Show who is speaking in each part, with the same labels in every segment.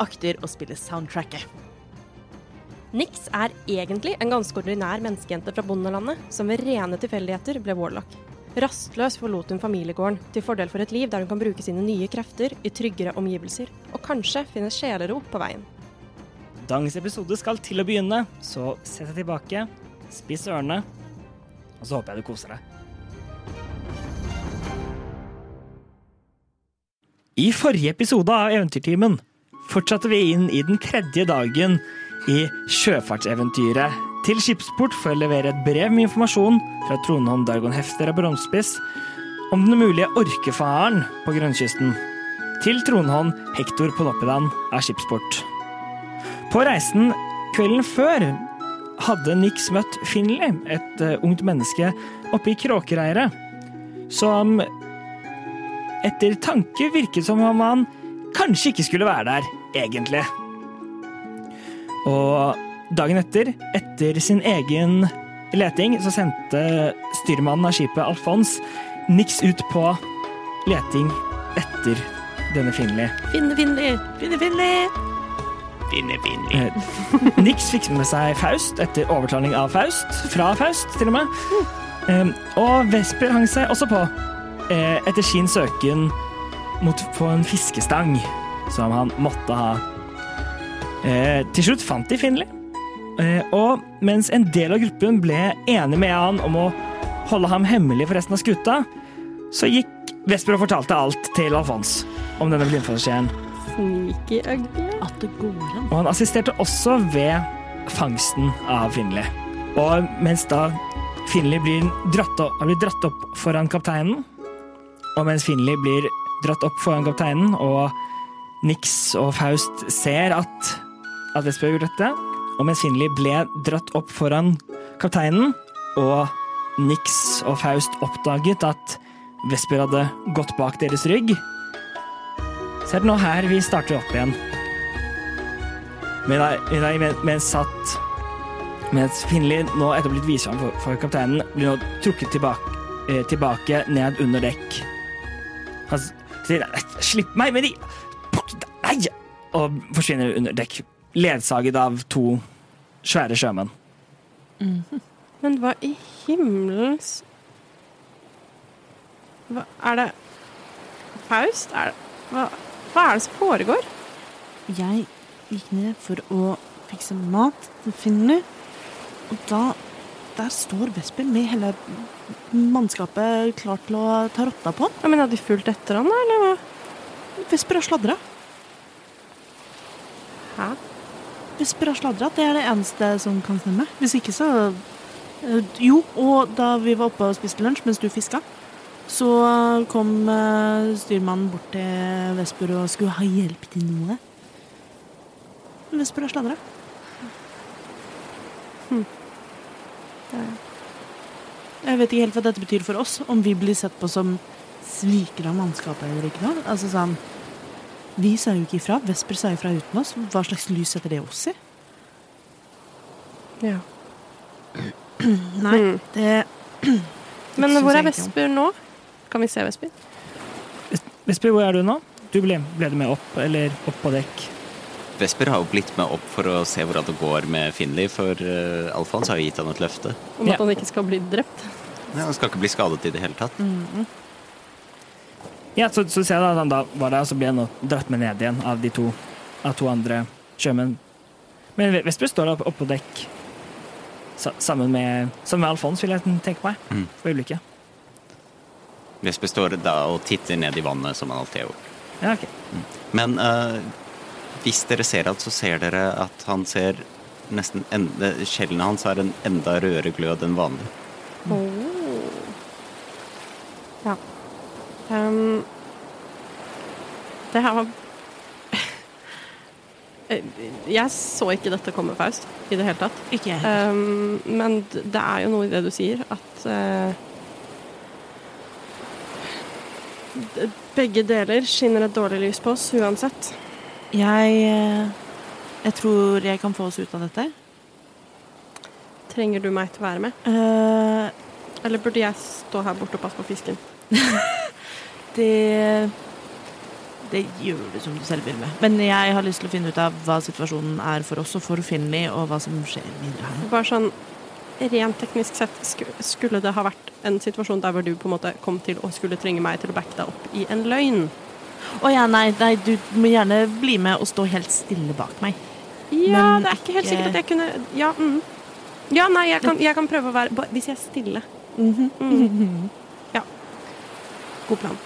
Speaker 1: akter å spille soundtracket.
Speaker 2: Nix er egentlig en ganske ordinær menneskejente fra bondelandet, som ved rene tilfeldigheter ble warlock. Rastløs forlot hun familiegården, til fordel for et liv der hun kan bruke sine nye krefter i tryggere omgivelser, og kanskje finne sjelero på veien.
Speaker 3: Dagens episode skal til å begynne, så sett deg tilbake, spiss ørene, og så håper jeg du koser deg. I forrige episode av Eventyrtimen fortsatte vi inn i den tredje dagen i sjøfartseventyret til Skipsport for å levere et brev med informasjon fra Trondheim Dargon Hefter av Bronsespiss om den mulige orkefaren på grønnkysten til Trondheim Hector Poloppidan av Skipsport. På reisen kvelden før hadde Nix møtt Finley, et eh, ungt menneske oppe i Kråkereiret, som etter tanke virket som om han kanskje ikke skulle være der, egentlig. Og dagen etter, etter sin egen leting, så sendte styrmannen av skipet Alfons Nix ut på leting etter denne Finley.
Speaker 2: Finne Finli! Finne Finli!
Speaker 4: Finne-finne.
Speaker 3: Nix fikk med seg Faust etter overtaling av Faust, fra Faust til og med. Um, og Vesper hang seg også på eh, etter sin søken mot på en fiskestang som han måtte ha. Eh, til slutt fant de Finley, Eh, og mens en del av gruppen ble enig med han om å holde ham hemmelig for resten av skuta, så gikk Vesper og fortalte alt til Alfons om denne blindpassasjeren.
Speaker 2: Sneaky ugly.
Speaker 1: At det går an.
Speaker 3: Og han assisterte også ved fangsten av Finley. Og mens da Finley blir dratt opp, blir dratt opp foran kapteinen, og mens Finley blir dratt opp foran kapteinen, og Nix og Faust ser at, at Vesper gjorde dette, og mens Finley ble dratt opp foran kapteinen, og Nix og Faust oppdaget at Vesper hadde gått bak deres rygg, så er det nå her vi starter opp igjen. Men nei, nei, men- mens satt Mens Finley nå etter å ha blitt vist fram for, for kapteinen, blir nå trukket tilbake, eh, tilbake ned under dekk. Han s- sier "Nei, 'slipp meg', men de Pokker, Nei! Og forsvinner under dekk. Ledsaget av to svære sjømenn.
Speaker 2: Men hva i himmelens Hva er det Faust? Er det hva, hva er det som foregår?
Speaker 5: Jeg gikk ned for å fikse mat til Finley. Og da Der står Vesper med hele mannskapet klar til å ta rotta på han.
Speaker 2: Jeg mener, Hadde de fulgt etter han, da, eller hva?
Speaker 5: Vesper har sladra.
Speaker 2: Hæ?
Speaker 5: Vesper har sladra. Det er det eneste som kan stemme. Hvis ikke, så Eh, Jo, og da vi var oppe og spiste lunsj mens du fiska, så kom eh, styrmannen bort til Vesper og skulle ha hjelp til noe. Vesper har sladra. Jeg vet ikke helt hva dette betyr for oss, om vi blir sett på som svikere av mannskapet eller ikke noe. Altså sånn Vi sa jo ikke ifra. Vesper sa ifra uten oss. Hva slags lys setter det oss i?
Speaker 2: Ja.
Speaker 5: Nei, det
Speaker 2: Men
Speaker 5: Syns
Speaker 2: hvor er
Speaker 5: jeg ikke om.
Speaker 2: Vesper nå? Kan vi se Vesper?
Speaker 3: Vesper, hvor er du nå? Du ble, ble du med opp, eller opp på dekk?
Speaker 4: Vesper har jo blitt med opp for å se hvordan det går med Finley, for eh, Alfons har jo gitt han et løfte.
Speaker 2: Om
Speaker 3: Ja.
Speaker 2: at han ikke skal bli drept?
Speaker 4: Han skal ikke bli skadet i det hele tatt.
Speaker 3: Ja, så, så ser jeg da at han da var der, og så ble han nå dratt med ned igjen av de to, av to andre sjømenn. Men Vesper står oppe opp på dekk sa- sammen med, sammen med Alfons, vil jeg tenke meg.
Speaker 4: Mm.
Speaker 3: For øyeblikket.
Speaker 4: Vesper står da og titter ned i vannet, som han alltid har gjort.
Speaker 3: Ja, ok.
Speaker 4: Men eh, hvis dere ser alt, så ser dere at han ser nesten en- eh, Skjellene hans har en enda rødere glød enn vanlig.
Speaker 2: Åh. Oh. Ja. Ehm, det her var Eh, Jeg så ikke dette komme, Faust, i det hele tatt.
Speaker 5: Ikke jeg. heller.
Speaker 2: Ehm, men d- det er jo noe i det du sier, at eh, d- Begge deler skinner et dårlig lys på oss uansett.
Speaker 5: Jeg eh, Jeg tror jeg kan få oss ut av dette.
Speaker 2: Trenger du meg til å være med?
Speaker 5: Eh,
Speaker 2: Eller burde jeg stå her borte og passe på fisken?
Speaker 5: det Det gjør du som du selv vil med. Men jeg har lyst til å finne ut av hva situasjonen er for oss og for Finley, og hva som skjer videre her.
Speaker 2: Bare sånn rent teknisk sett, sku- skulle det ha vært en situasjon der hvor du på en måte kom til å skulle trenge meg til å backe deg opp i en løgn?
Speaker 5: Å ja, nei, nei, du må gjerne bli med og stå helt stille bak meg.
Speaker 2: Ja,
Speaker 5: Men
Speaker 2: det er ikke helt
Speaker 5: ikke-
Speaker 2: sikkert at jeg kunne Ja, mm. ja nei, jeg kan, jeg kan prøve å være bare Hvis jeg er stille. Mm. Ja. God plan.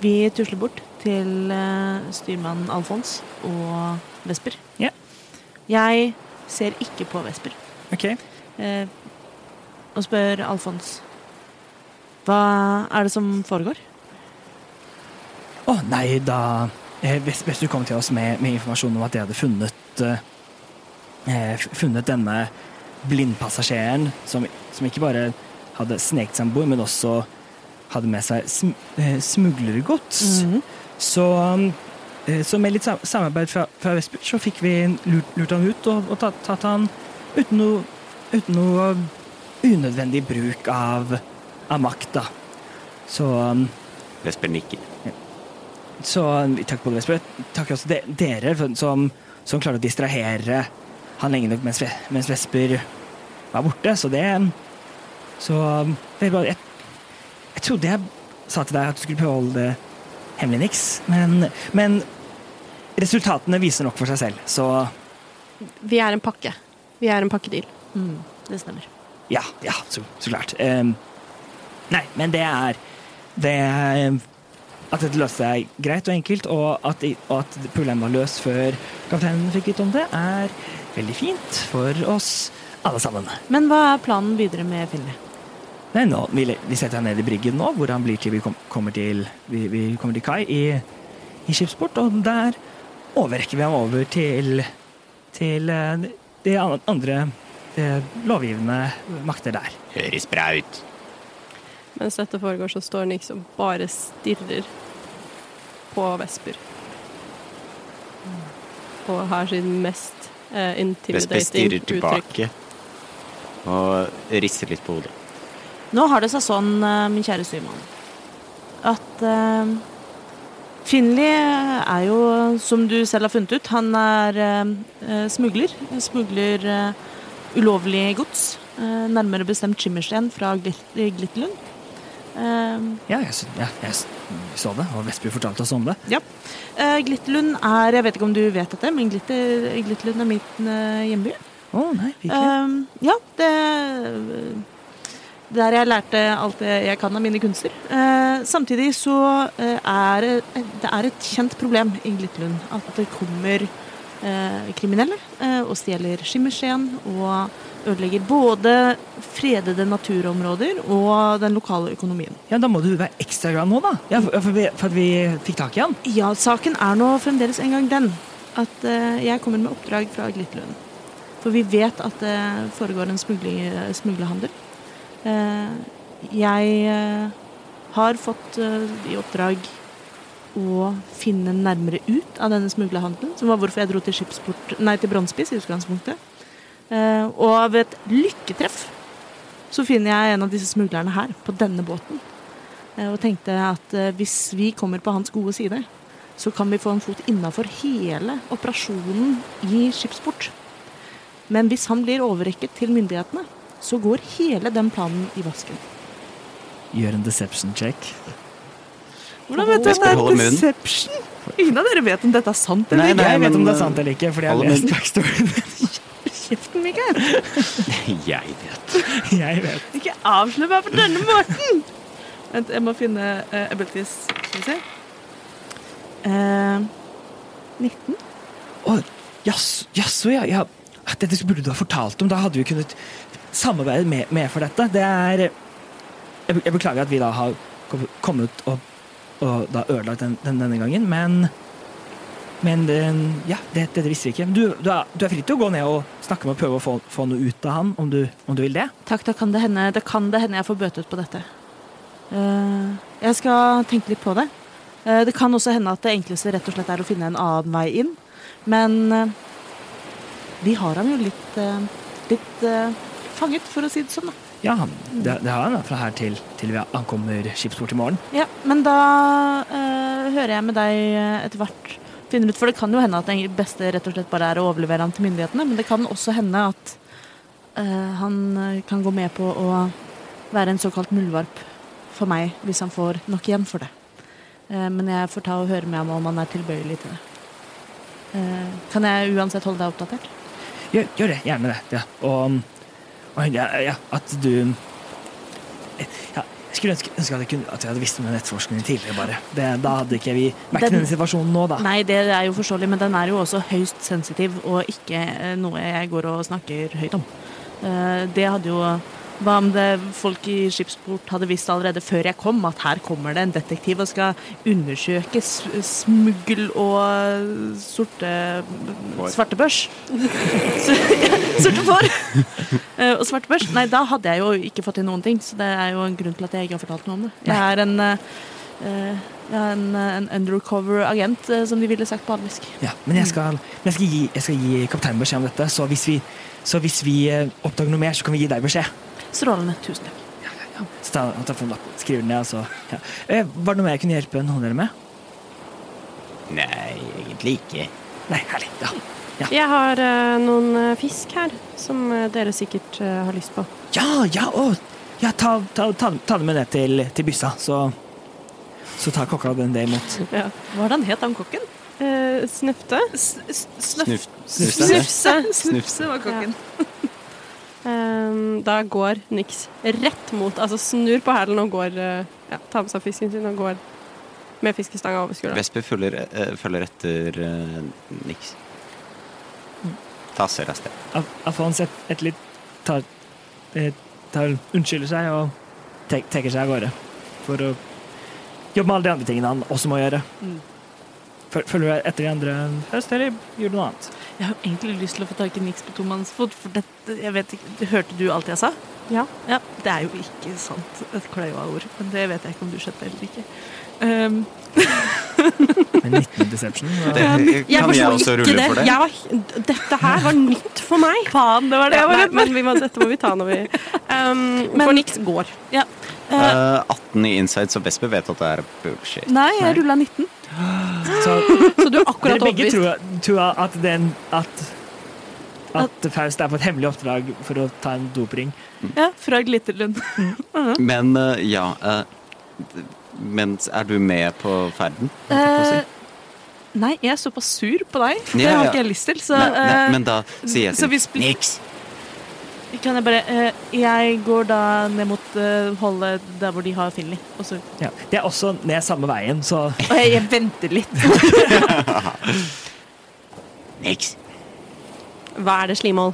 Speaker 5: Vi tusler bort til eh, styrmann Alfons og Vesper.
Speaker 3: Ja.
Speaker 5: Jeg ser ikke på Vesper
Speaker 3: Ok.
Speaker 5: eh, og spør Alfons Hva er det som foregår?
Speaker 3: Å nei, da eh, Ves- Vesper kom til oss med, med informasjon om at de hadde funnet eh, eh, f- funnet denne blindpassasjeren som, som ikke bare hadde sneket seg om bord, men også hadde med seg sm eh, smuglergods. Så, um, eh, så med litt sam samarbeid fra, fra Vesper så fikk vi lurt, lurt han ut og, og tatt, tatt han uten noe, uten noe unødvendig bruk av, av makt, da. Så um,
Speaker 4: Vesper nikker.
Speaker 3: så takk både Vesper. Takk også de, dere for, som, som klarte å distrahere han lenge nok mens, Ve- mens Vesper var borte. Så det Så det var, jeg, jeg trodde jeg sa til deg at du skulle prøve å holde det hemmelig, niks. Men, men resultatene viser nok for seg selv. Så
Speaker 2: Vi er en pakke. Vi er en pakkedeal.
Speaker 5: Mm, det stemmer.
Speaker 3: ja, ja, så, så klart. Ehm, nei, men det er Det er ehm, at dette løste seg greit og enkelt, og at, og at problemet var løst før kapteinen fikk vite om det, er veldig fint for oss alle sammen.
Speaker 5: Men hva er planen videre med Finley?
Speaker 3: Men nå, vi, le- vi setter han ned i bryggen nå, hvor han blir til vi kom, kommer til vi, vi kommer til kai i, i skipsport, og der overrekker vi ham over til til eh, de an- andre eh, lovgivende makter der.
Speaker 4: Høres bra ut.
Speaker 2: Mens dette foregår, så står Nix og bare stirrer på Vesper. Og har sin mest eh,
Speaker 4: Vesper
Speaker 2: intimidating
Speaker 4: stirrer
Speaker 2: uttrykk.
Speaker 4: tilbake og rister litt på hodet.
Speaker 5: Nå har det seg sånn, eh, min kjære styrmann, at eh, Finley er jo, som du selv har funnet ut, han er eh, eh, smugler. Smugler eh, ulovlig gods. eh, nærmere bestemt skimmersten fra Glit- Glitterlund. Eh,
Speaker 3: Ja, jeg, s- ja, jeg s- så det, og Vestby fortalte oss om det.
Speaker 5: ja. Eh, Glitterlund er Jeg vet ikke om du vet dette, men Glitter, Glitterlund er min eh, hjemby.
Speaker 3: Å nei, virkelig.
Speaker 5: Um, ja, det Der jeg lærte alt det jeg kan av mine kunster. Eh, samtidig så eh, er det- det er et kjent problem i Glitterlund at det kommer eh, kriminelle eh, og stjeler skimmerskjeen og ødelegger både fredede naturområder og den lokale økonomien.
Speaker 3: Ja, da må du være ekstra glad nå, da. Ja, for, for, vi, for at vi fikk tak i han.
Speaker 5: Ja, saken er nå fremdeles en gang den at eh, jeg kommer med oppdrag fra Glitterlund. For vi vet at det foregår en smugling- smuglerhandel. Eh, jeg eh, har fått eh, i oppdrag å finne nærmere ut av denne smuglerhandelen, som var hvorfor jeg dro til skipsport, nei, til Brønnspis i utgangspunktet. Eh, og ved et lykketreff så finner jeg en av disse smuglerne her, på denne båten. Eh, og tenkte at eh, hvis vi kommer på hans gode side, så kan vi få en fot innafor hele operasjonen i skipsport. Men hvis han blir overrekket til myndighetene, så går hele den planen i vasken.
Speaker 3: Gjør en deception check.
Speaker 5: Hvordan vet
Speaker 4: Vesper holder munn.
Speaker 5: deception? Ingen av dere vet om dette er sant eller
Speaker 4: Nei,
Speaker 3: Nei,
Speaker 4: nei,
Speaker 3: jeg vet
Speaker 4: men,
Speaker 3: om det
Speaker 4: eh,
Speaker 3: er sant eller ikke, fordi jeg har
Speaker 4: alle
Speaker 3: lest
Speaker 4: min-
Speaker 3: backstoryen.
Speaker 5: kjeften, Mikael.
Speaker 4: Jeg vet.
Speaker 3: Jeg vet.
Speaker 5: Ikke avslør meg på denne måten! Vent, jeg må finne eh, abilities. Skal vi se. Eh, 19.
Speaker 3: Å, jas- Jaså, ja, ja. Dette burde du ha fortalt om. Da hadde vi kunnet samarbeide med, med for dette. Det er Jeg, be- jeg beklager at vi da har kom- kommet og, og da ødelagt den, den denne gangen, men men det- ja, det, dette visste vi ikke. Men Du, du, er, du er fri til å gå ned og snakke med og prøve å få, få noe ut av han, om du, om du vil det.
Speaker 5: Takk, da kan det hende, da kan det hende jeg får bøtet på dette. Eh, jeg skal tenke litt på det. Eh, det kan også hende at det enkleste rett og slett er å finne en annen vei inn. Men eh, vi har ham jo litt, eh, litt eh, fanget, for å si det sånn. Da.
Speaker 3: Ja, han- det, det har han da, fra her til, til vi ankommer skipsport i morgen.
Speaker 5: Ja, men da eh, hører jeg med deg eh, etter hvert. Finner ut, for det kan jo hende at det beste rett og slett bare er å overlevere ham til myndighetene, men det kan også hende at eh, han eh, kan gå med på å være en såkalt muldvarp for meg, hvis han får nok igjen for det. Eh, men jeg får ta og høre med ham om han er tilbøyelig til det. Eh, kan jeg uansett holde deg oppdatert?
Speaker 3: Gjør, gjør det. Gjerne det. Ja. Og, um, og ja, ja, at du um, ja, Jeg skulle ønske, ønske at, jeg kunne, at jeg hadde visst om den etterforskningen tidligere. bare. Det, da hadde ikke vi vært i
Speaker 5: Den-
Speaker 3: denne situasjonen nå, da.
Speaker 5: Nei, det er jo forståelig, men den er jo også høyst sensitiv, og ikke eh, noe jeg går og snakker høyt om. Eh, Det hadde jo Hva om det folk i skipsport hadde visst allerede før jeg kom, at her kommer det en detektiv og skal undersøke s- smuggel og eh, sorte
Speaker 4: Får.
Speaker 5: svartebørs? Så- ja, Sorte får! Eh, Og svartebørs? Nei, da hadde jeg jo ikke fått til noen ting, så det er jo en grunn til at jeg ikke har fortalt noe om det. Jeg er en eh, eh, jeg er en, eh, en undercover-agent, eh, som de ville sagt på admisk.
Speaker 3: Ja, men
Speaker 5: Mm.
Speaker 3: jeg skal, men jeg skal gi, jeg skal gi kapteinen beskjed om dette, så hvis vi, så hvis vi eh, oppdager noe mer, så kan vi gi deg beskjed.
Speaker 5: Strålende. Tusen takk.
Speaker 3: Så tar han tar frem lappen, skriver den ned, og så ja. Eh, Var det noe mer jeg kunne hjelpe noen av dere med?
Speaker 4: Nei, egentlig ikke.
Speaker 3: Nei, herlig. Ja. Ja,
Speaker 2: Jeg har eh, noen eh, fisk her som eh, dere sikkert eh, har lyst på.
Speaker 3: ja, ja, å, ja ta, ta, ta, ta det med ned til, til byssa, så, så tar kokka den det imot.
Speaker 5: Hvordan het han kokken?
Speaker 2: Eh, snøfte.
Speaker 4: Snuff, snufse.
Speaker 2: Snufse.
Speaker 4: Snufse
Speaker 5: var
Speaker 2: kokken. Eh, da går Nix rett mot Altså snur på hælen og går eh, ja, Tar med seg fisken sin og går med fiskestanga over skulderen.
Speaker 4: Vesper følger, eh, følger etter eh, Nix. Tasser av sted.
Speaker 3: Af- Afons et, et litt tar, eh, tar, unnskylder seg og te- trekker seg av gårde. For å jobbe med alle de andre tingene han også må gjøre.
Speaker 5: Mm.
Speaker 3: Føl- Følger du etter de andre høst, eller gjør du noe annet?
Speaker 5: Jeg har egentlig lyst til å få tak i Nix på tomannsfot, for dette, jeg vet ikke, hørte du alt jeg sa?
Speaker 2: Ja.
Speaker 5: Ja, det er jo ikke sant et kløyva ord, men det vet jeg ikke om du skjønte eller ikke. Ehm,
Speaker 3: Med 19 deception? og-
Speaker 2: Jeg
Speaker 4: kan jeg
Speaker 2: forsto
Speaker 4: også
Speaker 2: ikke
Speaker 4: rulle
Speaker 2: det.
Speaker 4: for det?
Speaker 2: Jeg var, dette her var nytt for meg.
Speaker 5: faen, det var det jeg var
Speaker 2: nei,
Speaker 5: redd for!
Speaker 2: men vi må, dette må vi ta når vi um,
Speaker 5: Men-
Speaker 2: For Nix går.
Speaker 5: Eh,
Speaker 4: Eh, 18 i insight, så Vesper vet at det er bullshit.
Speaker 5: nei, jeg rulla 19.
Speaker 3: Så
Speaker 2: Så du er
Speaker 3: dere
Speaker 2: akkurat
Speaker 3: begge
Speaker 2: overbevist.
Speaker 3: tror, tror at den at at Faust er på et hemmelig oppdrag for å ta en dopring.
Speaker 5: Ja, fra Glitterlund.
Speaker 4: Men eh, ja eh, d- Men er du med på ferden? holdt jeg på å si?
Speaker 5: Eh, nei, jeg er såpass sur på deg. Det
Speaker 4: Ja,
Speaker 5: har
Speaker 4: ja.
Speaker 5: ikke jeg lyst til, så
Speaker 4: nei, nei,
Speaker 5: eh,
Speaker 4: men da sier jeg
Speaker 5: så vi
Speaker 4: til
Speaker 5: split-
Speaker 4: Nix.
Speaker 5: Kan jeg bare eh, Jeg går da ned mot eh, holdet der hvor de har Finley. Og så
Speaker 3: Ja. Det er også ned samme veien, så
Speaker 5: Og jeg, jeg venter litt.
Speaker 4: Nix.
Speaker 2: Hva er det, Slimål?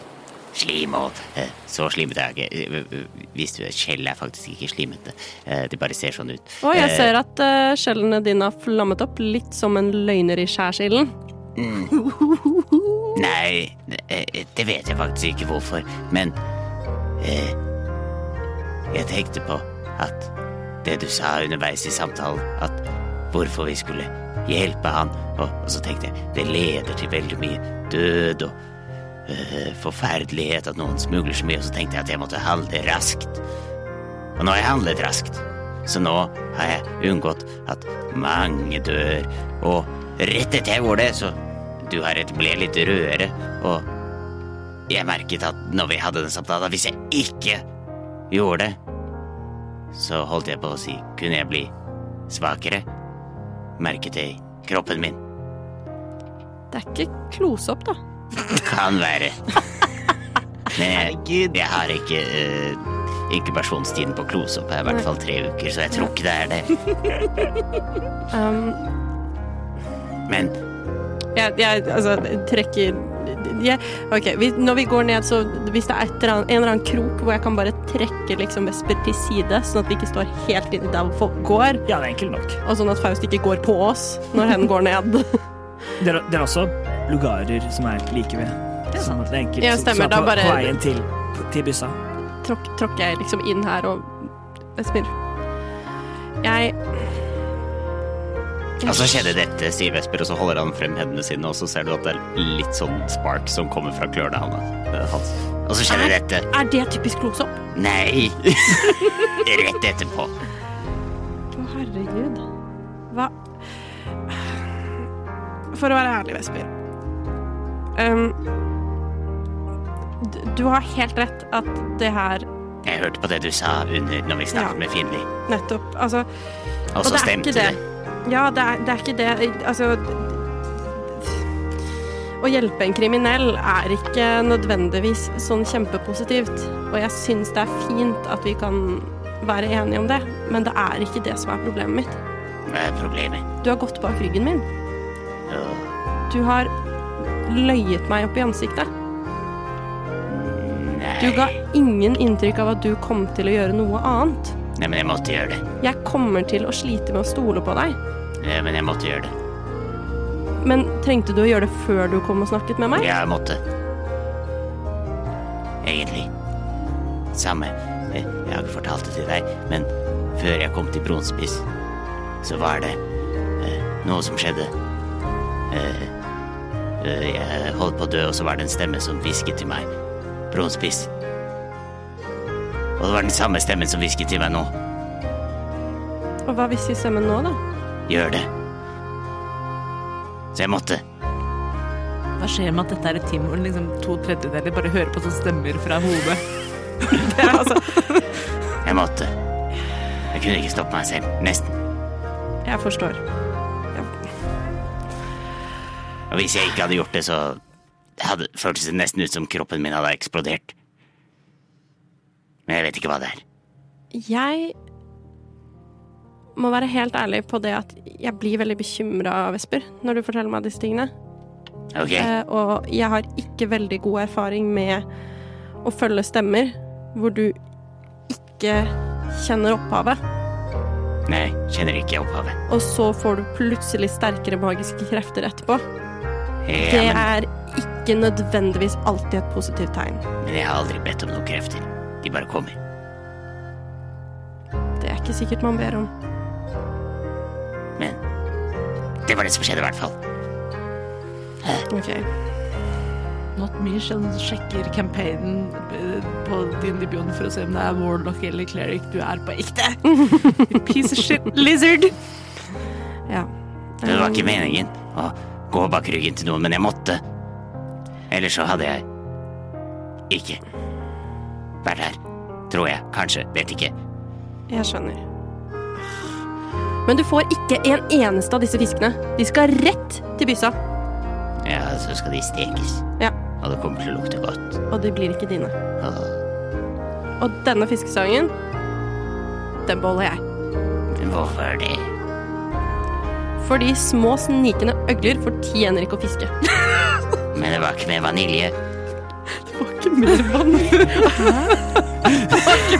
Speaker 6: Slimål. Eh, Så slimete er jeg ikke. Eh, eh, Visste du at skjell er faktisk ikke slimete? Eh, Det bare ser sånn ut.
Speaker 2: Å, jeg
Speaker 6: Eh,
Speaker 2: ser at eh, skjellene dine har flammet opp, litt som en løgner i skjærsilden.
Speaker 6: Nei, eh, eh, det vet jeg faktisk ikke hvorfor, men eh, Jeg tenkte på at det du sa underveis i samtalen, at hvorfor vi skulle hjelpe han, og, og så tenkte jeg det leder til veldig mye død og eh, forferdelighet at noen smugler så mye, og så tenkte jeg at jeg måtte handle raskt. Og nå har jeg handlet raskt, så nå har jeg unngått at mange dør, og rett etter jeg gjorde det, så du har et ble litt rødere, og jeg merket at når vi hadde den samtalen, at hvis jeg ikke gjorde det, så holdt jeg på å si, kunne jeg bli svakere? Merket jeg kroppen min.
Speaker 2: Det er ikke klosopp, da.
Speaker 6: Kan være. Men jeg, jeg har ikke eh, inkubasjonstiden på Klosopp er i hvert fall tre uker, så jeg tror ikke det er det.
Speaker 2: Um,
Speaker 6: Men
Speaker 2: jeg, jeg altså, trekker jeg, Ok, vi, når vi går ned, så hvis det er et eller annet, en eller annen krok hvor jeg kan bare trekke liksom Vesper til side, sånn at vi ikke står helt inni der hvor folk går,
Speaker 3: Ja, det er enkelt nok.
Speaker 2: og sånn at Faust ikke går på oss når hen går ned.
Speaker 3: Det er, det er også lugarer som er like ved. Det er sant. det er enkelt.
Speaker 2: Ja,
Speaker 3: Så-
Speaker 2: stemmer,
Speaker 3: så
Speaker 2: da
Speaker 3: på,
Speaker 2: bare-
Speaker 3: på veien til, til byssa.
Speaker 2: Tråk, tråkker jeg liksom inn her og Vesper. Jeg
Speaker 6: Og så altså, skjedde dette, sier Vesper, og så holder han frem hendene sine, og så ser du at det er litt sånn spark som kommer fra klørne han- eh, hans. Og så skjedde dette.
Speaker 2: Er det typisk klosopp?
Speaker 6: Nei! Rett etterpå.
Speaker 2: Å, herregud. Hva
Speaker 5: For å være ærlig, Vesper.
Speaker 2: um, d- Du har helt rett at det her
Speaker 6: Jeg hørte på det du sa under når vi snakket
Speaker 2: Ja.
Speaker 6: med Finley,
Speaker 2: nettopp Altså
Speaker 6: og så stemte det.
Speaker 2: Ja, det er, det er ikke det. Altså Å hjelpe en kriminell er ikke nødvendigvis sånn kjempepositivt. Og jeg syns det er fint at vi kan være enige om det, men det er ikke det som er problemet mitt.
Speaker 6: Hva er problemet?
Speaker 2: Du har gått bak ryggen min.
Speaker 6: Åh,
Speaker 2: Du har løyet meg opp i ansiktet. Du
Speaker 6: Nei.
Speaker 2: ga ingen inntrykk av at du kom til å gjøre noe annet.
Speaker 6: Nei, men jeg måtte gjøre det.
Speaker 2: Jeg kommer til å slite med å stole på deg.
Speaker 6: Ja, Eh, men jeg måtte gjøre det.
Speaker 2: Men trengte du å gjøre det før du kom og snakket med meg?
Speaker 6: Ja, jeg måtte. Egentlig. Samme. Eh, Jeg har ikke fortalt det til deg, men før jeg kom til Bronspiss, så var det eh, noe som skjedde. Eh, eh, jeg holdt på å dø, og så var det en stemme som hvisket til meg. Bronspiss. Og det var den samme stemmen som hvisket til meg nå.
Speaker 2: Og hva hvis vi stemmer nå, da?
Speaker 6: Gjør det. Så jeg måtte.
Speaker 7: Hva skjer med at dette er et team hvor liksom to tredjedeler bare hører på sånne stemmer fra hodet? Det er altså
Speaker 6: Jeg måtte. Jeg kunne ikke stoppe meg selv. Nesten.
Speaker 2: Jeg forstår.
Speaker 6: Og hvis jeg ikke hadde gjort det, så hadde, føltes det nesten ut som kroppen min hadde eksplodert. Men jeg vet ikke hva det er.
Speaker 2: Jeg må være helt ærlig på det at jeg blir veldig bekymra, Vesper, når du forteller meg disse tingene.
Speaker 6: Ok,
Speaker 2: Eh, og jeg har ikke veldig god erfaring med å følge stemmer hvor du ikke kjenner opphavet,
Speaker 6: nei, kjenner ikke opphavet.
Speaker 2: og så får du plutselig sterkere magiske krefter etterpå. Det
Speaker 6: Ja,
Speaker 2: er ikke nødvendigvis alltid et positivt tegn.
Speaker 6: men, men jeg har aldri bedt om noen krefter. De bare kommer.
Speaker 2: Det er ikke sikkert man ber om.
Speaker 6: Men det var det som skjedde, i hvert fall.
Speaker 2: Ok.
Speaker 7: Not Michelle sjekker campaignen eh, på din Beyond for å se om det er Warlock eller Cleric du er på ekte. You Piece of shit lizard.
Speaker 2: Ja. Um,
Speaker 6: Det var ikke meningen å gå bak ryggen til noen, men jeg måtte. Ellers så hadde jeg ikke vært her. Tror jeg. Kanskje. Vet ikke.
Speaker 2: Jeg skjønner. Men du får ikke en eneste av disse fiskene. De skal rett til byssa,
Speaker 6: Ja, så skal de stekes.
Speaker 2: Ja.
Speaker 6: Og det kommer til å lukte godt.
Speaker 2: og de blir ikke dine.
Speaker 6: Åh.
Speaker 2: Og denne fiskesangen, den beholder jeg.
Speaker 6: Hvorfor det?
Speaker 2: Fordi små, snikende øgler fortjener ikke å fiske.
Speaker 6: Men det var ikke med vanilje.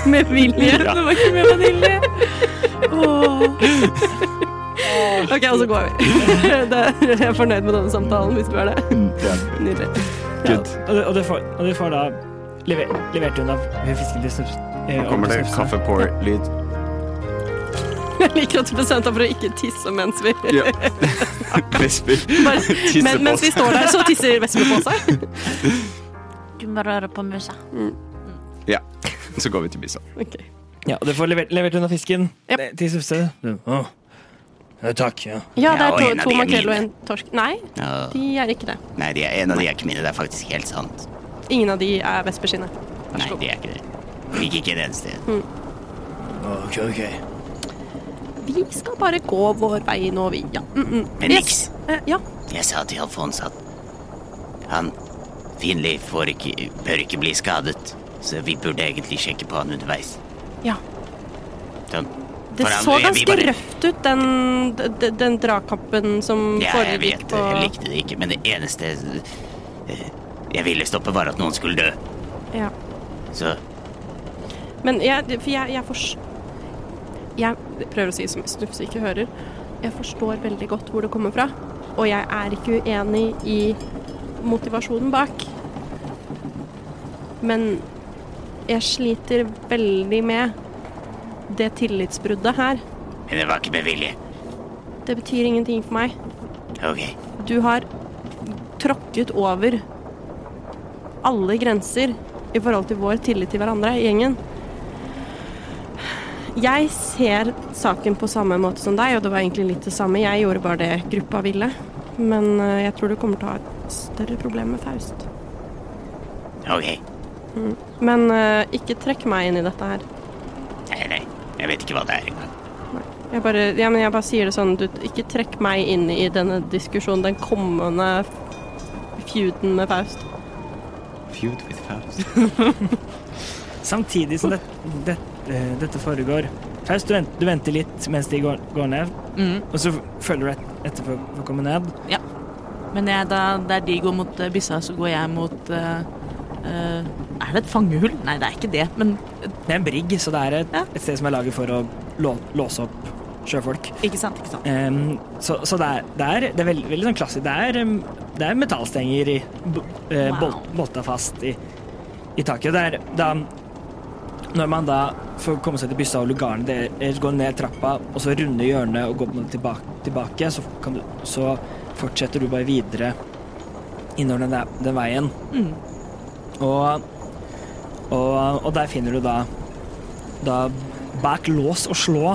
Speaker 2: Med vilje.
Speaker 7: Det var ikke med vanilje.
Speaker 2: Ok, og så går vi. Det, jeg er fornøyd med denne samtalen, hvis du er det.
Speaker 6: Mm,
Speaker 2: Nydelig.
Speaker 3: Ja, og, det- og, det får, og det får da lever, levert unna fisken til snups. eh,
Speaker 8: Kommer
Speaker 3: til
Speaker 8: det
Speaker 3: snufsen.
Speaker 8: kaffepour-lyd?
Speaker 2: Jeg liker at du bestemte deg for å ikke tisse mens vi
Speaker 8: Ja. Vesper
Speaker 2: bare,
Speaker 8: tisser
Speaker 2: men,
Speaker 8: på
Speaker 2: Mens vi
Speaker 8: seg.
Speaker 2: står der, så tisser Vesper på seg.
Speaker 9: Du må røre på musa.
Speaker 8: Ja. Så går vi til Bissa.
Speaker 2: Ok.
Speaker 3: Ja, og det får levert, levert unna fisken
Speaker 2: Yep.
Speaker 3: eh, til snufset. Å, ja, takk. Ja.
Speaker 2: Ja, det
Speaker 6: Ja,
Speaker 2: er
Speaker 6: og
Speaker 2: to,
Speaker 6: en av
Speaker 2: to
Speaker 6: de er
Speaker 2: makrell og
Speaker 6: mine.
Speaker 2: en torsk. Nei,
Speaker 6: Åh.
Speaker 2: de er ikke det.
Speaker 6: Nei, de er, en av de er ikke mine. Det er faktisk helt sant.
Speaker 2: Ingen av de er Vesper sine.
Speaker 6: Nei, Mm. de er ikke det. Fikk ikke en eneste.
Speaker 3: Ok, ok.
Speaker 2: Vi skal bare gå vår vei nå, vi. Ja. Mm -mm.
Speaker 6: Men niks.
Speaker 2: Eh, ja.
Speaker 6: Jeg sa til Alfons at han Finley får ikke, bør ikke bli skadet, så vi burde egentlig sjekke på han underveis.
Speaker 2: Ja.
Speaker 6: Sånn.
Speaker 2: Det
Speaker 6: For han-
Speaker 2: så
Speaker 6: vi- vi
Speaker 2: ganske
Speaker 6: bare-
Speaker 2: røft ut, den, den, den dragkampen som
Speaker 6: Ja, jeg
Speaker 2: foregikk
Speaker 6: vet det.
Speaker 2: på
Speaker 6: Jeg likte det ikke, men det eneste eh, jeg ville stoppe, var at noen skulle dø.
Speaker 2: Ja.
Speaker 6: Så
Speaker 2: Men jeg, for jeg, jeg forstår Jeg prøver å si som Snufse ikke hører. Jeg forstår veldig godt hvor det kommer fra, og jeg er ikke uenig i motivasjonen bak. Men jeg sliter veldig med det tillitsbruddet her.
Speaker 6: Men det var ikke med vilje.
Speaker 2: Det betyr ingenting for meg.
Speaker 6: Ok.
Speaker 2: Du har tråkket over alle grenser i forhold til vår tillit til hverandre i gjengen. Jeg ser saken på samme måte som deg, og det var egentlig litt det samme. Jeg gjorde bare det gruppa ville. Men eh, jeg tror du kommer til å ha et større problem med Faust.
Speaker 6: Ok.
Speaker 2: Men eh, ikke trekk meg inn i dette her.
Speaker 6: Nei, nei. Jeg vet ikke hva det er engang.
Speaker 2: Jeg bare, ja, men jeg bare sier det sånn, du, ikke trekk meg inn i denne diskusjonen, den kommende feuden med Faust.
Speaker 8: Feud with Faust.
Speaker 3: Samtidig som det, det, eh, dette foregår Faust, du, vent, du venter litt mens de går, går ned,
Speaker 5: Mm.
Speaker 3: og så følger du et, etter for for å komme ned.
Speaker 5: Men jeg, da, der de går mot eh, byssa, så går jeg mot eh, eh, Er det et fangehull? Nei, det er ikke det, men
Speaker 7: eh,
Speaker 3: Det er en brigg, så det er et,
Speaker 5: Ja.
Speaker 3: et sted som er laget for å lå, låse opp sjøfolk.
Speaker 5: Ikke sant? Ikke sant?
Speaker 3: Em, så, så det er, det er, det er veldig, veldig sånn klassisk. Det er, em, det er metallstenger i, bo- eh,
Speaker 5: Wow.
Speaker 3: bolt, bolta fast i, i taket. Det er da Når man da får komme seg til byssa og lugaren, det er, går ned trappa og så runde hjørnet og går tilbake, tilbake så, kan du, så fortsetter du bare videre innover den, der, den veien.
Speaker 5: Mm.
Speaker 3: Og, og, og der finner du da, da bak lås og slå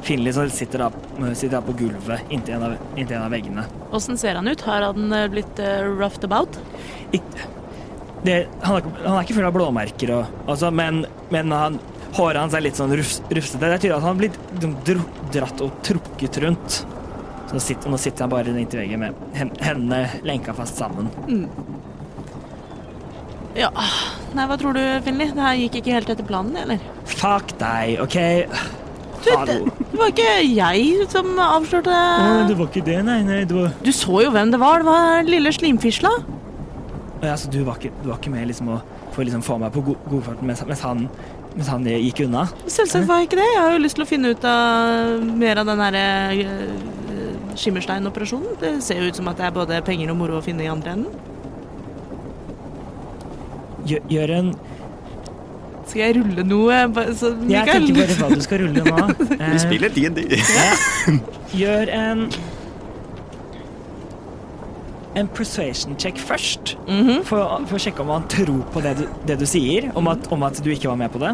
Speaker 3: Finley som sitter da, sitter da på gulvet inntil en av, inntil en av veggene.
Speaker 5: Åssen ser han ut? Har han eh, blitt eh, roughed about?
Speaker 3: Det, han, er, ikke- han er ikke full av blåmerker, og, altså, men, men han, håret hans er litt sånn rufs, rufsete. Det er tydelig at han har blitt liksom, dro, dratt og trukket rundt. Så nå sitter, nå sitter han bare inntil veggen med hen- hendene lenka fast sammen.
Speaker 5: Ja. Nei, hva tror du, Finli? Det her gikk ikke helt etter planen, eller?
Speaker 3: Fuck deg, OK? Hallo.
Speaker 5: Det var ikke jeg som avslørte
Speaker 3: Å, Det var ikke det, nei. nei det var...
Speaker 5: Du så jo hvem det var. Det var lille slimfisla.
Speaker 3: Ja, så du var ikke, du var ikke med liksom, å, for å liksom, få meg på go godfarten mens, mens, han, mens han eh, gikk unna?
Speaker 5: Selvsagt var jeg ikke det. Jeg har jo lyst til å finne ut av mer av den her eh, skimmersteinoperasjonen. Det ser jo ut som at det er både penger og moro å finne i andre enden.
Speaker 3: Gjør, gjør en
Speaker 5: Skal jeg rulle noe? Ba- Så,
Speaker 3: Jeg
Speaker 5: Mikael?
Speaker 3: tenker bare hva du skal rulle nå. Eh,
Speaker 10: Vi spiller D&D.
Speaker 3: gjør en en persuasion check først,
Speaker 5: Mhm.
Speaker 3: for, å- for å sjekke om han tror på det du, det du sier, om at, om at du ikke var med på det.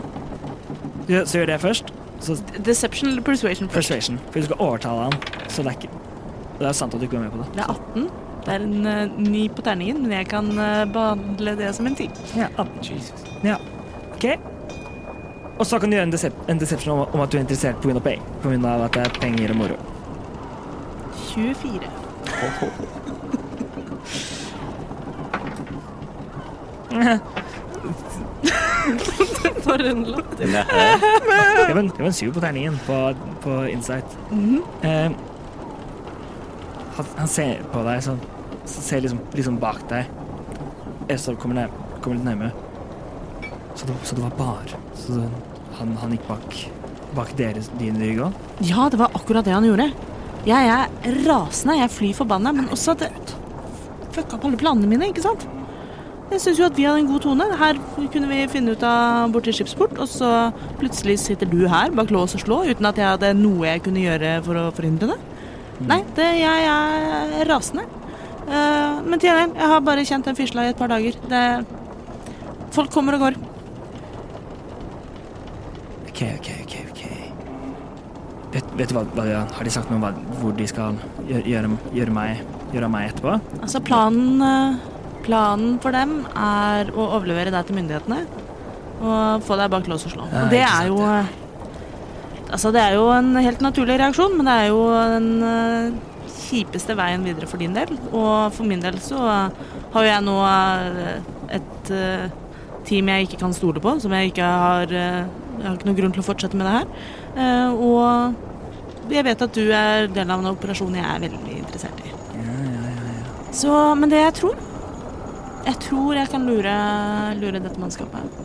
Speaker 3: Gjør- Så gjør det først. Så
Speaker 5: Deception eller persuasion først?
Speaker 3: persuasion, for du skal overtale han. Så det er ikke Det er sant at du ikke var med på det.
Speaker 5: Det er 18. Det er en eh, ny på terningen, men jeg kan eh, behandle det som en ti.
Speaker 3: Ja, at- Ah, Ja, ok. Og så kan du gjøre en, decep en deception om, om at du er interessert pga. peng. På grunn av at det er penger og moro.
Speaker 5: 24.
Speaker 2: For en lapp.
Speaker 3: Det var en, det var en syv på terningen på, på Insight. Eh, han, han ser på deg sånn, så ser liksom, liksom bak deg. Estol kommer, nær, kommer litt nærmere. Så det, så det var bare Så det, han, han gikk bak, bak deres, din rygg òg?
Speaker 5: Ja, det var akkurat det han gjorde. Jeg er rasende, jeg er fly forbanna, men også at det fucka opp alle planene mine, ikke sant? Jeg syns jo at vi hadde en god tone. Her kunne vi finne ut av borti skipsport, og så plutselig sitter du her bak lås og slå uten at jeg hadde noe jeg kunne gjøre for å forhindre det. Nei, det, jeg er rasende. Eh, men til gjengjeld, jeg har bare kjent den fisla i et par dager. Det, folk kommer og går.
Speaker 3: OK, OK, OK. ok. Vet, vet du hva, hva de har- Har de sagt noe om hva, hvor de skal gjøre, gjøre, gjøre, meg, gjøre av meg etterpå?
Speaker 5: Altså planen, eh, planen for dem er å overlevere deg til myndighetene og få deg bak lås og slå.
Speaker 3: Ja,
Speaker 5: og det
Speaker 3: ikke
Speaker 5: er
Speaker 3: sant,
Speaker 5: jo eh, Altså, det er jo en helt naturlig reaksjon, men det er jo den eh, kjipeste veien videre for din del. Og for min del så eh, har jo jeg nå eh, et eh, team jeg ikke kan stole på, som jeg ikke har eh, Jeg har ikke noen grunn til å fortsette med det her. Eh, og jeg vet at du er del av en operasjon jeg er veldig interessert i. Så, men det jeg tror Jeg tror jeg kan lure, lure dette mannskapet.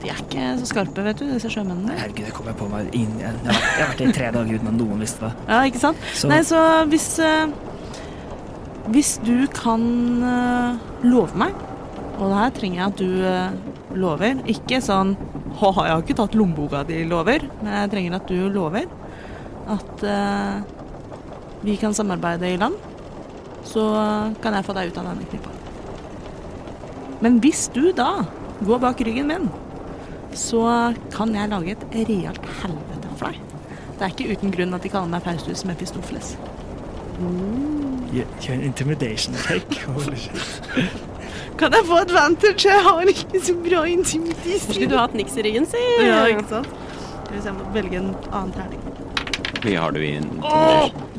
Speaker 5: De er ikke så skarpe, vet du, disse sjømennene.
Speaker 3: Herregud, jeg kommer på meg inn Jeg jeg har jeg har vært her i tre dager uten at noen visste det.
Speaker 5: Ja, ikke sant?
Speaker 3: Så-
Speaker 5: Nei, så hvis eh, Hvis du kan eh, love meg Og det her trenger jeg at du eh, lover Ikke sånn «Haha, jeg har ikke tatt lommeboka di lover Men jeg trenger at du lover At eh, vi kan samarbeide i land Så kan jeg få deg ut av denne knipa Men hvis du da går bak ryggen min Så kan jeg lage et realt helvete for deg det er ikke uten grunn at de kaller meg Faustus Mephistopheles.
Speaker 3: Gjør en intimidation take. Holy shit.
Speaker 5: Kan jeg få advantage? Jeg har ikke så bra intimidis.
Speaker 2: Skulle du hatt niks i ryggen, si?
Speaker 5: Ja, ikke sant? Hvis jeg må velge en annen terning.
Speaker 8: Vi har du inn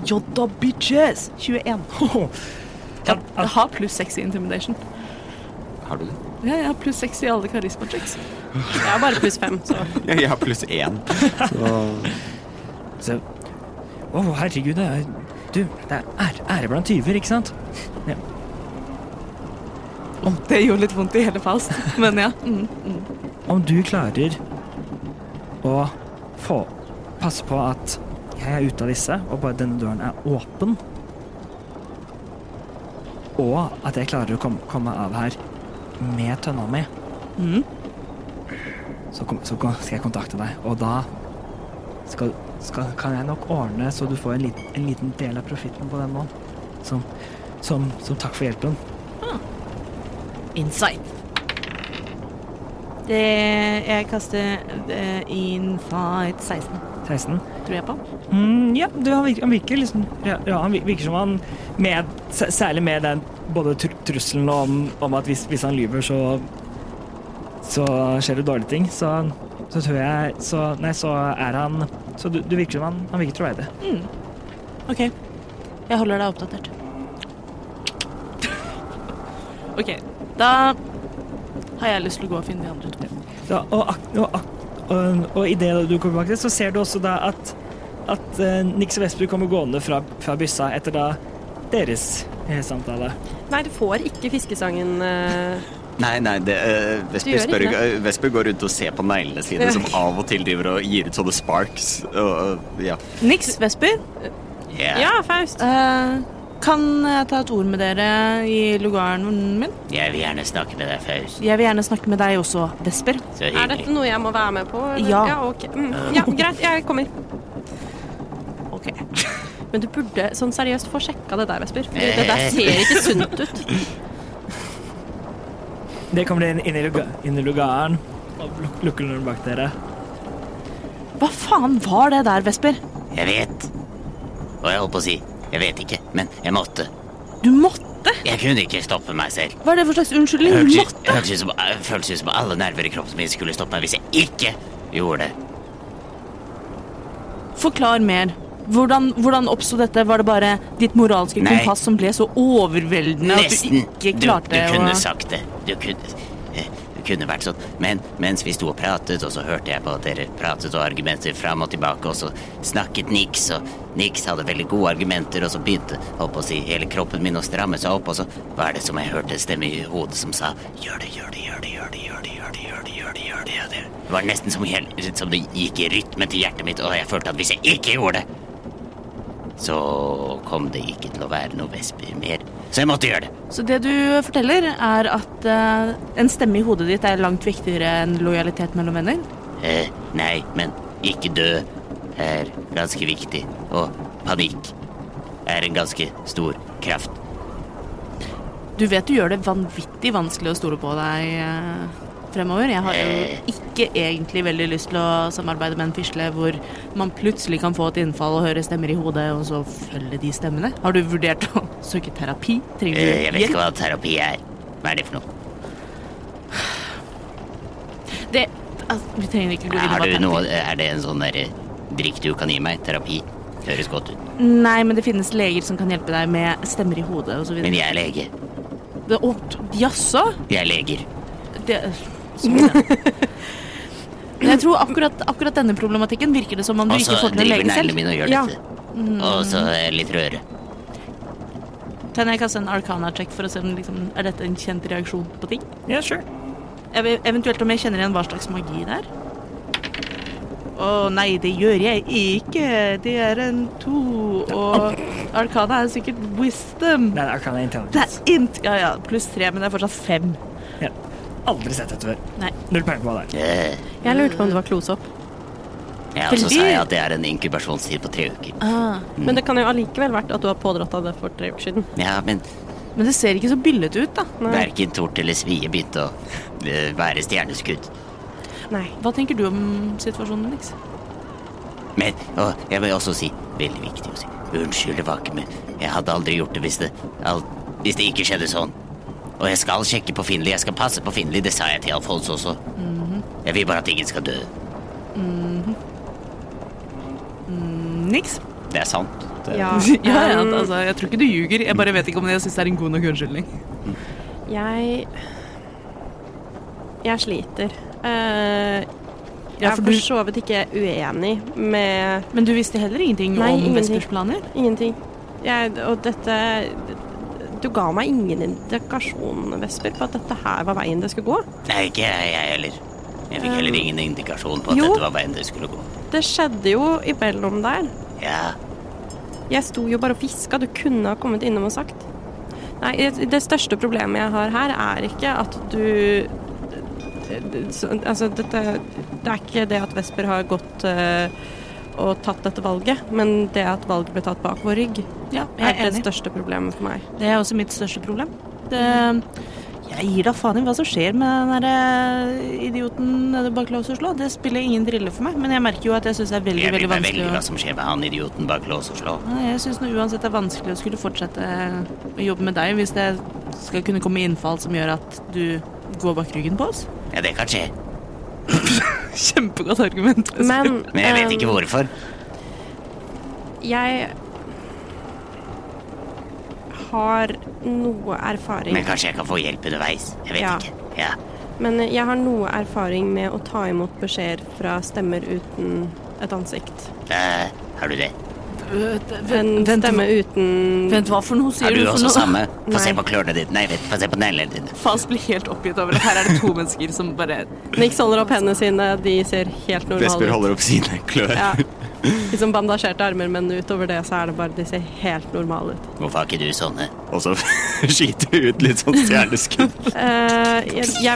Speaker 5: Jodda bitches! 21. Jeg, jeg har pluss 6 i intimidation.
Speaker 8: Har du det?
Speaker 5: Ja, jeg har pluss 6 i alle karisma-checks.
Speaker 2: Jeg er bare pluss fem, så
Speaker 8: Ja, jeg har pluss én.
Speaker 3: Så, å, herregud, det er, du, det er ære, ære blant tyver, ikke sant?
Speaker 5: Det gjorde litt vondt i hele Faust, men ja. Mm.
Speaker 3: Om du klarer å få passe på at jeg er ute av disse, og bare denne døren er åpen, og at jeg klarer å komme, komme av her med tønna mi, så, kom, så kom, skal jeg kontakte deg. Og da skal, skal, kan jeg nok ordne så du får en, lit, en liten del av profitten på den nå, som, som, som takk for hjelpen.
Speaker 5: Insight. Det jeg kaster eh, insight 16,
Speaker 3: 16.
Speaker 5: tror jeg på.
Speaker 3: Mm, ja, du, han, virker, han virker liksom ja, ja, Han vir- virker som han med, s- Særlig med den både tru- trusselen og om, om at hvis, hvis han lyver, så Så skjer det dårlige ting. Så, så tror jeg så, Nei, så er han Så du, du virker som han, han virker troverdig.
Speaker 5: Ok, jeg holder deg oppdatert. ok, da har jeg lyst til å gå og finne de andre to.
Speaker 3: Da, og ak, og, ak, og, og i det du kommer bak det, så ser du også da at at eh, Nix og Vesper kommer gående fra, fra byssa etter da deres eh, samtale.
Speaker 2: Nei, du får ikke fiskesangen. eh,
Speaker 4: Nei, nei, det, eh,
Speaker 2: Du
Speaker 4: Vesper,
Speaker 2: gjør
Speaker 4: spør,
Speaker 2: ikke
Speaker 4: ikke- eh, Vesper går rundt og ser på neglene sine, som av og til driver og gir ut sånne sparks. Og, eh, ja.
Speaker 5: Nix, Vesper,
Speaker 6: Ja.
Speaker 2: ja, Faust.
Speaker 5: eh, kan jeg ta et ord med dere i lugaren min?
Speaker 6: Jeg vil gjerne snakke med deg, Faust.
Speaker 5: Jeg vil gjerne snakke med deg også, Vesper.
Speaker 6: Så
Speaker 2: Er dette
Speaker 6: hyggelig.
Speaker 2: noe jeg må være med på? eller?
Speaker 5: Ja.
Speaker 2: ja ok. Mm, ja, greit, jeg kommer.
Speaker 5: Ok.
Speaker 2: Men du burde sånn seriøst få sjekka det der, Vesper. Fordi det der ser ikke sunt ut.
Speaker 3: Dere kommer inn, inn, i, luga, inn i lugaren og luk- lukker døren bak dere.
Speaker 5: Hva faen var det der, Vesper?
Speaker 6: Jeg vet. Og jeg holdt på å si jeg vet ikke, men jeg måtte.
Speaker 5: Du måtte?
Speaker 6: Jeg kunne ikke stoppe meg selv.
Speaker 5: Hva er det for slags unnskyldning? Du
Speaker 6: Hørtes
Speaker 5: måtte?
Speaker 6: hørtes ut som, eh, føltes ut som alle nerver i kroppen min skulle stoppe meg hvis jeg ikke gjorde det.
Speaker 5: Forklar mer. Hvordan, hvordan oppsto dette? Var det bare ditt moralske
Speaker 6: Nei.
Speaker 5: kompass som ble så overveldende
Speaker 6: Nesten.
Speaker 5: at du
Speaker 6: Du,
Speaker 5: ikke
Speaker 6: du
Speaker 5: klarte
Speaker 6: kunne
Speaker 5: å
Speaker 6: sagt det. Du kunne, eh, du kunne vært sånn. Men mens vi sto og pratet, og så hørte jeg på at dere pratet og argumenter fram og tilbake, og så snakket Nix, og Nix hadde veldig gode argumenter, og så begynte holdt på å si, hele kroppen min å stramme seg opp, og så var det som jeg hørte en stemme i hodet som sa gjør det, gjør det, gjør det, gjør det, gjør det, gjør det, gjør det, gjør det, gjør det, gjør det. Det var nesten som, hel, som det gikk i rytme til hjertet mitt, og jeg følte at hvis jeg ikke gjorde det, så kom det ikke til å være noe vesper mer. Så jeg måtte gjøre det.
Speaker 5: Så det du forteller, er at eh, en stemme i hodet ditt er langt viktigere enn lojalitet mellom venner?
Speaker 6: Eh, nei, men ikke dø er ganske viktig, og panikk er en ganske stor kraft.
Speaker 5: Du vet du gjør det vanvittig vanskelig å stole på deg eh, fremover. Jeg har
Speaker 6: Eh.
Speaker 5: jo ikke egentlig veldig lyst til å samarbeide med en fisle hvor man plutselig kan få et innfall og høre stemmer i hodet, og så følge de stemmene. Har du vurdert å søke terapi? Trenger
Speaker 6: Eh,
Speaker 5: du
Speaker 6: jeg vet ikke
Speaker 5: hjelp?
Speaker 6: hva terapi er. Hva er det for noe?
Speaker 5: Det, altså, vi trenger ikke gå inn i
Speaker 6: Er,
Speaker 5: hva
Speaker 6: du
Speaker 5: terapi-
Speaker 6: noe, er det en sånn derre Drikk du kan gi meg. Terapi. Høres godt ut.
Speaker 5: Nei, men det finnes leger som kan hjelpe deg med stemmer i hodet osv.
Speaker 6: Men jeg er lege.
Speaker 5: Jaså?
Speaker 6: Jeg er leger.
Speaker 5: Det eh, Men Jeg tror akkurat, akkurat denne problematikken virker det som om du
Speaker 6: Og så
Speaker 5: ikke får til å
Speaker 6: Altså, driver
Speaker 5: lege
Speaker 6: neglene
Speaker 5: selv.
Speaker 6: mine og gjør
Speaker 5: Ja.
Speaker 6: dette. Og så er jeg litt røre.
Speaker 5: Kan jeg kaste en arcana-check for å se om liksom, er dette en kjent reaksjon på ting?
Speaker 3: Ja, sure.
Speaker 5: Ev eventuelt om jeg kjenner igjen hva slags magi det er. Å nei, det gjør jeg ikke. Det er en to, og arcana er sikkert wisdom.
Speaker 3: Nei, det er Arcana
Speaker 5: Det
Speaker 3: Intelligence.
Speaker 5: er int... Ja ja, pluss tre, men det er fortsatt fem.
Speaker 3: Ja. Aldri sett dette før.
Speaker 5: Nei.
Speaker 3: Null peiling på hva det er.
Speaker 6: Eh,
Speaker 2: Jeg lurte på om det var klosopp.
Speaker 6: Ja, og så
Speaker 5: Veldig.
Speaker 6: sa jeg at det er en inkubasjonstid på tre uker.
Speaker 5: Ah.
Speaker 2: Men det kan jo allikevel vært at du har pådratt deg det for tre uker siden.
Speaker 6: Ja, men
Speaker 5: Men det ser ikke så billete ut, da.
Speaker 6: verken tort eller svie begynte å eh, være stjerneskudd.
Speaker 2: Nei.
Speaker 5: Hva tenker du om situasjonen, Nix?
Speaker 6: Men og jeg vil også si, veldig viktig å si, unnskyld, det var ikke med. Jeg hadde aldri gjort det hvis det, al- hvis det ikke skjedde sånn. Og jeg skal sjekke på Finli, jeg skal passe på Finli, det sa jeg til Alfons også.
Speaker 5: Mhm.
Speaker 6: Jeg vil bare at ingen skal dø.
Speaker 5: Nix?
Speaker 6: Det er sant. Det,
Speaker 2: Ja.
Speaker 5: Ja, ja, altså, jeg tror ikke du ljuger. Jeg bare vet ikke om jeg syns det er en god nok unnskyldning.
Speaker 2: Jeg Jeg sliter. Eh, jeg
Speaker 5: Ja,
Speaker 2: er
Speaker 5: for
Speaker 2: for
Speaker 5: du-
Speaker 2: så vidt ikke uenig med
Speaker 5: Men du visste heller ingenting
Speaker 2: Nei,
Speaker 5: om
Speaker 2: ingenting.
Speaker 5: Vespers planer?
Speaker 2: ingenting. Jeg, og dette Du ga meg ingen indikasjon, Vesper, på at dette her var veien det skulle gå.
Speaker 6: Nei, ikke jeg, jeg heller. Jeg fikk heller ingen indikasjon på at
Speaker 2: jo.
Speaker 6: dette var veien det skulle gå.
Speaker 2: Det skjedde jo imellom der.
Speaker 6: Ja,
Speaker 2: Jeg sto jo bare og fiska. Du kunne ha kommet innom og sagt. Nei, det- det største problemet jeg har her, er ikke at du så- Altså, dette Det er ikke det at Vesper har gått eh, og tatt dette valget, men det at valget ble tatt bak vår rygg,
Speaker 5: Ja,
Speaker 2: er det største problemet for meg.
Speaker 5: Det er også mitt største problem. Det,
Speaker 2: Mm.
Speaker 5: jeg gir da faen i hva som skjer med den der eh, idioten nede bak lås og slå. Det spiller ingen drille for meg, men jeg merker jo at jeg syns det er veldig
Speaker 6: jeg
Speaker 5: veldig
Speaker 6: bryr meg veldig
Speaker 5: vanskelig.
Speaker 6: hva
Speaker 5: å-
Speaker 6: som skjer med han idioten bak lås og slå.
Speaker 5: Nei, Jeg syns uansett det er vanskelig å skulle fortsette å jobbe med deg hvis det skal kunne komme innfall som gjør at du går bak ryggen på oss.
Speaker 6: Ja, det kan skje.
Speaker 5: Kjempegodt argument.
Speaker 2: Men,
Speaker 6: Men jeg vet
Speaker 2: ehm,
Speaker 6: ikke hvorfor.
Speaker 2: Jeg har noe erfaring
Speaker 6: Men kanskje jeg kan få hjelp underveis. Jeg vet
Speaker 2: Ja.
Speaker 6: ikke. Ja.
Speaker 2: Men eh, jeg har noe erfaring med å ta imot beskjeder fra stemmer uten et ansikt.
Speaker 6: Eh, har du det?
Speaker 2: En stemme uten
Speaker 5: Altså, Vent, hva for noe sier
Speaker 6: Har
Speaker 5: du
Speaker 6: du
Speaker 5: for
Speaker 6: også
Speaker 5: noe?
Speaker 6: samme? Få
Speaker 2: Nei.
Speaker 6: se på klørne dine. Nei, vent, få se på neglene dine.
Speaker 5: Fas blir helt oppgitt over at her er det to mennesker som bare
Speaker 2: Nix holder opp hendene sine, de ser helt
Speaker 8: Vesper
Speaker 2: normale ut.
Speaker 8: holder opp sine klør.
Speaker 2: Ja. Liksom bandasjerte armer, men utover det så er det bare de ser helt normale ut.
Speaker 6: Hvorfor har ikke du sånne?
Speaker 8: Og så skyter hun ut litt sånn stjerneskudd.
Speaker 2: Eh, jeg, jeg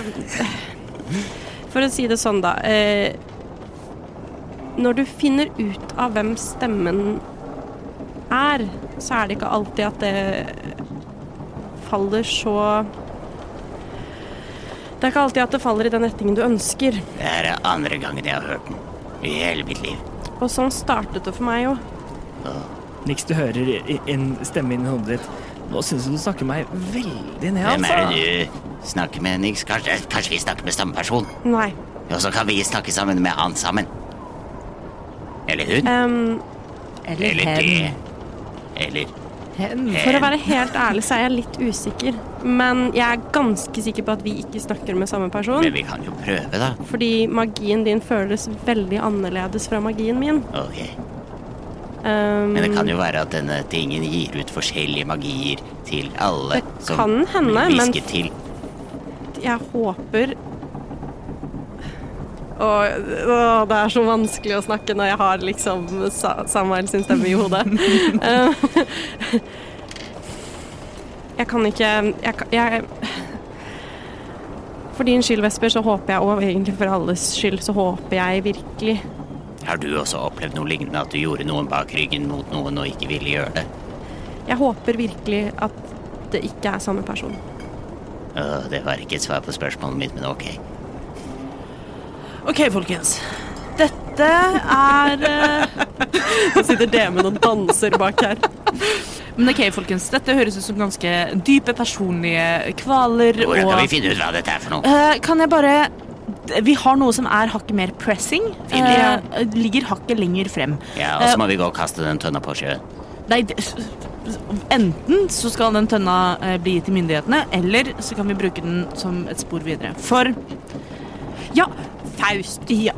Speaker 2: For å si det sånn, da. eh, når du finner ut av hvem stemmen er, så er det ikke alltid at det faller så Det er ikke alltid at det faller i den retningen du ønsker.
Speaker 6: Det her er andre gangen jeg har hørt den. I hele mitt liv.
Speaker 2: Og sånn startet det for meg òg.
Speaker 3: Niks, du hører i- en stemme inni hodet ditt. Nå syns jeg du snakker meg veldig ned,
Speaker 6: Hvem er
Speaker 3: altså.
Speaker 6: det du snakker med, Nix? Kanskje, kanskje vi snakker med samme person?
Speaker 2: Nei.
Speaker 6: Og så kan vi snakke sammen med han sammen. Eller hun.
Speaker 2: Em,
Speaker 6: Eller det. Eller
Speaker 2: for å være helt ærlig så er jeg litt usikker. Men jeg er ganske sikker på at vi ikke snakker med samme person.
Speaker 6: Men vi kan jo prøve, da.
Speaker 2: Fordi magien din føles veldig annerledes fra magien min.
Speaker 6: Ok.
Speaker 2: Um,
Speaker 6: Men det kan jo være at denne tingen gir ut forskjellige magier til alle
Speaker 2: Det kan hende,
Speaker 6: blir
Speaker 2: men-
Speaker 6: hvisket til.
Speaker 2: Jeg håper Åh, åh, det er så vanskelig å snakke når jeg har liksom Sa- Samuel sin stemme i hodet. Um, jeg kan ikke Jeg, kan- jeg For din skyld, Vesper, så håper jeg og egentlig for alles skyld, så håper jeg virkelig
Speaker 6: Har du også opplevd noe lignende, at du gjorde noen bak ryggen mot noen og ikke ville gjøre det?
Speaker 2: Jeg håper virkelig at det ikke er samme person.
Speaker 6: Åh, det var ikke et svar på spørsmålet mitt, men ok.
Speaker 5: OK, folkens. Dette er eh,
Speaker 2: Så sitter DM-en og danser bak her.
Speaker 5: Men OK, folkens. Dette høres ut som ganske dype personlige kvaler
Speaker 6: Hvordan
Speaker 5: og
Speaker 6: kan vi finne ut hva dette er for noe?
Speaker 5: Eh, Kan jeg bare Vi har noe som er hakket mer pressing.
Speaker 6: Ja.
Speaker 5: eh, Ligger hakket lenger frem. Eh,
Speaker 6: Ja, og så må vi gå og kaste den tønna på sjøen.
Speaker 5: Nei, det, enten så skal den tønna eh, bli gitt til myndighetene, eller så kan vi bruke den som et spor videre. For Ja, Faust. Ja.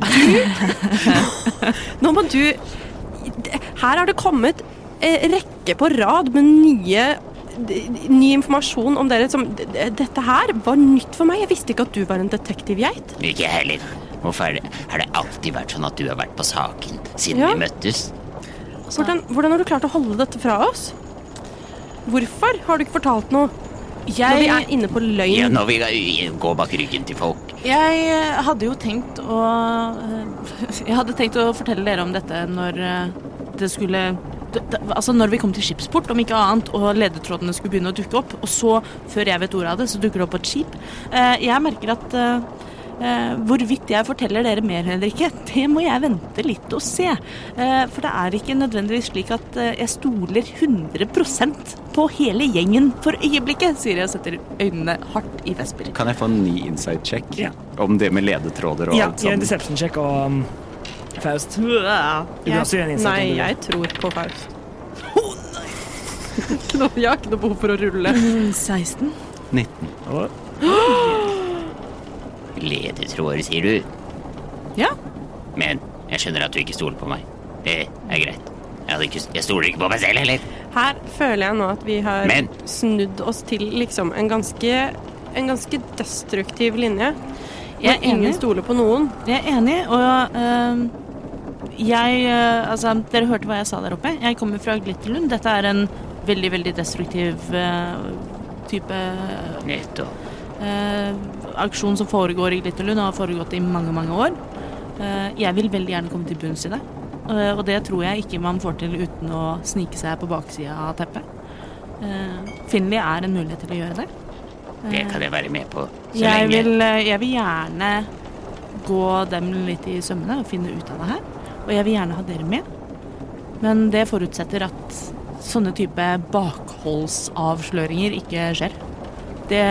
Speaker 2: Nå må du Her har det kommet eh, rekke på rad med nye d- Ny informasjon om dere som d- d- Dette her var nytt for meg. Jeg visste ikke at du var en detektivgeit.
Speaker 6: Ikke jeg heller. Hvorfor er det, har det alltid vært sånn at du har vært på saken siden
Speaker 2: Ja.
Speaker 6: vi møttes?
Speaker 5: Altså-
Speaker 2: Hvordan, hvordan har du klart å holde dette fra oss? Hvorfor har du ikke fortalt noe når vi
Speaker 5: Jeg,
Speaker 2: er inne på
Speaker 6: Ja,
Speaker 2: løgn?
Speaker 6: når vi ga- går bak ryggen til folk.
Speaker 5: jeg eh, hadde jo tenkt å eh, Jeg hadde tenkt å fortelle dere om dette når eh, det skulle d- d- Altså når vi kom til skipsport, om ikke annet, og ledetrådene skulle begynne å dukke opp. Og så, før jeg vet ordet av det, så dukker det opp et skip. Eh, Jeg merker at eh, eh, hvorvidt jeg forteller dere mer eller ikke, det må jeg vente litt og se. Eh, For det er ikke nødvendigvis slik at eh, jeg stoler 100 på hele gjengen for øyeblikket, sier jeg og setter øynene hardt i vesper.
Speaker 8: Kan jeg få en ny inside check
Speaker 3: Ja.
Speaker 8: om det med ledetråder og
Speaker 3: Ja,
Speaker 8: alt
Speaker 3: gjør en
Speaker 8: sånt?
Speaker 3: deception-sjekk og um, Faust. Du kan også gjøre en innsats.
Speaker 2: Nei, jeg tror på Faust. Ikke noe- Jeg har ikke noe behov for å rulle.
Speaker 5: 16.
Speaker 11: 19.
Speaker 6: Ledetråder, sier du.
Speaker 5: Ja.
Speaker 6: Men jeg skjønner at du ikke stoler på meg. Det er greit. Jeg, hadde ikke, jeg stoler ikke på meg selv heller.
Speaker 2: Her føler jeg nå at vi har
Speaker 6: Men-
Speaker 2: snudd oss til liksom en ganske, en ganske destruktiv linje.
Speaker 5: Jeg
Speaker 2: Hvor
Speaker 5: er
Speaker 2: ingen
Speaker 5: enig.
Speaker 2: stoler på noen.
Speaker 5: Jeg er enig, og øhm, jeg øh, Altså, dere hørte hva jeg sa der oppe. Jeg kommer fra Glitterlund. Dette er en veldig, veldig destruktiv øh, type
Speaker 6: Nettopp.
Speaker 5: øh, aksjon som foregår i Glitterlund og har foregått i mange, mange år. Eh, jeg vil veldig gjerne komme til bunns i det, Eh, og det tror jeg ikke man får til uten å snike seg på baksida av teppet. Uh, Finley er en mulighet til å gjøre det.
Speaker 6: Det kan jeg være med på så
Speaker 5: Jeg
Speaker 6: lenge.
Speaker 5: vil, eh, jeg vil gjerne gå dem litt i sømmene og finne ut av det her. Og jeg vil gjerne ha dere med. Men det forutsetter at sånne type bakholdsavsløringer ikke skjer. Det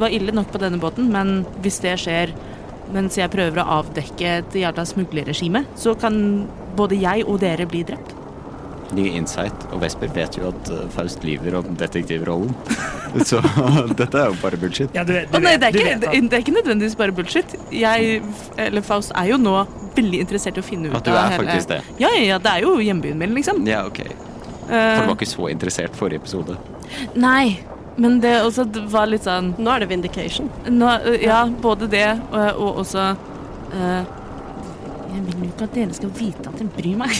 Speaker 5: var ille nok på denne båten, men hvis det skjer mens jeg prøver å avdekke et jævla smuglerregime, så kan både jeg og dere bli drept.
Speaker 8: Ny insight. Og Vesper vet jo at eh, Faust lyver om detektivrollen. så dette er jo bare bullshit.
Speaker 3: Ja, du, vet- du,
Speaker 5: Å nei,
Speaker 3: vet-
Speaker 5: det er,
Speaker 3: du
Speaker 5: ikke,
Speaker 3: vet
Speaker 5: det,
Speaker 3: at-
Speaker 5: det er ikke nødvendigvis bare bullshit. Jeg, eller Faust, er jo nå veldig interessert i å finne ut
Speaker 8: At du
Speaker 5: av
Speaker 8: er faktisk det.
Speaker 5: Ja, ja, ja, det er jo hjembyen min, liksom.
Speaker 8: Ja, ok. For du var
Speaker 5: Eh,
Speaker 8: ikke så interessert forrige episode.
Speaker 5: nei, men det også d- var litt sånn
Speaker 2: Nå er det vindication.
Speaker 5: nå, eh, Ja, både det og, og også eh, Jeg vil jo ikke at dere skal vite at jeg bryr meg.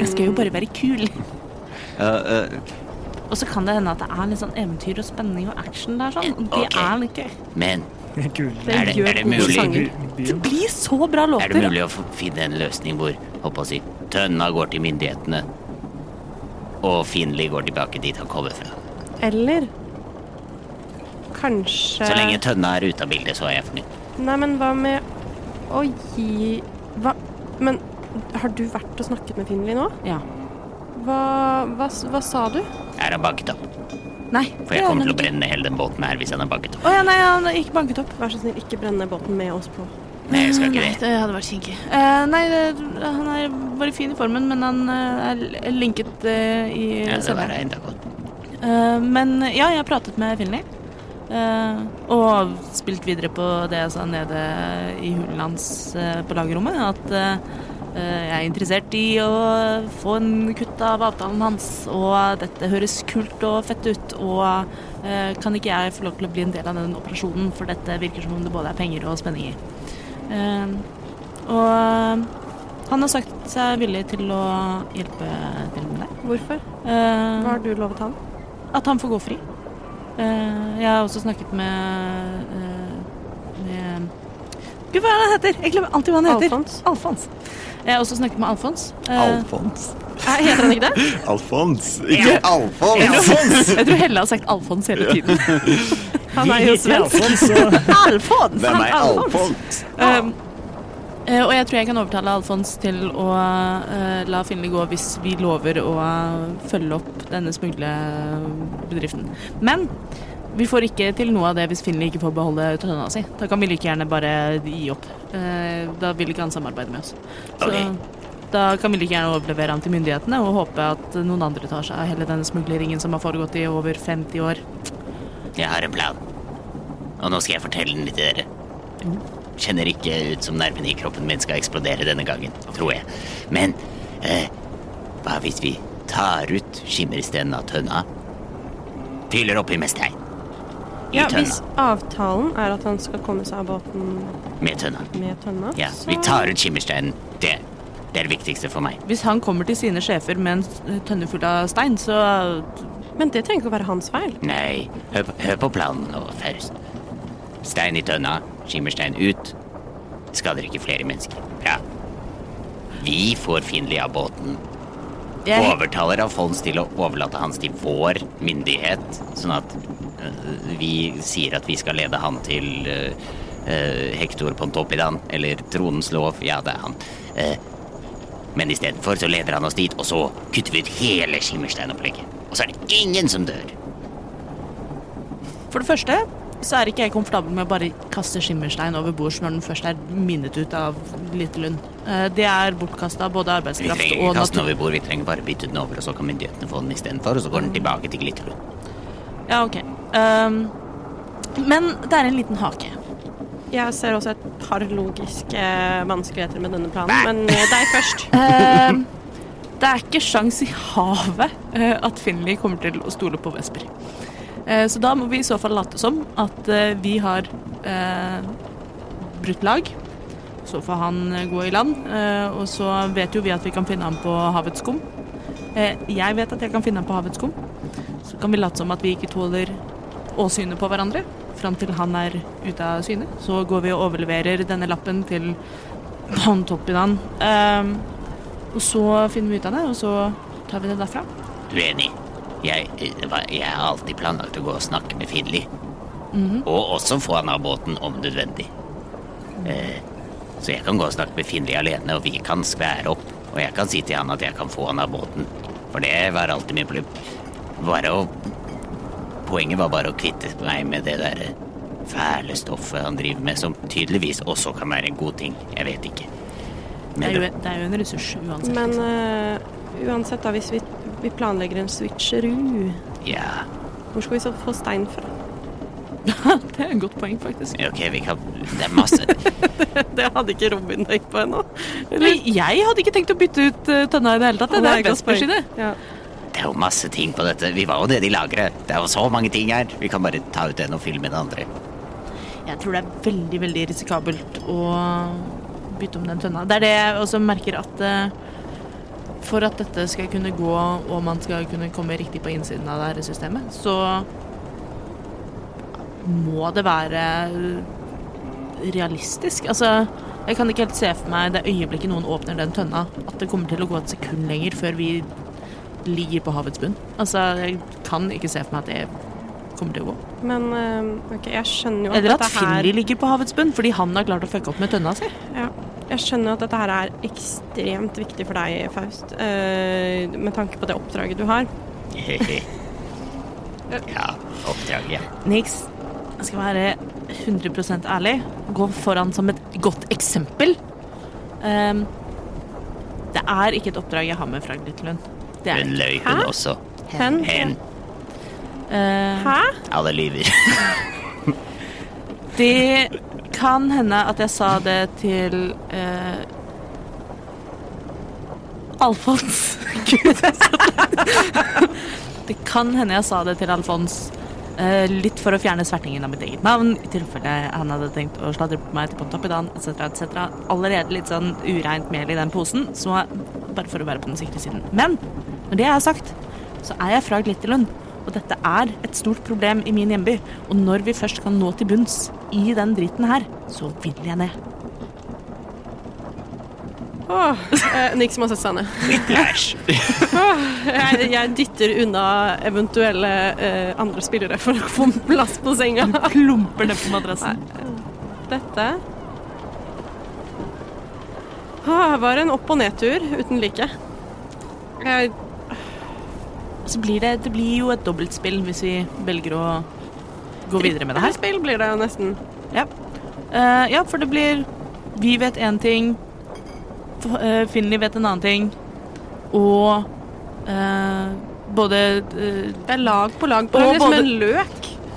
Speaker 5: Jeg skal jo bare være kul.
Speaker 8: Eh, eh,
Speaker 5: Og så kan det hende at det er litt sånn eventyr og spenning og action der, sånn. Og det
Speaker 6: Ok.
Speaker 5: er det ikke.
Speaker 6: Men
Speaker 3: Kul.
Speaker 6: er det,
Speaker 2: gjør
Speaker 6: er det
Speaker 2: gode
Speaker 6: mulig
Speaker 2: sanger.
Speaker 5: Det blir så bra
Speaker 6: Er det
Speaker 5: låter.
Speaker 6: mulig å få- finne en løsning hvor holdt på å si, tønna går til myndighetene, og Finli går tilbake dit han kommer fra?
Speaker 2: Eller kanskje
Speaker 6: Så lenge tønna er ute av bildet, så er jeg fornøyd.
Speaker 2: Nei, men hva med å gi Hva Men har du vært og snakket med Finley nå?
Speaker 5: Ja.
Speaker 2: Hva, hva, hva sa du?
Speaker 6: Er han banket opp?
Speaker 5: Nei.
Speaker 6: For jeg kommer til å brenne hele den båten her hvis han er banket opp.
Speaker 5: Å ja, nei, han er ikke banket opp.
Speaker 2: Vær så snill, ikke brenne båten med oss på.
Speaker 6: Nei, jeg skal ikke
Speaker 5: Nei,
Speaker 6: det.
Speaker 5: det hadde vært kinkig. Eh, nei, det, han er bare fin i formen, men han eh, er l- linket eh, i
Speaker 6: Ja, det var
Speaker 5: cella.
Speaker 6: enda godt.
Speaker 5: Eh, men ja, jeg har pratet med Finley. eh, og spilt videre på det jeg sa nede i hulen hans eh, på lagerrommet. At eh, eh, jeg er interessert i å få en kutt av avtalen hans, og dette høres kult og fett ut. Og eh, kan ikke jeg få lov til å bli en del av den operasjonen, for dette virker som om det både er penger og spenning i. Eh, og eh, han har sagt seg villig til å hjelpe til med det.
Speaker 2: Hvorfor?
Speaker 5: Eh,
Speaker 2: Hva har du lovet han?
Speaker 5: at han får gå fri. Eh, jeg har også snakket med, eh, med Gud, hva er det han heter? Jeg glemmer alltid hva han heter.
Speaker 2: Alfons?
Speaker 5: Alfons. Jeg har også snakket med Alfons. Eh,
Speaker 8: Alfons.
Speaker 5: eh, heter han ikke det?
Speaker 8: Alfons! Ikke Alfons!
Speaker 5: Jeg tror Helle har sagt Alfons hele tiden.
Speaker 3: Han er jo svensk.
Speaker 5: Alfons!
Speaker 8: Det er
Speaker 5: han
Speaker 8: meg, Alfons.
Speaker 5: Um, eh, og jeg tror jeg kan overtale Alfons til å eh, la Finli gå hvis vi lover å eh, følge opp denne smuglebedriften. Men Vi får ikke til noe av det hvis Finley ikke får beholde tønna si. Da kan vi like gjerne bare gi opp. Eh, Da vil ikke han samarbeide med oss. Så
Speaker 6: Ok.
Speaker 5: da kan vi like gjerne overlevere han til myndighetene og håpe at noen andre tar seg av hele denne smugleringen som har foregått i over 50 år.
Speaker 6: Jeg har en plan. Og nå skal jeg fortelle den litt til dere. Kjenner ikke ut som nervene i kroppen min skal eksplodere denne gangen, tror jeg. Men eh, hva hvis vi tar ut skimmerstenen av tønna, fyller oppi med stein i
Speaker 2: Ja,
Speaker 6: tønna,
Speaker 2: hvis avtalen er at han skal komme seg av båten
Speaker 6: med tønna.
Speaker 2: med tønna,
Speaker 6: Ja, vi tar ut skimmersteinen. Det, det er det viktigste for meg.
Speaker 5: Hvis han kommer til sine sjefer med en tønne full av stein, så
Speaker 2: Men det trenger ikke å være hans feil.
Speaker 6: Nei, hør, på- hør på planen nå først. Stein i tønna, skimmerstein ut. Skader ikke flere mennesker. Bra. Vi får Finley av båten.
Speaker 5: Jeg-
Speaker 6: Overtaler Alfons til å overlate hans til vår myndighet, sånn at øh, vi sier at vi skal lede han til øh, øh, Hector Pontoppidan, eller tronens lov. Ja, det er han. Eh, men istedenfor så leder han oss dit, og så kutter vi ut hele skimmersteinopplegget. Og så er det ingen som dør.
Speaker 5: For det første så er ikke jeg komfortabel med å bare kaste skimmerstein over bords når den først er minnet ut av Lite Lund. Eh, Det er bortkasta både
Speaker 6: Vi
Speaker 5: arbeidskraft
Speaker 6: trenger
Speaker 5: og
Speaker 6: ikke kaste
Speaker 5: natur.
Speaker 6: den over bord, vi trenger bare bytte den over, og så kan myndighetene få den istedenfor, og så går den tilbake til Glitterlund.
Speaker 5: Ja, ok. Ehm, men det er en liten hake.
Speaker 2: Jeg ser også et par logiske vanskeligheter med denne planen, men eh, deg først.
Speaker 5: Ehm, det er ikke sjans i havet eh, at Finley kommer til å stole på Vesper. Eh, så da må vi i så fall late som at eh, vi har eh, brutt lag. Så får han eh, gå i land, eh, og så vet jo vi at vi kan finne ham på havets skum. Eh, jeg vet at jeg kan finne ham på havets skum. Så kan vi late som at vi ikke tåler åsynet på hverandre. Fram til han er ute av syne. Så går vi og overleverer denne lappen til håndtoppidan. Um, og så finner vi ut av det, og så tar vi det derfra.
Speaker 6: Uenig. Jeg, eh, hva- jeg har alltid planlagt å gå og snakke med Finley.
Speaker 5: Mhm.
Speaker 6: Og også få han av båten om nødvendig. Eh, så jeg kan gå og snakke med Finley alene, og vi kan skvære opp. Og jeg kan si til han at jeg kan få han av båten. For det var alltid min plubb. Bare å Poenget var bare å kvitte meg med det derre fæle stoffet han driver med, som tydeligvis også kan være en god ting. Jeg vet ikke.
Speaker 5: Det
Speaker 6: Men
Speaker 5: er jo, det er jo en ressurs uansett.
Speaker 2: Men eh, uansett, da, hvis vi, vi planlegger en switcheroo,
Speaker 6: ja.
Speaker 2: hvor skal vi så få stein fra?
Speaker 5: det er et godt poeng, faktisk.
Speaker 6: Ok, vi kan Det er masse
Speaker 2: Det hadde ikke Robin tenkt på ennå.
Speaker 5: Eller, jeg hadde ikke tenkt å bytte ut eh, tønna i det hele tatt. Det, det er Vespers idé.
Speaker 2: Ja.
Speaker 6: Det er jo masse ting på dette. Vi var jo nede i lageret. Det er jo så mange ting her. Vi kan bare ta ut en og filme den andre.
Speaker 5: Jeg tror det er veldig, veldig risikabelt å bytte om den tønna. Det er det jeg også merker at eh, for at dette skal kunne gå, og man skal kunne komme riktig på innsiden av det her systemet, så må det være realistisk. Altså, jeg kan ikke helt se for meg det øyeblikket noen åpner den tønna, at det kommer til å gå et sekund lenger før vi ligger på havets bunn. Altså, jeg kan ikke se for meg at det kommer til å gå.
Speaker 2: Men eh, ok, jeg skjønner jo at
Speaker 5: Eller at
Speaker 2: dette her
Speaker 5: Finley ligger på havets bunn fordi han har klart å fucke opp med tønna si.
Speaker 2: Ja. Jeg skjønner at dette her er ekstremt viktig for deg, Faust, eh, med tanke på det oppdraget du har.
Speaker 6: ja, oppdrag, ja.
Speaker 5: Nix, jeg skal være 100 ærlig. Gå foran som et godt eksempel. Ehm, det er ikke et oppdrag jeg har med fra Glitterlund. Det er
Speaker 6: Hun løy, hun
Speaker 2: Hæ?
Speaker 6: også.
Speaker 2: Hen?
Speaker 6: Hen.
Speaker 5: Ehm,
Speaker 2: Hæ?
Speaker 6: Alle lyver.
Speaker 5: Det kan hende at jeg sa det til eh, Alfons. Gud, jeg sa det. det kan hende jeg sa det til Alfons eh, litt for å fjerne svertingen av mitt eget navn, i tilfelle han hadde tenkt å sladre på meg til Pontoppidan etc. etc. Allerede litt sånn ureint mel i den posen, så bare for å være på den sikre siden. Men når det er sagt, så er jeg fra Glitterlund. Og dette er et stort problem i min hjemby. Og når vi først kan nå til bunns i den driten her, så vil jeg det.
Speaker 2: Åh, eh, Nick som har sett seg ned.
Speaker 6: Flash.
Speaker 2: Jeg, jeg dytter unna eventuelle eh, andre spillere for å få plass på senga.
Speaker 5: Klumper ned på madrassen.
Speaker 2: Dette ah, var en opp- og nedtur uten like. Jeg,
Speaker 5: Så blir det, det blir jo et dobbeltspill hvis vi velger å gå videre med det her.
Speaker 2: Spill blir det jo nesten.
Speaker 5: Eh, ja, for det blir Vi vet én ting, F- eh, Finley vet en annen ting, og eh, både eh,
Speaker 2: Det er lag på lag på
Speaker 5: Og
Speaker 2: lag. Det er som
Speaker 5: både-
Speaker 2: en løk.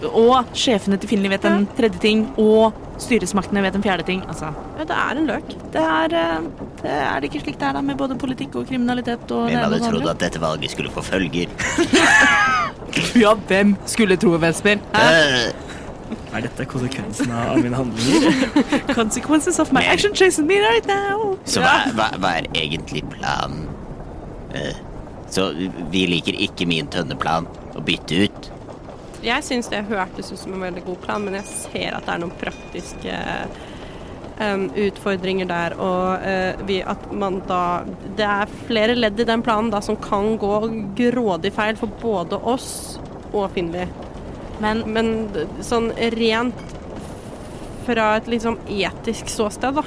Speaker 5: Og sjefene til Finley vet en tredje ting, og styresmaktene vet en fjerde ting. Altså,
Speaker 2: Ja, det er en løk.
Speaker 5: det er, eh, det er det ikke slik det er da, med både politikk og kriminalitet og
Speaker 6: Hvem
Speaker 5: det ene og
Speaker 6: hadde
Speaker 5: det
Speaker 6: trodd
Speaker 5: andre?
Speaker 6: at dette valget skulle få følger?
Speaker 5: Ja, hvem skulle tro, Vesper? Hæ?
Speaker 6: Øh,
Speaker 3: Er dette konsekvensen av mine handlinger?
Speaker 5: Eh, Consequences of my action chasing me right now.
Speaker 6: Så hva, hva, hva er egentlig planen? Eh, Så vi liker ikke min tønneplan å bytte ut.
Speaker 2: Jeg syns det hørtes ut som en veldig god plan, men jeg ser at det er noen praktiske em, utfordringer der. Og eh, vi, at man da Det er flere ledd i den planen da som kan gå grådig feil for både oss og Finli.
Speaker 5: Men-
Speaker 2: d- sånn rent fra et liksom etisk ståsted, da,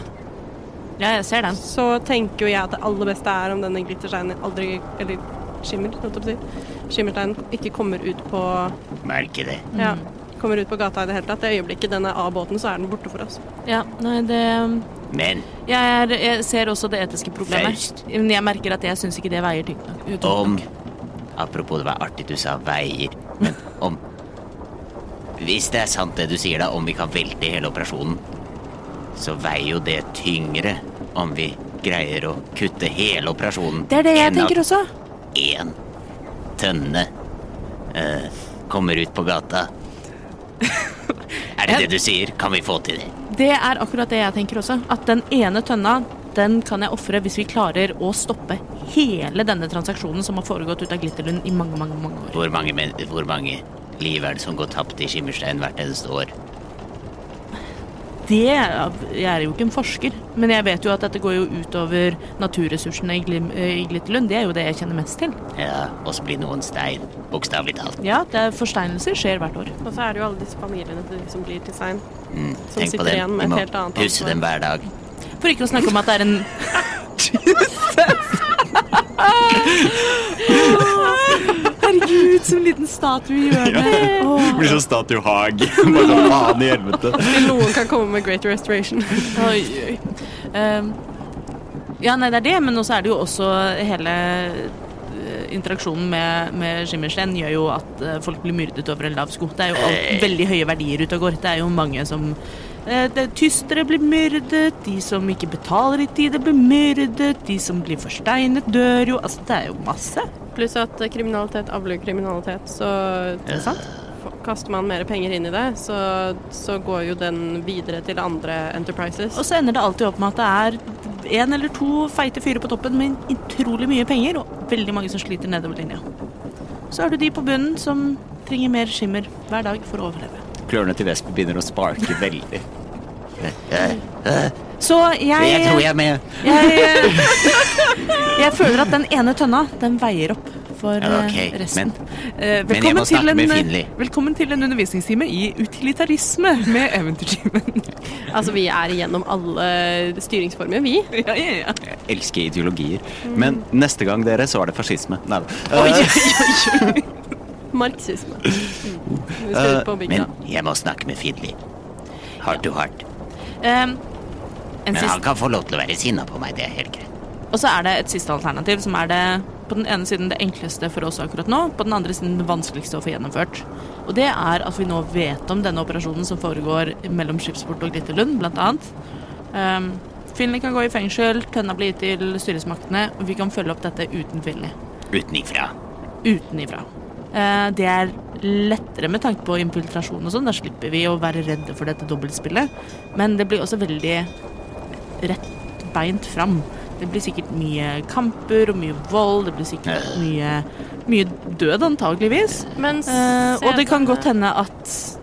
Speaker 5: Ja, jeg ser den.
Speaker 2: så tenker jo jeg at det aller beste er om denne glittersteinen aldri Eller skimmer, holdt jeg på å si. Skimmersteinen ikke kommer ut på
Speaker 6: Merke det.
Speaker 2: ja, kommer ut på gata i det hele tatt. Det øyeblikket den er av båten, så er den borte for oss.
Speaker 5: Ja, nei, det
Speaker 6: Men
Speaker 5: Jeg, er, jeg ser også det etiske problemet.
Speaker 6: Faust.
Speaker 5: Men jeg merker at jeg syns ikke det veier tyngt nok. ut.
Speaker 6: om Apropos det var artig du sa veier, men om Hvis det er sant det du sier, da, om vi kan velte hele operasjonen, så veier jo det tyngre om vi greier å kutte hele operasjonen
Speaker 5: Det er det jeg
Speaker 6: enn at
Speaker 5: tenker også.
Speaker 6: én tønne eh, kommer ut på gata. Er det det du sier? Kan vi få til det?
Speaker 5: Det er akkurat det jeg tenker også. At den ene tønna, den kan jeg ofre hvis vi klarer å stoppe hele denne transaksjonen som har foregått ut av Glitterlund i mange, mange mange år.
Speaker 6: Hvor mange, men hvor mange liv er det som går tapt i Skimmerstein hvert eneste år?
Speaker 5: Det Jeg er jo ikke en forsker, men jeg vet jo at dette går jo utover naturressursene i, Glim, i Glitterlund. Det er jo det jeg kjenner mest til.
Speaker 6: Ja, og så blir noen stein, bokstavelig talt.
Speaker 5: Ja, det er Forsteinelser skjer hvert år.
Speaker 2: Og så er det jo alle disse familiene til- som blir til stein.
Speaker 6: Mm,
Speaker 2: Som
Speaker 6: tenk på
Speaker 2: sitter
Speaker 6: det.
Speaker 2: igjen med
Speaker 6: Vi
Speaker 2: et
Speaker 6: må
Speaker 2: helt annet
Speaker 6: pusse
Speaker 2: ansvar.
Speaker 6: dem hver dag.
Speaker 5: For ikke å snakke om at det er en Herregud, som en liten statue i hjørnet. Åh.
Speaker 8: Blir sånn Statue Haag. Bare sånn faen i helvete.
Speaker 2: Til noen kan komme med Great Restoration.
Speaker 5: Oi, oi. Ehm, ja, nei, det er det, men også er det jo også hele eh, interaksjonen med, med Skimmerstein gjør jo at eh, folk blir myrdet over en lav sko. Det er jo alt, veldig høye verdier ute og går. Det er jo mange som eh, det, Tystere blir myrdet, de som ikke betaler i tide, blir myrdet, de som blir forsteinet, dør jo Altså, det er jo masse.
Speaker 2: Pluss at eh, kriminalitet avler kriminalitet, så
Speaker 5: Er det sant?
Speaker 2: f- kaster man mer penger inn i det, så, så går jo den videre til andre enterprises.
Speaker 5: Og så ender det alltid opp med at det er en eller to feite fyrer på toppen med utrolig mye penger, og veldig mange som sliter nedover linja. Så har du de på bunnen som trenger mer skimmer hver dag for å overleve.
Speaker 8: Klørne til Vesper begynner å sparke veldig.
Speaker 5: Så jeg
Speaker 6: Jeg tror jeg er med.
Speaker 5: jeg, eh, jeg føler at den ene tønna, den veier opp for
Speaker 6: Ja,
Speaker 5: eh,
Speaker 6: ok,
Speaker 5: resten.
Speaker 6: men-
Speaker 5: Eh,
Speaker 6: men jeg må
Speaker 5: velkommen til
Speaker 6: snakke
Speaker 5: en-
Speaker 6: med Finley.
Speaker 5: Velkommen til en undervisningstime i utilitarisme med Eventyrtimen.
Speaker 2: Altså, vi er igjennom alle styringsformer, vi.
Speaker 5: ja, ja, ja.
Speaker 8: Jeg elsker ideologier. Men neste gang, dere, så er det fascisme. Nei da. Eh,
Speaker 2: Marxisme. Mm. Vi skal ut
Speaker 5: Eh,
Speaker 2: på
Speaker 6: Men
Speaker 2: bygda.
Speaker 6: jeg må snakke med Fidli. Hard to hard.
Speaker 5: Em, Eh, en
Speaker 6: Men
Speaker 5: siste
Speaker 6: han kan få lov til å være sinna på meg, det er helt greit.
Speaker 5: Og så er det et siste alternativ, som er det på den ene siden det enkleste for oss akkurat nå, på den andre siden det vanskeligste å få gjennomført. Og det er at vi nå vet om denne operasjonen som foregår mellom Skipsport og Glitterlund, blant annet. Um, Finley kan gå i fengsel, tønna blir gitt til styresmaktene, og vi kan følge opp dette uten Finley.
Speaker 6: Utenifra.
Speaker 5: Utenifra. Eh, det er lettere med tanke på infiltrasjon og sånn, da slipper vi å være redde for dette dobbeltspillet. Men det blir også veldig rett beint fram. Det blir sikkert mye kamper og mye vold, det blir sikkert mye, mye død antageligvis.
Speaker 2: Men
Speaker 5: Eh, og det kan
Speaker 2: senere-
Speaker 5: godt hende at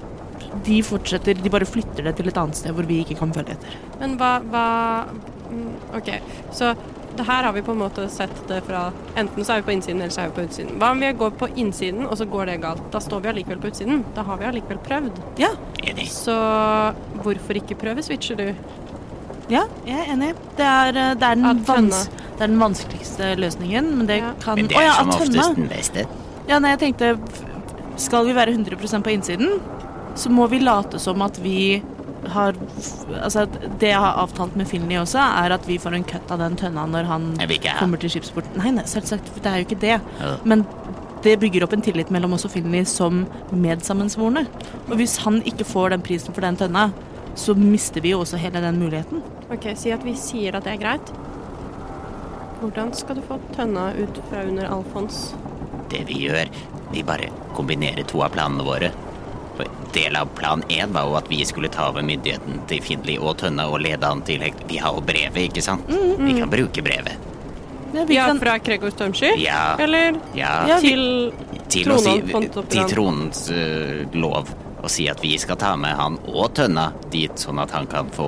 Speaker 5: de fortsetter, de bare flytter det til et annet sted hvor vi ikke kan følge etter.
Speaker 2: Men hva, hva mm, OK, så det her har vi på en måte sett det fra Enten så er vi på innsiden, eller så er vi på utsiden. Hva om vi går på innsiden, og så går det galt? Da står vi allikevel på utsiden. Da har vi allikevel prøvd.
Speaker 5: Ja,
Speaker 6: Enig.
Speaker 2: Så hvorfor ikke prøve, switcher du?
Speaker 5: ja jeg er enig. Det er, eh, det er,
Speaker 2: At
Speaker 5: den,
Speaker 2: tønna-
Speaker 5: vans det er den vanskeligste løsningen, men det
Speaker 2: Ja.
Speaker 5: kan
Speaker 6: Men det
Speaker 5: Å
Speaker 6: er
Speaker 5: ja,
Speaker 6: som
Speaker 5: at tønna-
Speaker 6: oftest den beste.
Speaker 5: Ja, nei, jeg tenkte f- Skal vi være 100 på innsiden? så må vi late som at vi har Altså, at det jeg har avtalt med Finley også, er at vi får en cut av den tønna når han
Speaker 6: Jeg vil ikke ha.
Speaker 5: kommer til skipsporten. Nei, nei, selvsagt, for det er jo ikke det.
Speaker 6: Ja.
Speaker 5: Men det bygger opp en tillit mellom oss og Finley som medsammensvorne. Og hvis han ikke får den prisen for den tønna, så mister vi jo også hele den muligheten.
Speaker 2: Ok, Si at vi sier at det er greit. Hvordan skal du få tønna ut fra under Alfons?
Speaker 6: Det vi gjør, vi bare kombinerer to av planene våre. For Del av plan én var jo at vi skulle ta over myndigheten til Finli og Tønna og lede han til hekt... Vi har jo brevet, ikke sant?
Speaker 2: Mm,
Speaker 6: Vi kan bruke brevet.
Speaker 5: Ja, vi
Speaker 2: Ja,
Speaker 5: kan,
Speaker 2: fra Gregor Stormsky?
Speaker 6: Ja.
Speaker 2: Eller
Speaker 6: Ja,
Speaker 2: til
Speaker 6: til, å si,
Speaker 2: tronen fant opp
Speaker 6: til
Speaker 2: den.
Speaker 6: tronens eh, lov. Og si at vi skal ta med han og Tønna dit, sånn at han kan få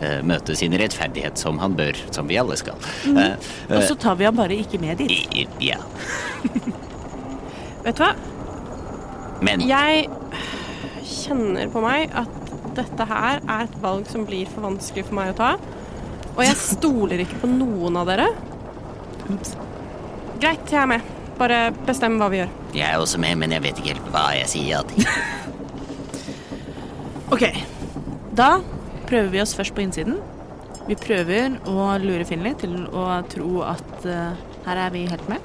Speaker 6: eh, møte sin rettferdighet som han bør, som vi alle skal.
Speaker 5: Mhm.
Speaker 6: Eh,
Speaker 5: og så tar vi han bare ikke med dit.
Speaker 6: i- i- ja.
Speaker 2: Vet du hva?
Speaker 6: Men
Speaker 2: Jeg kjenner på meg at dette her er et valg som blir for vanskelig for meg å ta. Og jeg stoler ikke på noen av dere. Greit, jeg er med. Bare bestem hva vi gjør.
Speaker 6: jeg er også med, men jeg vet ikke helt hva jeg sier ja til.
Speaker 5: Ok, da prøver vi oss først på innsiden. Vi prøver å lure Finley til å tro at eh, her er vi helt med.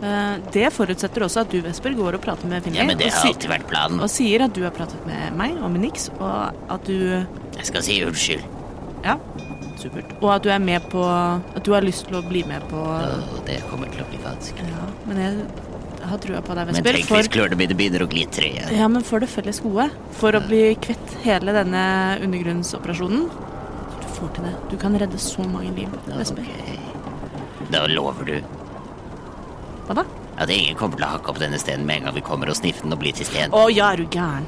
Speaker 5: Eh, det forutsetter også at du, Vesper, går og prater med Finley
Speaker 6: Ja, men det
Speaker 5: og,
Speaker 6: har
Speaker 5: si-
Speaker 6: alltid vært planen.
Speaker 5: og sier at du har pratet med meg og med Nix, og at du
Speaker 6: Jeg skal si unnskyld.
Speaker 5: Ja, supert. Og at du er med på At du har lyst til å bli med på
Speaker 6: Åh, det kommer til å bli vanskelig.
Speaker 5: Ja, men jeg har trua på deg,
Speaker 6: Men
Speaker 5: Vesper.
Speaker 6: tenk hvis
Speaker 5: For,
Speaker 6: klørne mine begynner å glitre igjen.
Speaker 5: ja, men for det felles gode. For å bli kvitt hele denne undergrunnsoperasjonen. Du får til det. Du kan redde så mange liv, Vesper.
Speaker 6: Ok. Da lover du
Speaker 5: Hva da?
Speaker 6: at ingen kommer til å hakke opp denne stenen med en gang vi kommer og sniffer den og blir til sten.
Speaker 5: Å ja, er du gæren.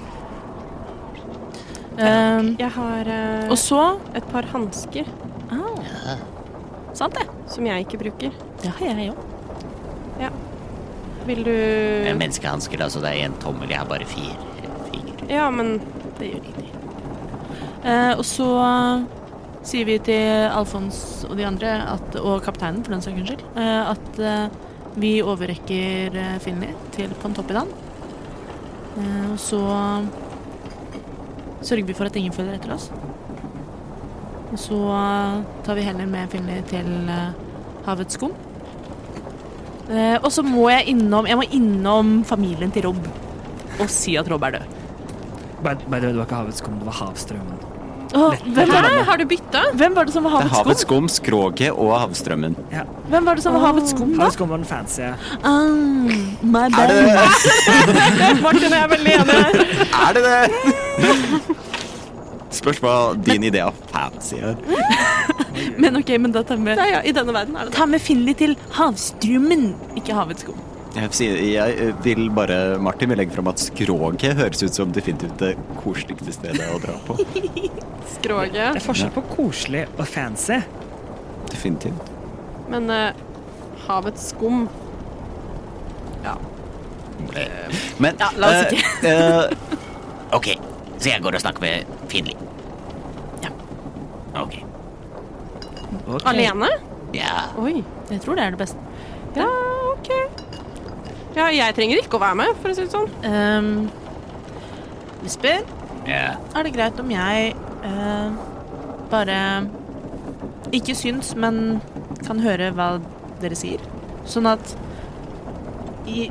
Speaker 5: Ehm,
Speaker 2: Jeg har eh,
Speaker 5: og så
Speaker 2: et par hansker
Speaker 5: Sant det.
Speaker 2: som jeg ikke bruker.
Speaker 5: Det har jeg òg.
Speaker 2: Vil du
Speaker 6: Det er menneskehansker, altså. Det er en tommel. Jeg har bare fire fingre.
Speaker 2: Ja, men det gjør ingenting.
Speaker 5: Eh, og så eh, sier vi til Alfons og de andre, at, og kapteinen for den saks skyld, eh, at eh, vi overrekker eh, Finley til Pontoppidan. Eh, og så sørger vi for at ingen følger etter oss. Og så eh, tar vi heller med Finley til eh, havets skum. Eh, og så må jeg innom Jeg må innom familien til Rob og si at Rob er død.
Speaker 3: By, by the way, det var ikke havets skum, det var havstrømmen.
Speaker 5: hvem, var,
Speaker 2: Har du bytta?
Speaker 5: hvem var det som var
Speaker 8: Det er
Speaker 5: havets skum?
Speaker 8: havets skum, skroget og havstrømmen.
Speaker 5: Hvem var det som var havets skum, da?
Speaker 3: Havets skum var den fancy.
Speaker 5: my bad.
Speaker 2: Martin og jeg er veldig enige.
Speaker 8: Er det det? Spørs hva din idé av fancy er.
Speaker 5: Men ok, men da tar vi med,
Speaker 2: Ja, ja, I denne verden er det det.
Speaker 5: ta med Finley til havstrømmen, ikke havets skum.
Speaker 8: Jeg, sier- jeg eh, vil bare Martin vil legge fram at skroget høres ut som definitivt det koseligste stedet å dra på.
Speaker 2: Skroget.
Speaker 3: Det er forskjell på koselig og fancy.
Speaker 8: Definitivt.
Speaker 2: Men eh, havets skum
Speaker 8: Men
Speaker 5: la oss
Speaker 8: eh, eh,
Speaker 6: Ok, så jeg går og snakker med Finli. Ja. Ok.
Speaker 3: Ok.
Speaker 2: alene?
Speaker 6: Ja.
Speaker 2: Oi.
Speaker 5: Jeg tror det er det beste.
Speaker 2: Ja, OK. Ja, jeg trenger ikke å være med, for å si det sånn.
Speaker 5: Ehm, Lisbeth,
Speaker 6: ja.
Speaker 5: er det greit om jeg eh, bare ikke syns, men kan høre hva dere sier? Sånn at i,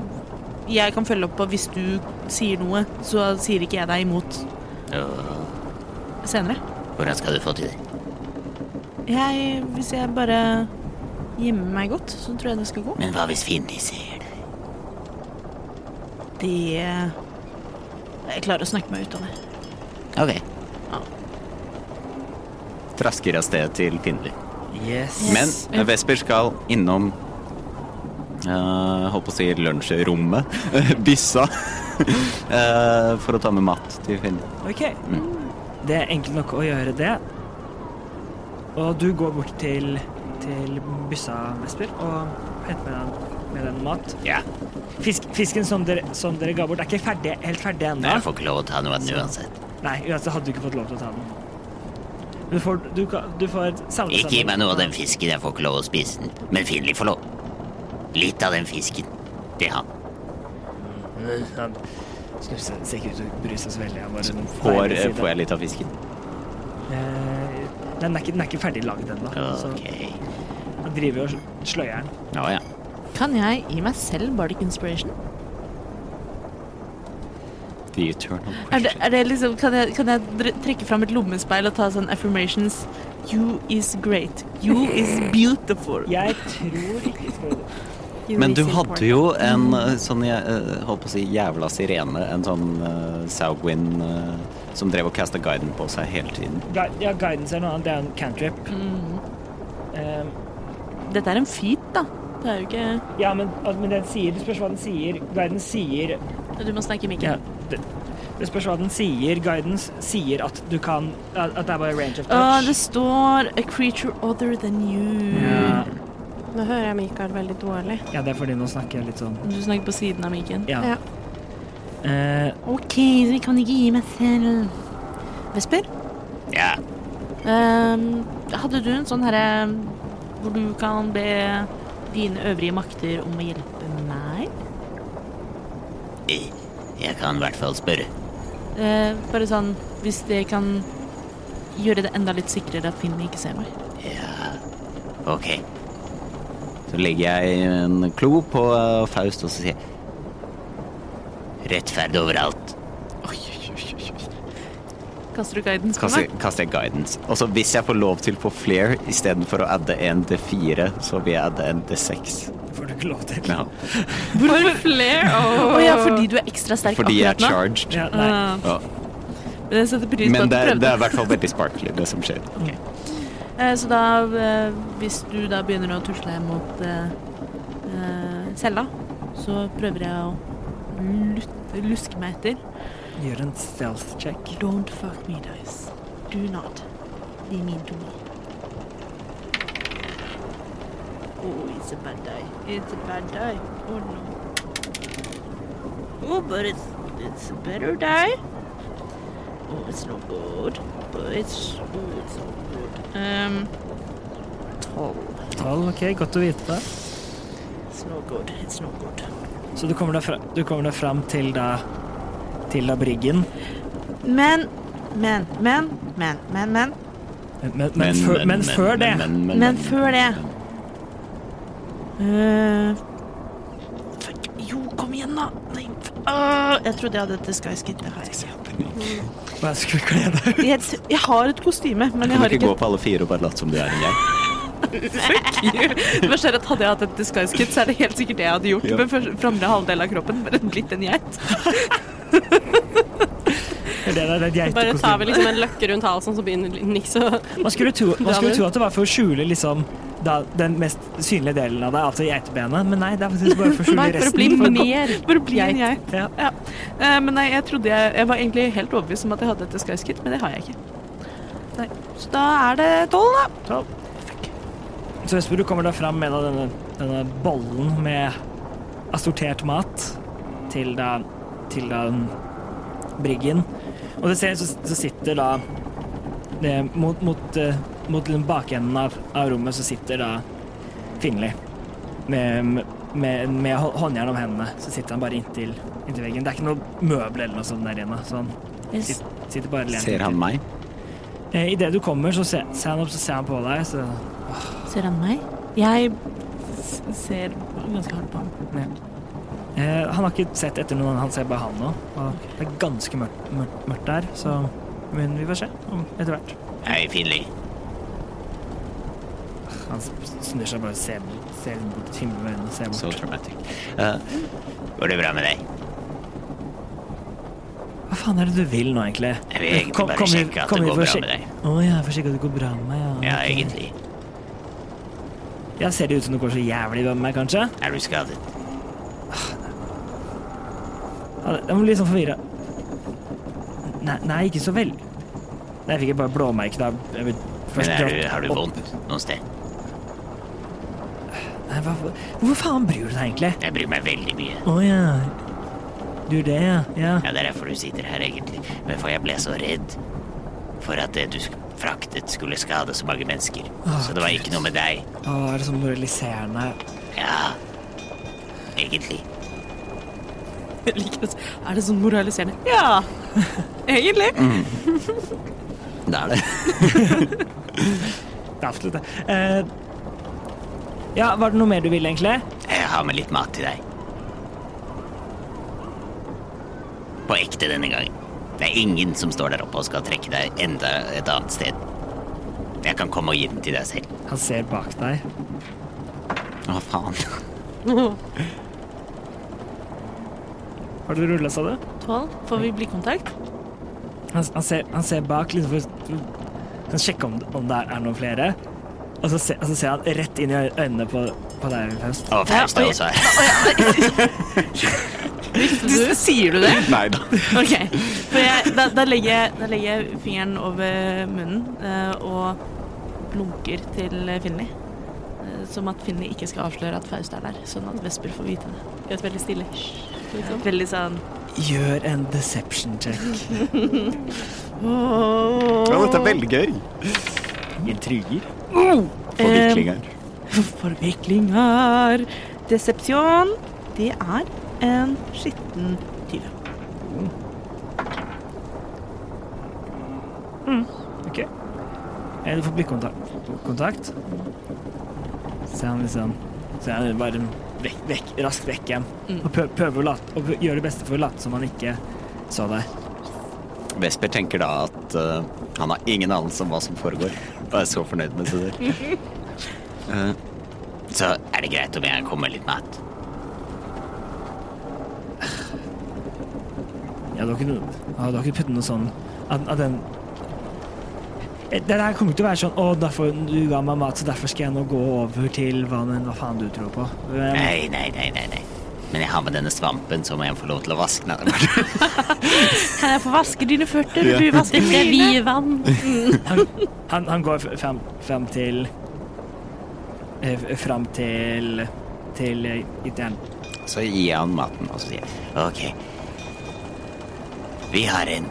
Speaker 5: jeg kan følge opp på hvis du sier noe, så sier ikke jeg deg imot
Speaker 6: Åh,
Speaker 5: senere.
Speaker 6: Hvordan skal du få til det?
Speaker 5: Jeg, hvis jeg bare gjemmer meg godt, så tror jeg det skal gå.
Speaker 6: Men hva hvis Finli ser det?
Speaker 5: Det Jeg klarer å snakke meg ut av det.
Speaker 6: Ok.
Speaker 8: trasker av sted til Finli.
Speaker 3: Yes.
Speaker 8: Men eh, Vesper skal innom eh, Holdt på å si lunsjrommet. Byssa. Eh, for å ta med mat til Finli.
Speaker 3: Ok. Det er enkelt nok å gjøre det. Og du går bort til, til byssa, Vesper, og henter med deg, med deg noe mat.
Speaker 6: Ja.
Speaker 3: Fisk, fisken som dere, som dere ga bort, er ikke ferdig, helt ferdig ennå.
Speaker 6: Jeg får ikke lov å ta noe av den uansett.
Speaker 3: Nei, uansett hadde du ikke fått lov til å ta den. Du får, du, kan- du får et samlet
Speaker 6: Ikke gi meg noe av den fisken. Jeg får ikke lov å spise den. Men Finli får lov. Litt av den fisken. Det er han.
Speaker 3: Han, Snufse ser ikke ut til å bry seg så veldig. Jeg bare den
Speaker 8: Får,
Speaker 6: eh,
Speaker 3: feile siden.
Speaker 8: får jeg litt av fisken?
Speaker 3: Eh, Den er ikke, den er ikke ferdig lagd ennå. så
Speaker 6: Ok.
Speaker 3: Han driver jo og sløyer den.
Speaker 8: Ja, ja.
Speaker 5: Kan jeg gi meg selv bardic inspiration?
Speaker 8: The eternal
Speaker 5: Er det, er det liksom, kan jeg, kan jeg dr- trekke fram et lommespeil og ta sånn affirmations? You is great. You is beautiful.
Speaker 3: Jeg tror ikke
Speaker 2: You
Speaker 8: Men du
Speaker 2: is
Speaker 8: hadde
Speaker 2: important.
Speaker 8: jo en
Speaker 3: Mm.
Speaker 8: eh, sånn, jeg eh, holdt på å si, jævla sirene, en sånn uh, Saugwin eh, som drev og casta guiden på seg hele tiden.
Speaker 3: Gui- Ja, guidance er noe annet. Det er en cantrip. Eh,
Speaker 5: Dette er en feat, da. Det er jo ikke
Speaker 3: ja, men, al- men den sier, det spørs hva den sier. Guiden sier
Speaker 5: Du må snakke i
Speaker 3: ja,
Speaker 5: mikken.
Speaker 3: det, det spørs hva den sier. Guidance sier at du kan At at det er bare range of
Speaker 5: Å,
Speaker 3: touch.
Speaker 5: Ah, det står 'a creature other than you'.
Speaker 3: ja,
Speaker 2: Nå hører jeg Mikael veldig dårlig.
Speaker 3: ja, det er fordi nå snakker jeg litt sånn
Speaker 5: Du snakker på siden av mikken.
Speaker 3: Ja.
Speaker 2: Ja.
Speaker 3: Eh,
Speaker 5: OK, så jeg kan ikke gi meg selv. Vesper?
Speaker 6: Ja.
Speaker 5: Ehm, hadde du en sånn herre hvor du kan be dine øvrige makter om å hjelpe meg?
Speaker 6: eh, Jeg kan i hvert fall spørre.
Speaker 5: Eh, bare sånn hvis det kan gjøre det enda litt sikrere at Finn ikke ser meg.
Speaker 6: Ja. Ok.
Speaker 8: Så legger jeg en klo på eh, Faust og så sier jeg,
Speaker 6: Rettferd overalt.
Speaker 5: Kaster du guidance på
Speaker 8: kaster,
Speaker 5: meg?
Speaker 8: kaster jeg guidance. Og så hvis jeg får lov til på flair istedenfor å adde en D4, så vil jeg adde en D6.
Speaker 3: får du ikke lov til.
Speaker 8: Ja.
Speaker 5: Hvorfor flere? Å ja, fordi du er ekstra sterk
Speaker 8: Fordi jeg er
Speaker 5: akkurat nå?
Speaker 8: charged.
Speaker 3: Ja, nei.
Speaker 8: Ja.
Speaker 5: Men jeg setter pris på
Speaker 8: Men
Speaker 5: at du
Speaker 8: det er, det
Speaker 5: prøvde.
Speaker 8: er i hvert fall veldig sparkly, det som skjer.
Speaker 5: Eh, så da, eh, hvis du da begynner å tusle mot eh, eh, cella, så prøver jeg å lut- luske meg etter.
Speaker 3: Gjør en stealth check.
Speaker 5: Don't fuck me, dice. Do not be mean to me. Oh, it's a bad day. It's a bad day. Oh no. Oh, but it's it's a better day. Oh, it's not good, but it's oh, it's not good. Um, twelve.
Speaker 3: Tolv, ok, godt å vite.
Speaker 5: It's not good. It's not good.
Speaker 3: Så du kommer deg fra, du kommer deg fram til da til da briggen.
Speaker 12: Men, men, men, men, men, men.
Speaker 3: Men, men, men, før, men, før det
Speaker 8: men, men,
Speaker 12: Men før det Eh, fuck. Jo, kom igjen, da. Nei, f- ah, jeg trodde jeg hadde et disguise kit. Det har
Speaker 5: altså.
Speaker 12: jeg ikke.
Speaker 3: Hva skal vi kle deg?
Speaker 12: Jeg, jeg har et kostyme, men jeg
Speaker 8: Kan du
Speaker 12: har
Speaker 8: ikke
Speaker 12: ikke
Speaker 8: gå på alle fire og bare late som du er en gjeng?
Speaker 5: Det verste er at Hadde jeg hatt et disguise kit, så er det helt sikkert det jeg hadde gjort.
Speaker 8: Ja.
Speaker 5: Med for- framre halvdel av kroppen bare blitt en geit.
Speaker 3: Det der er et
Speaker 2: Bare tar
Speaker 3: geitekostyme.
Speaker 2: vi liksom en løkke rundt halsen, så begynner Nix å
Speaker 3: Man skulle, tro, man skulle
Speaker 2: Daniel.
Speaker 3: tro at det var for å skjule liksom da, den mest synlige delen av deg, altså geitebenet, men nei, det er faktisk bare for å skjule
Speaker 2: Nei, for å
Speaker 3: resten.
Speaker 2: bli
Speaker 3: For-
Speaker 2: mer
Speaker 5: Bare bli en
Speaker 2: geit.
Speaker 5: geit.
Speaker 3: Ja.
Speaker 5: Eh, men nei, jeg trodde jeg, jeg var egentlig helt overbevist om at jeg hadde et disguise kit, men det har jeg ikke. Nei. Så da er det tolv, da.
Speaker 3: Tolv. Så Vesper, du kommer da fram med da denne, denne bollen med assortert mat til da, til da um, briggen. Og du ser så, så sitter da eh, mot, mot, eh, mot den bakenden av, av rommet så sitter da Finli med, med, med hå- håndjern om hendene. Så sitter han bare inntil, inntil veggen. Det er ikke noe møbel eller noe sånt der inne. Så han sit- sitter bare lent
Speaker 8: Ser han
Speaker 3: inntil.
Speaker 8: meg?
Speaker 3: Eh, i Idet du kommer, så ser, ser han opp, så ser han på deg, så
Speaker 5: Ser han meg? Jeg s- ser ganske hardt på ham.
Speaker 3: Eh, han har ikke sett etter noen, han ser bare han nå. Og det er ganske mørkt, mørkt, mørkt der, så Men vi får se om etter hvert.
Speaker 6: Hei, Finli.
Speaker 3: Han s- snur seg bare og ser, bort- ser bort til himmelen med øynene og ser bort.
Speaker 8: So traumatic.
Speaker 6: Eh, Går det bra med deg?
Speaker 3: Hva faen er det du vil nå, egentlig?
Speaker 6: Jeg vil egentlig bare sjekke at det går bra med deg.
Speaker 3: Å ja, for å sjekke at det går bra med meg, ja.
Speaker 6: Ja,
Speaker 3: ok.
Speaker 6: egentlig.
Speaker 3: Ja, ser det ut som det går så jævlig bra med meg, kanskje?
Speaker 6: Er du skadet?
Speaker 3: Ja, det- jeg må bli sånn forvirra. Nei, nei, ikke så veldig. Nei, Jeg fikk bare blåmerke da. jeg ble først
Speaker 6: Men er du,
Speaker 3: dratt
Speaker 6: har du
Speaker 3: opp.
Speaker 6: vondt noe sted?
Speaker 3: Nei, hva, hvor faen bryr du deg egentlig?
Speaker 6: Jeg bryr meg veldig mye.
Speaker 3: Å ja. Du gjør det, ja. ja.
Speaker 6: Ja, det er derfor du sitter her, egentlig. Men for jeg ble så redd for at det du sk- fraktet, skulle skade så mange mennesker.
Speaker 3: Åh,
Speaker 6: Så det var ikke noe med deg.
Speaker 3: Å, er sånn det så moraliserende?
Speaker 6: Ja, egentlig.
Speaker 5: Jeg liker det. Er det sånn moraliserende? Ja! Egentlig.
Speaker 6: Mm.
Speaker 8: Det er det.
Speaker 3: Det er absolutt det. Eh, ja, var det noe mer du ville, egentlig?
Speaker 6: Jeg har med litt mat til deg. På ekte denne gangen. Det er ingen som står der oppe og skal trekke deg enda et annet sted. Jeg kan komme og gi den til deg selv.
Speaker 3: Han ser bak deg.
Speaker 8: Å, faen.
Speaker 3: Har du rulla, sa du?
Speaker 5: Tolv. Får vi blikkontakt?
Speaker 3: Han, han, ser, han ser bak, liksom for å sjekke om, om det er noen flere. Og så, ser- og så ser han rett inn i øy- øynene på, på deg, Faust.
Speaker 6: Og Faust er også her.
Speaker 5: sier du det?
Speaker 8: Nei da.
Speaker 5: Ok. For jeg, da, da, legger jeg, da legger jeg fingeren over munnen eh, og blunker til Finley. Eh, som at Finley ikke skal avsløre at Faust er der, sånn at Vesper får vite det. Gjør et veldig stille hysj, liksom. Veldig sånn
Speaker 3: Gjør en deception check.
Speaker 8: Ja, dette er veldig gøy.
Speaker 3: Intriger.
Speaker 5: Oh!
Speaker 8: Forviklinger.
Speaker 5: Forviklinger. Desepsjon. Det er en skitten tyv.
Speaker 3: Ok. Eh, Du får blikkontakt. kontakt. Så han liksom Så han bare vekk, vekk, raskt vekk igjen. Og prø- prøver å late Og gjør det beste for å late som han ikke så deg.
Speaker 8: Vesper tenker da at eh, han har ingen anelse om hva som foregår, og er så fornøyd med seg selv.
Speaker 6: Eh, Så er det greit om jeg kommer med litt mat.
Speaker 3: Ja, du har ikke, ja, du har ikke puttet noe sånn at, at den Eh, det der kommer ikke til å være sånn Å, derfor du ga meg mat, så derfor skal jeg nå gå over til hva, men, hva faen du tror på. Men,
Speaker 6: Nei, nei, nei, nei, nei. Men jeg har med denne svampen, så må jeg få lov til å vaske den. av dem.
Speaker 5: Kan jeg få vaske dine føtter?
Speaker 8: Ja.
Speaker 5: Du vasker
Speaker 9: Dette er
Speaker 5: mine.
Speaker 9: vi-vann.
Speaker 3: han, han går f- frem, frem til eh, f- Frem til Til eh, gitteren.
Speaker 8: Så gir jeg han maten, og så sier jeg
Speaker 6: Ok. Vi har en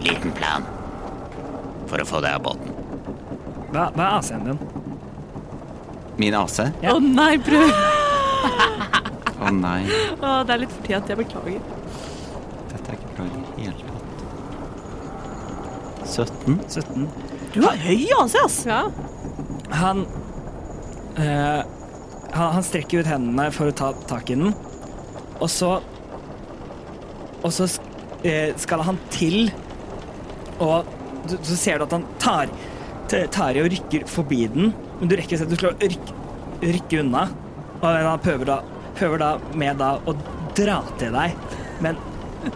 Speaker 6: liten plan for å få deg av båten.
Speaker 3: Hva, hva er AC-en din?
Speaker 8: Min AC? Å
Speaker 3: Ja.
Speaker 5: Å nei, prøv!
Speaker 8: nei,
Speaker 5: Å, det er litt for tida. Jeg beklager.
Speaker 8: dette er ikke bra i det hele tatt. 17?
Speaker 3: 17?
Speaker 5: Du er høy, altså. ass.
Speaker 3: Han eh, han, han strekker ut hendene for å ta tak i den, og så Og så sk- eh, skal han til, og du, så ser du at han tar t- tar i og rykker forbi den, men du rekker ikke du skal rykke, rykke unna. Og han prøver da, prøver da med da å dra til deg, men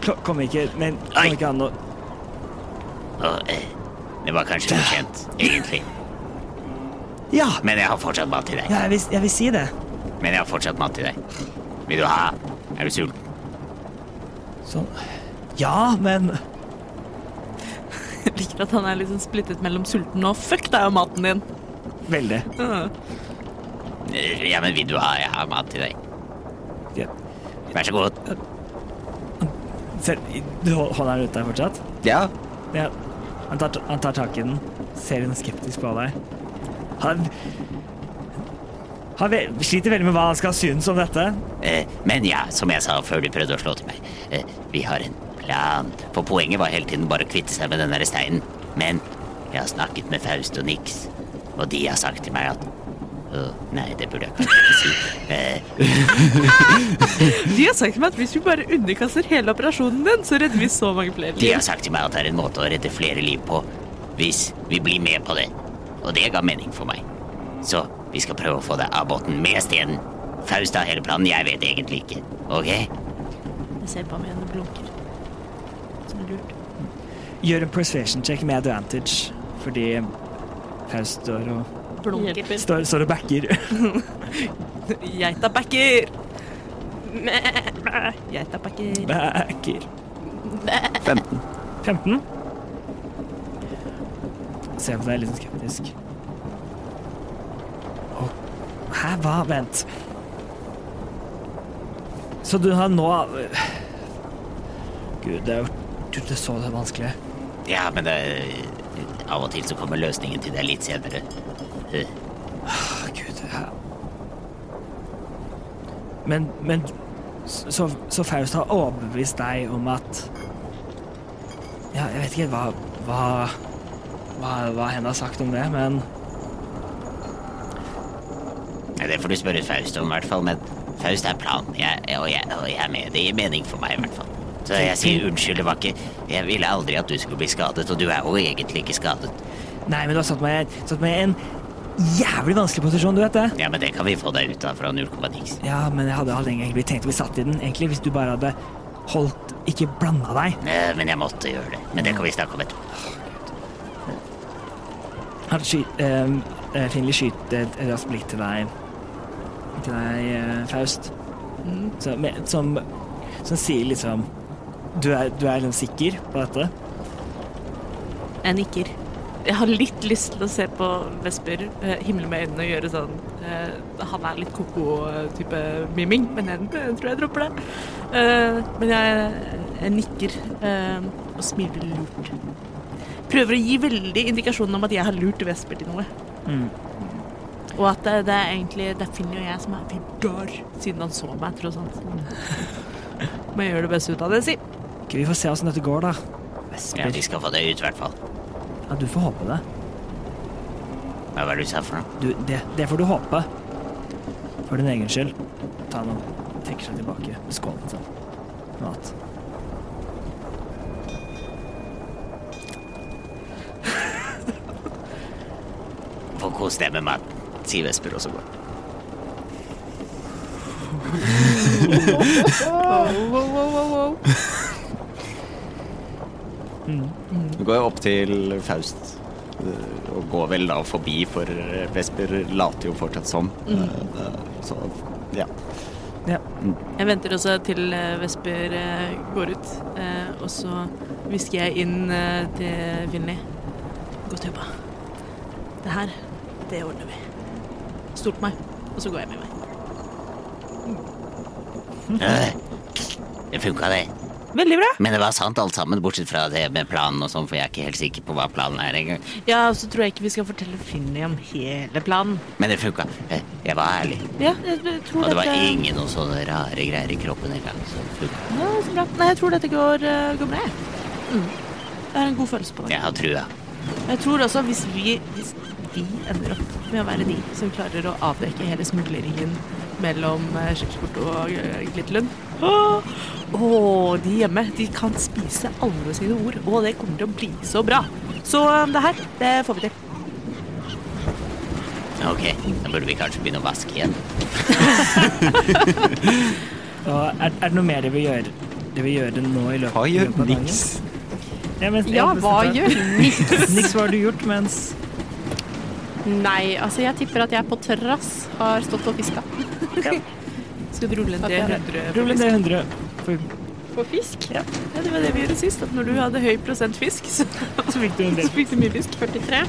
Speaker 3: kl- kommer ikke, men,
Speaker 6: Ai.
Speaker 3: kommer ikke an å
Speaker 6: Og eh, det var kanskje ukjent, egentlig.
Speaker 3: Ja!
Speaker 6: Men jeg har fortsatt mat til deg.
Speaker 3: ja jeg, vil, jeg vil si det.
Speaker 6: Men jeg har fortsatt mat til deg. Vil du ha? Er du sulten?
Speaker 3: Sånn. Ja, men
Speaker 5: Jeg liker at han er liksom splittet mellom sulten og fuck deg og maten din.
Speaker 3: Veldig.
Speaker 6: Eh, Ja, men vil du ha? Jeg har mat til deg.
Speaker 3: Ja.
Speaker 6: Vær så god.
Speaker 3: Ser, du hol- holder den ute der fortsatt?
Speaker 8: Ja.
Speaker 3: Ja. Han tar, ta- han tar tak i den, ser den skeptisk på deg. Han, han ve- sliter veldig med hva han skal synes om dette.
Speaker 6: Eh, Men ja, som jeg sa før du prøvde å slå til meg, eh, vi har en plan. For poenget var hele tiden bare å kvitte seg med den der steinen. Men jeg har snakket med Faust og Nix, og de har sagt til meg at Å, Nei, det burde jeg kanskje ikke si. Eh,
Speaker 5: De har sagt til meg at hvis vi bare underkaster hele operasjonen din, så redder vi så mange flere.
Speaker 6: De har sagt til meg at det er en måte å redde flere liv på hvis vi blir med på det. Og det ga mening for meg. Så vi skal prøve å få deg av båten med stenen. Faust har hele planen, jeg vet egentlig ikke. Ok?
Speaker 5: Jeg ser på ham igjen og blunker. Som lurt.
Speaker 3: Gjør en persuasion check med advantage, fordi Faust står og,
Speaker 5: Blunker.
Speaker 3: står, står og backer.
Speaker 5: Geita backer! Geita backer.
Speaker 3: backer.
Speaker 8: 15.
Speaker 3: 15. Ser på deg litt skeptisk. Å, Hæ, hva? Vent. Så du har nå Gud, det er jo du, det er så det vanskelig.
Speaker 6: Ja, men eh, det, av og til så kommer løsningen til deg litt senere. Eh,
Speaker 3: Å, Gud, hæ? Men, men Så, så Faust har overbevist deg om at Ja, jeg vet ikke hva Hva, hva, hva hen har sagt om det, men
Speaker 6: Nei, Det får du spørre Faust om, i hvert fall. Men Faust er planen, jeg, og, jeg, og jeg er med. Det gir mening for meg, i hvert fall. Så jeg sier unnskyld, det var ikke Jeg ville aldri at du skulle bli skadet, og du er jo egentlig ikke skadet.
Speaker 3: Nei, men du har satt meg, satt meg i en jævlig vanskelig posisjon, du vet det.
Speaker 6: Ja, men det kan vi få deg ut av fra null komma niks.
Speaker 3: Ja, men jeg hadde aldri egentlig tenkt å bli satt i den, egentlig, hvis du bare hadde holdt Ikke blanda deg.
Speaker 6: Eh, Men jeg måtte gjøre det. Men det kan vi snakke om etterpå.
Speaker 3: Han sky, eh, eh, Finley skyter et eh, raskt blikk til deg, til deg, eh, Faust, Mm, Så, med, som, som sier liksom Du er, du er liksom sikker på dette?
Speaker 5: Jeg nikker.
Speaker 13: Jeg har litt lyst til å se på Vesper eh, himle med øynene og gjøre sånn eh, Han er litt
Speaker 5: Koko-type miming, men jeg, jeg tror jeg dropper det. Eh, men jeg, jeg nikker eh, og smiler lurt. Prøver å gi veldig indikasjonen om at jeg har lurt Vesper til noe.
Speaker 3: Mm.
Speaker 5: Og at det, det er egentlig det er Finn og jeg som er figar, siden han så meg, tross alt.
Speaker 6: Mm.
Speaker 5: Må jeg gjøre det beste ut av det, si.
Speaker 3: Ok, vi får se åssen dette går, da.
Speaker 6: Ja,
Speaker 3: Vesper.
Speaker 6: vi skal få deg ut, i hvert fall.
Speaker 3: Ja, du får håpe det.
Speaker 6: Hva var det du sa for noe?
Speaker 3: Du, det. Det får du håpe. For din egen skyld. Ta den og trekker seg tilbake med skålen sin. Mat.
Speaker 6: Få kose deg med maten, sier Vesper, og så går han.
Speaker 8: Nå går jeg opp til Faust eh, og går vel da forbi, for eh, Vesper later jo fortsatt som. Eh, eh, Så ja.
Speaker 3: Ja.
Speaker 5: Jeg venter også til eh, Vesper eh, går ut, eh, og så hvisker jeg inn eh, til Finley. Godt jobba. Det her, det ordner vi. Stol på meg, og så går jeg med meg.
Speaker 6: Eh, Det funka, det.
Speaker 5: Veldig bra.
Speaker 6: Men det var sant alt sammen, bortsett fra det med planen og sånn, for jeg er ikke helt sikker på hva planen er engang.
Speaker 5: Ja, og så tror jeg ikke vi skal fortelle Finley om hele planen.
Speaker 6: Men det funka. Eh, Jeg var ærlig.
Speaker 5: Ja, jeg, jeg tror
Speaker 6: Og det var
Speaker 5: dette...
Speaker 6: ingen noen sånne rare greier i kroppen engang. Så det funka.
Speaker 5: Ja, så bra. Nei, jeg tror dette går, eh, går bra, jeg. Mm. Jeg har en god følelse på det.
Speaker 6: Jeg har trua.
Speaker 5: Jeg tror også hvis vi, hvis vi ender opp med å være de som klarer å avdekke hele smugleringen mellom eh, Skipsport og eh, Glitterlund Åh, åh, de hjemme de kan spise alle sine ord, og det kommer til å bli så bra. Så eh, det her, det får vi til.
Speaker 6: Ok, da burde vi kanskje begynne å vaske igjen.
Speaker 3: Og er, er det noe mer dere vil gjøre? Dere vil gjøre nå i løpet,
Speaker 8: Hva
Speaker 3: i
Speaker 8: gjør
Speaker 3: løpet av dagen?
Speaker 8: Nix?
Speaker 3: Ja, men-
Speaker 2: Ja, hva gjør Nick?
Speaker 3: Nix, hva har du gjort mens
Speaker 2: Nei, altså jeg tipper at jeg på terrass har stått og fiska.
Speaker 5: Skal du rulle en
Speaker 2: Takk, jeg-
Speaker 5: D100?
Speaker 3: Rull en D100. For,
Speaker 2: På fisk?
Speaker 5: Ja, det var det vi gjorde sist, at når du hadde høy prosent fisk, så
Speaker 3: så fikk du en del.
Speaker 5: fikk du mye fisk.
Speaker 2: 43.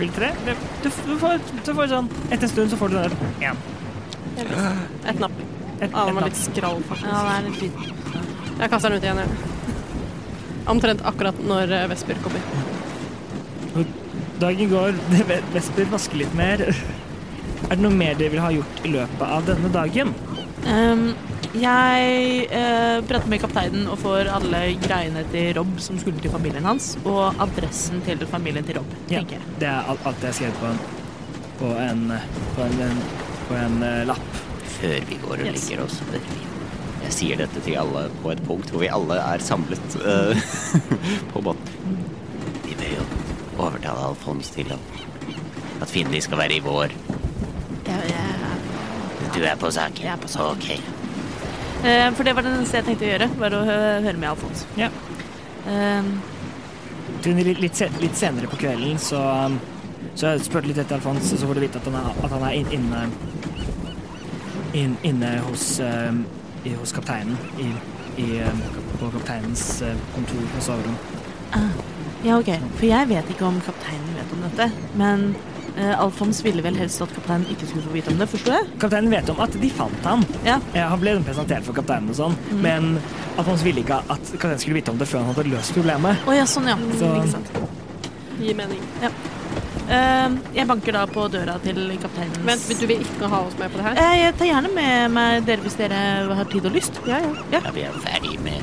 Speaker 3: Rull tre. Det- Du, f- du får, så får du sånn Etter en stund så får du den der. Én.
Speaker 2: Et napp.
Speaker 3: Et,
Speaker 2: Ja, den
Speaker 3: et
Speaker 2: var
Speaker 3: natt.
Speaker 2: litt skral, faktisk.
Speaker 5: Ja, det er litt fint.
Speaker 2: Jeg kaster den ut igjen, jeg. Omtrent akkurat når eh, Vesper kommer.
Speaker 3: Dagen går, det ve- Vesper vasker litt mer. Er det noe mer dere vil ha gjort i løpet av denne dagen?
Speaker 5: Ehm, jeg eh, prater med kapteinen og får alle greiene til Rob som skulle til familien hans, og adressen til familien til Rob,
Speaker 3: Ja.
Speaker 5: tenker jeg.
Speaker 3: Det er alt, alt jeg har skrevet på en, på en, eh, på en, på en eh, lapp.
Speaker 6: Før vi går og
Speaker 5: Yes.
Speaker 6: legger oss. bør vi-
Speaker 8: Jeg sier dette til alle på et punkt hvor vi alle er samlet eh, på båten.
Speaker 6: Vi bør jo overtale Alfons til å- at Finli skal være i vår. Du er på saken?
Speaker 5: Jeg er på saken.
Speaker 6: Ok.
Speaker 5: Eh, for det var det eneste jeg tenkte å gjøre, var å hø høre med Alfons.
Speaker 3: Ja.
Speaker 5: Ehm,
Speaker 3: Trine, litt, litt, se- litt senere på kvelden så, um, så jeg spurte litt etter Alfons, og så får du vite at han er, at han er inn- inne inn, Inne hos, um, i, hos kapteinen. I, i, um, på kapteinens uh, kontor og soverom.
Speaker 5: ja, ok. For jeg vet ikke om kapteinen vet om dette, men eh, Alfons ville vel helst at kapteinen ikke skulle få vite om det, forstår jeg?
Speaker 3: Kapteinen vet om at de fant han.
Speaker 5: Ja.
Speaker 3: Ja, han ble presentert for kapteinen og sånn, men Alfons ville ikke at kapteinen
Speaker 5: Mm,
Speaker 3: skulle vite om det før han hadde løst problemet.
Speaker 5: Å ja, sånn ja.
Speaker 3: Så-
Speaker 5: Ikke sant.
Speaker 2: Gir mening.
Speaker 5: Ja. Eh, jeg banker da på døra til kapteinen.
Speaker 2: Vent, men du vil ikke ha oss med på det her?
Speaker 5: Eh, jeg tar gjerne med meg dere hvis dere har tid og lyst.
Speaker 2: Ja, ja.
Speaker 6: Ja, vi er ferdig med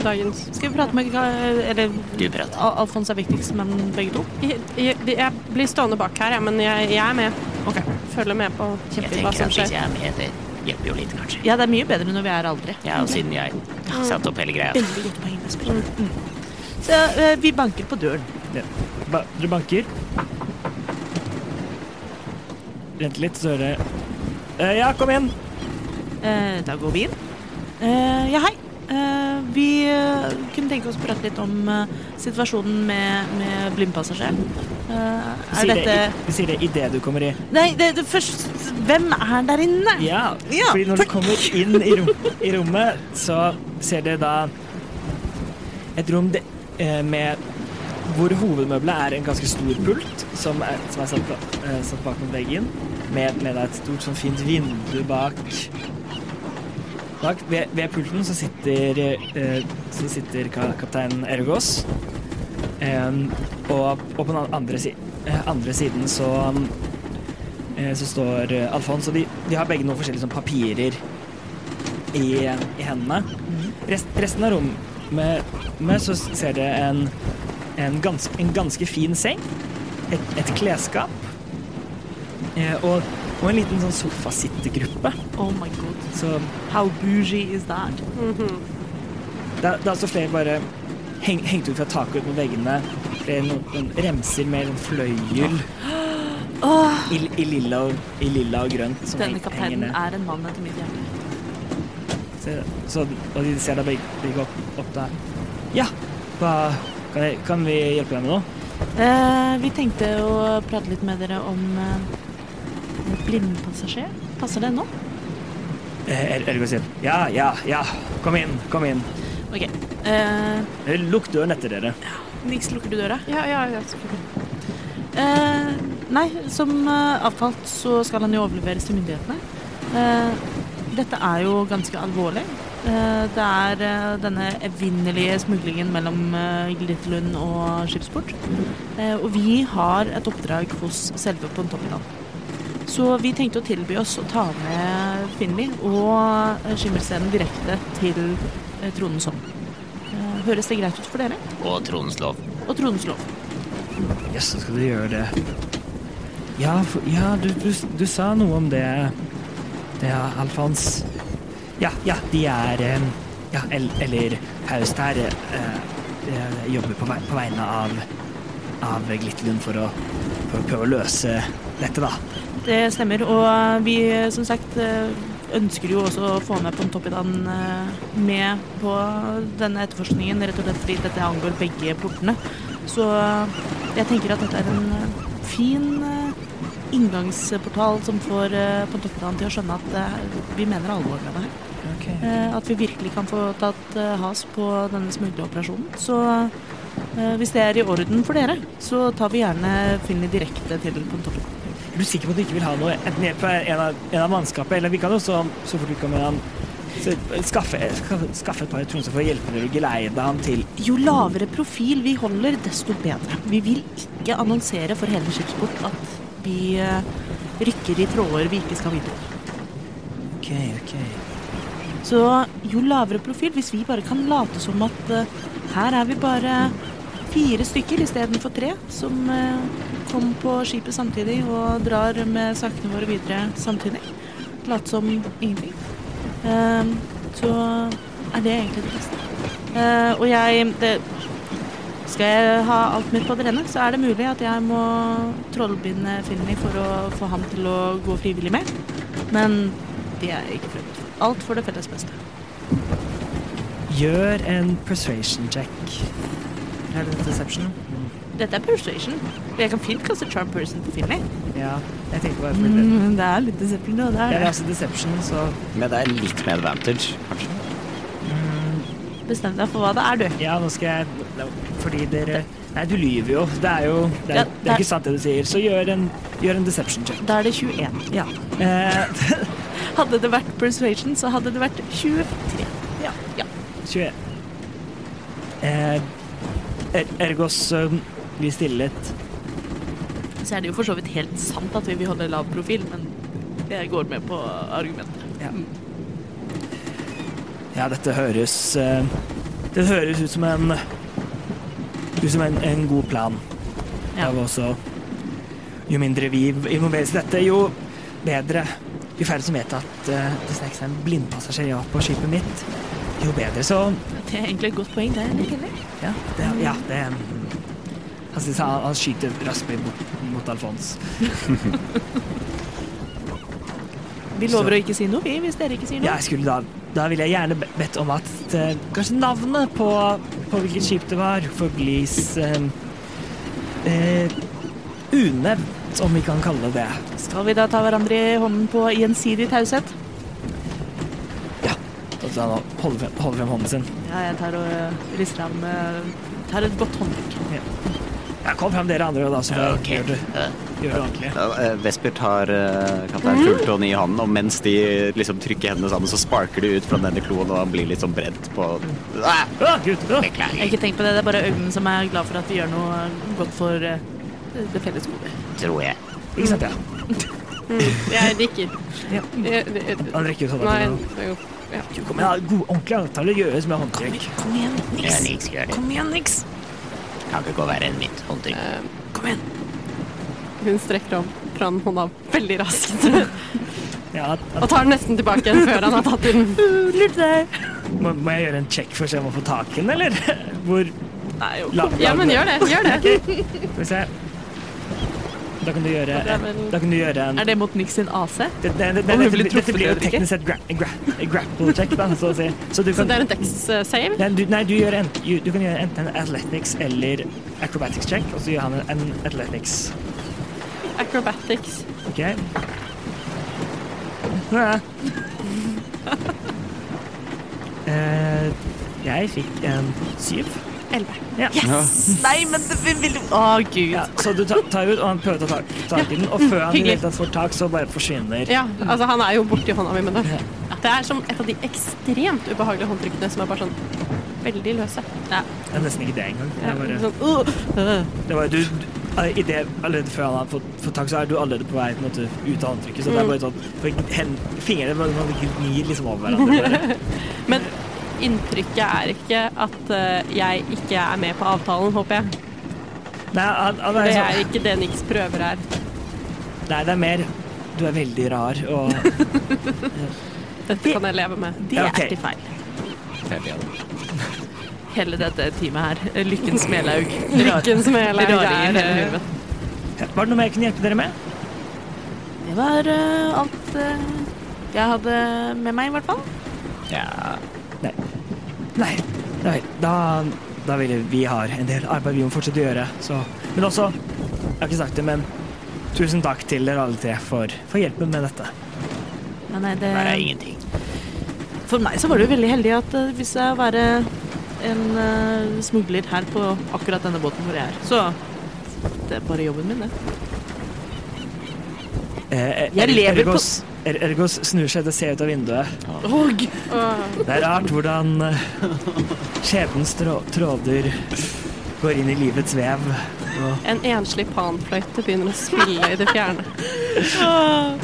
Speaker 2: Dagens
Speaker 5: Skal vi prate med Eller
Speaker 6: Du prater.
Speaker 5: Al- Alfons er viktigst, men begge to.
Speaker 2: Jeg, jeg, jeg blir stående bak her, ja, men jeg, jeg er med. Følger med på
Speaker 6: Jeg
Speaker 2: kjempe hva
Speaker 6: tenker
Speaker 2: som
Speaker 6: at hvis
Speaker 2: skjer.
Speaker 6: jeg er med, det hjelper jo litt, kanskje.
Speaker 5: Ja, det er mye bedre når vi er aldri.
Speaker 6: Ja, og siden jeg satte opp hele greia.
Speaker 5: Veldig godt poeng, Vesper. Mm. Så eh, vi banker på døren.
Speaker 3: Ba dere banker. Vent litt, så hører jeg Eh, Ja, kom inn!
Speaker 5: Eh, da går vi inn. Eh, ja, hei. Eh, vi eh, kunne tenke oss å prate litt om eh, situasjonen med, med blindpassasjeren. Eh,
Speaker 3: Vi
Speaker 5: er
Speaker 3: sier
Speaker 5: dette
Speaker 3: det i- vi sier det idet du kommer i.
Speaker 5: Nei, det, det først Hvem er der inne?
Speaker 3: Ja,
Speaker 5: Ja,
Speaker 3: fordi når du kommer inn i, rom, i rommet, så ser dere da et rom de, eh, med hvor hovedmøblet er en ganske stor pult som er, som er satt, eh, satt bak mot veggen, med, med da et stort, sånn fint vindu bak. bak. Ved, ved pulten så sitter, eh, så sitter ka- kaptein Ergos, eh, og, og på den andre, si, eh, andre siden så Eh, så står eh, Alfons, og de, de har begge noen forskjellige sånn, papirer i, i hendene. Rest, resten av rommet med, så ser dere en, en, ganske, en ganske fin seng, et, et klesskap eh, og, og en liten sånn sofasittegruppe.
Speaker 5: Oh my god.
Speaker 3: Så
Speaker 5: How bougie is that?
Speaker 3: det er det er også flere bare heng, hengt ut fra taket ut mot veggene. Flere noen, noen remser med sånn fløyel i, i, lilla og, i lilla og grønt som
Speaker 5: Denne
Speaker 3: heng- henger
Speaker 5: kapteinen
Speaker 3: ned.
Speaker 5: er en mann etter mitt hjerte.
Speaker 3: Så, så, og de ser deg begge, begge opp, opp der. Ja, hva kan, jeg, kan vi hjelpe deg med noe?
Speaker 5: Eh, vi tenkte å prate litt med dere om eh, blindpassasjer. Passer det nå?
Speaker 3: Eh, Er, Ergo sier ja, ja, ja, kom inn, kom inn.
Speaker 5: OK. Eh,
Speaker 3: Eh, Lukk døren etter dere.
Speaker 5: Nix, lukker du døra?
Speaker 2: Ja, ja, ja, selvfølgelig.
Speaker 5: Eh, nei, som eh, avtalt så skal han jo overleveres til myndighetene. Eh, dette er jo ganske alvorlig. Eh, det er eh, denne evinnelige smuglingen mellom eh, Glitterlund og Skipsport. Eh, og vi har et oppdrag hos selve Pontoppidal. Så vi tenkte å tilby oss å ta med Finli og eh, Skimmelscenen direkte til eh, Tronens hånd. Eh, høres det greit ut for dere?
Speaker 6: Og Trondens lov.
Speaker 5: Og Tronens lov.
Speaker 3: Jøss, yes, så skal du gjøre det. Ja, for, ja du, du, du sa noe om det. Det er Alfons. Ja, ja, de er eh, Ja, el, eller Haust her eh, eh, jobber på, vei, på vegne av, av Glitterlund for å, for å prøve å løse dette, da.
Speaker 5: Det stemmer, og vi som sagt eh, ønsker jo også å få med på en toppidan eh, med på denne etterforskningen, rett og slett fordi dette angår begge portene. Så eh, jeg tenker at dette er en eh, fin eh, inngangsportal som får eh, på toppidan til å skjønne at eh, vi mener alvor med det her. Eh, At vi virkelig kan få tatt eh, has på denne smugleoperasjonen. Så eh, hvis det er i orden for dere, så tar vi gjerne Finni direkte til Pontoppidan.
Speaker 3: Er du sikker på at du ikke vil ha noe enten ned på en av, en av mannskapet, eller vi kan også, så fort vi kommer han så, skaffe, skaffe, skaffe et par tromser for å hjelpe dere å geleide ham til
Speaker 5: Jo lavere profil vi holder, desto bedre. Vi vil ikke annonsere for hele Skipsport at vi eh, rykker i tråder vi ikke skal videre.
Speaker 3: Ok, ok.
Speaker 5: Så jo lavere profil, hvis vi bare kan late som at eh, her er vi bare fire stykker istedenfor tre som eh, kom på skipet samtidig og drar med sakene våre videre samtidig. Late som ingenting. Eh, så er det egentlig det beste. Eh, og jeg det, Skal jeg ha alt mitt på det rene, så er det mulig at jeg må trollbinde Finni for å få ham til å gå frivillig med. Men det er ikke frukt. Alt for det felles beste.
Speaker 3: Gjør en persuasion check.
Speaker 5: Er det deception? Dette er persuasion. Og jeg kan fint kaste charm person på Finley.
Speaker 3: Ja, jeg tenkte bare fordi det.
Speaker 5: Mm, det er litt deception, da. Det
Speaker 3: Det
Speaker 5: er
Speaker 3: er
Speaker 5: det.
Speaker 3: altså deception, så
Speaker 8: Men det er litt med advantage, kanskje.
Speaker 5: Bestem deg for hva det er, du.
Speaker 3: Ja, nå skal jeg Fordi dere Nei, du lyver jo. Det er jo Det
Speaker 5: Ja,
Speaker 3: er, det
Speaker 5: det-
Speaker 3: er ikke sant det du sier. Så gjør en, gjør en deception check.
Speaker 5: Da er det 21.
Speaker 3: Ja. Eh,
Speaker 5: Hadde det vært persuasion, så hadde det vært 23.
Speaker 3: 21. Eh, er Ergos um, blir stillet
Speaker 9: så er det jo for så vidt helt sant at vi vil holde lav profil, men jeg går med på argumentet.
Speaker 3: Ja, dette høres eh, Det høres ut som en ut som en, en god plan.
Speaker 9: Ja.
Speaker 3: Det var også Jo mindre vi involveres i dette, jo bedre. Jo færre som vet at eh, det snek seg en blindpassasjer ja på skipet mitt, jo bedre. Så
Speaker 9: Det er egentlig et godt poeng, det. er
Speaker 5: Mm.
Speaker 9: det.
Speaker 3: ja, det, ja, det Han, synes han, han skyter Rasper bort mot Alfons.
Speaker 5: Vi lover å ikke si noe, vi, hvis dere ikke sier noe.
Speaker 3: Ja, jeg skulle da Da ville jeg gjerne be- bedt om at eh, kanskje navnet på, på hvilket skip det var, forblis eh, eh, unevnt, om vi kan kalle det det.
Speaker 5: Skal vi da ta hverandre i hånden på gjensidig taushet?
Speaker 3: At han holder frem, holder frem hånden sin.
Speaker 5: Ja, jeg tar og
Speaker 9: eh,
Speaker 5: øh, rister av med Tar et godt håndtrykk.
Speaker 3: Ja, kom frem, dere andre, da, så får
Speaker 6: Ok.
Speaker 3: jeg gjøre det, gjøre det ordentlig.
Speaker 8: Eh, Vesper tar eh,
Speaker 5: Mm.
Speaker 8: kaptein Fulltåen i hånden, og mens de liksom trykker hendene sammen, så sparker det ut fra denne kloen, og han blir litt sånn brent på ah!
Speaker 3: Å, Gud! å.
Speaker 9: Jeg har ikke tenkt på det, det er bare øynene som er glad for at vi gjør noe godt for eh, det felles gode.
Speaker 6: tror jeg.
Speaker 3: Ikke sant, ja.
Speaker 2: Jeg drikker.
Speaker 3: Ja.
Speaker 2: Jeg- jeg-
Speaker 3: Han sånn rekker ut hånda.
Speaker 2: Nei,
Speaker 3: til
Speaker 2: det går- ja.
Speaker 3: dere. Men ja, god, ordentlig avtale gjøres med håndtrykk.
Speaker 5: Kom igjen,
Speaker 6: Ja,
Speaker 5: niks.
Speaker 6: Nix gjør det.
Speaker 5: Kom igjen, niks.
Speaker 6: Kan ikke gå verre enn mitt håndtrykk.
Speaker 5: Kom igjen.
Speaker 2: Hun strekker om fram hånda veldig raskt
Speaker 3: Ja, at,
Speaker 2: og tar den nesten tilbake igjen før han har tatt i den.
Speaker 3: at, må, må jeg gjøre en check for å se om jeg får tak i den, eller? Hvor
Speaker 9: Nei, jo.
Speaker 3: la,
Speaker 2: Ja, men gjør det. Gjør det.
Speaker 3: Skal vi se. Da kan du gjøre,
Speaker 2: Det er vel-
Speaker 3: da kan du gjøre en
Speaker 9: Er det mot Nix sin AC?
Speaker 3: det, det, det, det,
Speaker 9: Om hun
Speaker 3: dette,
Speaker 9: blir
Speaker 3: blir- dette
Speaker 9: truffet
Speaker 3: blir jo
Speaker 9: eller ikke?
Speaker 3: teknisk sett gra, gra, grapple check, da, så å si. Så du
Speaker 2: Så
Speaker 3: kan,
Speaker 2: det er en dex-save.
Speaker 3: nei, du, nei, du, gjør en, du, du kan gjøre enten en athletics eller acrobatics check, og så gjør han en, en athletics.
Speaker 2: Acrobatics.
Speaker 3: OK? Ja. Eh, jeg fikk en syv. Elleve. Ja.
Speaker 9: Nei, men det vi vil Å, gud.
Speaker 3: Ja, så du tar, tar ut, og han prøver å ta tak tak i den, og før han i det
Speaker 2: hyggelig.
Speaker 3: hele tatt får tak, så bare forsvinner
Speaker 2: Ja, altså han er jo borti hånda mi med det. Det er som et av de ekstremt ubehagelige håndtrykkene som er bare sånn veldig løse.
Speaker 3: Det er nesten ikke det engang. Det
Speaker 2: Ja,
Speaker 3: er bare,
Speaker 2: sånn, uh, uh.
Speaker 3: det er bare du, du- eh, i det, allerede før han har fått, fått tak, så er du allerede på vei på en måte, ut av håndtrykket. Så det er bare sånn for hen, Fingrene bare- man gnir liksom over hverandre. Bare.
Speaker 2: Men inntrykket er ikke at eh, jeg ikke er med på avtalen, håper jeg.
Speaker 3: Nei, han, han er
Speaker 2: Det
Speaker 3: sånn-
Speaker 2: er ikke det Nix prøver her.
Speaker 3: nei, det er mer Du er veldig rar, og
Speaker 2: Dette kan jeg leve med.
Speaker 9: Det
Speaker 3: Ja,
Speaker 9: er
Speaker 3: ok.
Speaker 9: ikke feil. Hele dette teamet her. Lykkens Melaug.
Speaker 2: Lykken som hele
Speaker 9: Rare i
Speaker 2: er
Speaker 9: hele
Speaker 2: eh,
Speaker 9: huet.
Speaker 3: Var det noe mer jeg kunne hjelpe dere med?
Speaker 5: Det var øh,
Speaker 9: eh,
Speaker 5: alt øh, jeg hadde med meg, i hvert fall.
Speaker 3: Nei. Nei da, da ville vi har en del arbeid vi må fortsette å gjøre, så Men også Jeg har ikke sagt det, men tusen takk til dere alle tre for, for hjelpen med dette.
Speaker 5: Ja, nei, det,
Speaker 6: Her er ingenting.
Speaker 5: for meg så var det jo veldig heldig at øh, hvis jeg var øh, en øh, smugler her på akkurat denne båten hvor jeg er, så det er bare jobben min, det.
Speaker 3: Eh,
Speaker 5: Jeg
Speaker 3: Erg-
Speaker 5: lever på-
Speaker 3: Ergos, er, Ergos snur seg til å se ut av vinduet. Det er rart hvordan eh, skjebnens trå- tråder går inn i livets vev. Og
Speaker 2: eh, En enslig panfløyte begynner å spille i det fjerne.
Speaker 5: eh,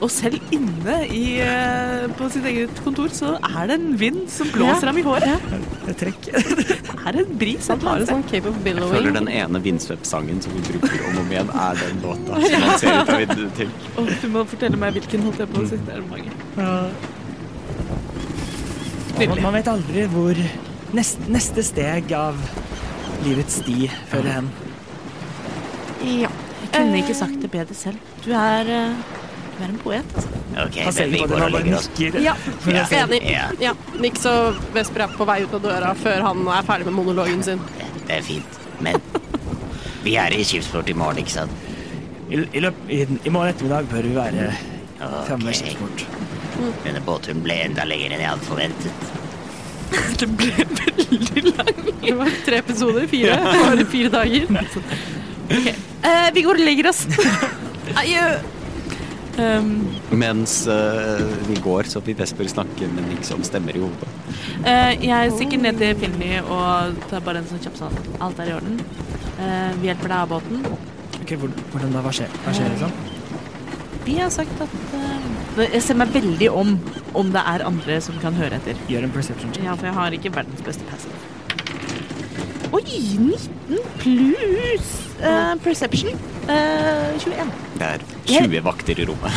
Speaker 5: Og selv inne i, øh, på sitt eget kontor så er det en vind som blåser ham i håret.
Speaker 3: et trekk.
Speaker 5: Det er en bris.
Speaker 2: Han har en sånn cape of
Speaker 8: Jeg føler
Speaker 2: billowing.
Speaker 8: den ene Vindsvøp-sangen som vi bruker om og om igjen, er den låta som man ser ut av vinduet til.
Speaker 5: Åh, du må fortelle meg hvilken holdt jeg på å si. Det er mange.
Speaker 3: Man, man vet aldri hvor neste, neste steg av livets sti fører hen.
Speaker 5: Ja. Jeg kunne ikke sagt det bedre selv. Du er, øh, du er en poet, altså.
Speaker 6: Ok,
Speaker 3: Han
Speaker 6: men
Speaker 3: ser
Speaker 6: vi
Speaker 3: ikke på det,
Speaker 6: går og
Speaker 3: han bare
Speaker 6: legger oss.
Speaker 3: nikker.
Speaker 2: Ja,
Speaker 3: For å si-
Speaker 2: enig.
Speaker 6: Ja.
Speaker 2: Ja, Nix og Vesper er på vei ut av døra før han er ferdig med monologen sin.
Speaker 6: Det er fint. Men vi er i skipsport i morgen, ikke sant?
Speaker 3: I, i, løp, i, I morgen ettermiddag bør vi være framme ved
Speaker 6: Ok.
Speaker 3: skipsport.
Speaker 6: Denne båtturen ble enda lenger enn jeg hadde forventet.
Speaker 2: Det ble veldig lang. Det var tre episoder, fire. Bare fire dager.
Speaker 5: Eh, vi går og legger oss. Adjø. Um,
Speaker 8: Mens eh, vi går, så vil Vesper snakke med Nix om stemmer i hodet.
Speaker 5: eh, jeg stikker ned til Finley og tar bare en sånn kjapp sånn. Alt er i orden. Eh, vi hjelper deg av båten.
Speaker 3: Ok, hvor- hvordan da? Hva skjer? Hva skjer liksom?
Speaker 5: Vi har sagt at eh, Jeg ser meg veldig om om det er andre som kan høre etter.
Speaker 3: Gjør en perception check.
Speaker 5: Ja, for jeg har ikke verdens beste passive. Oi! 19 pluss eh, perception. eh, 21.
Speaker 8: Det er 20 vakter i rommet.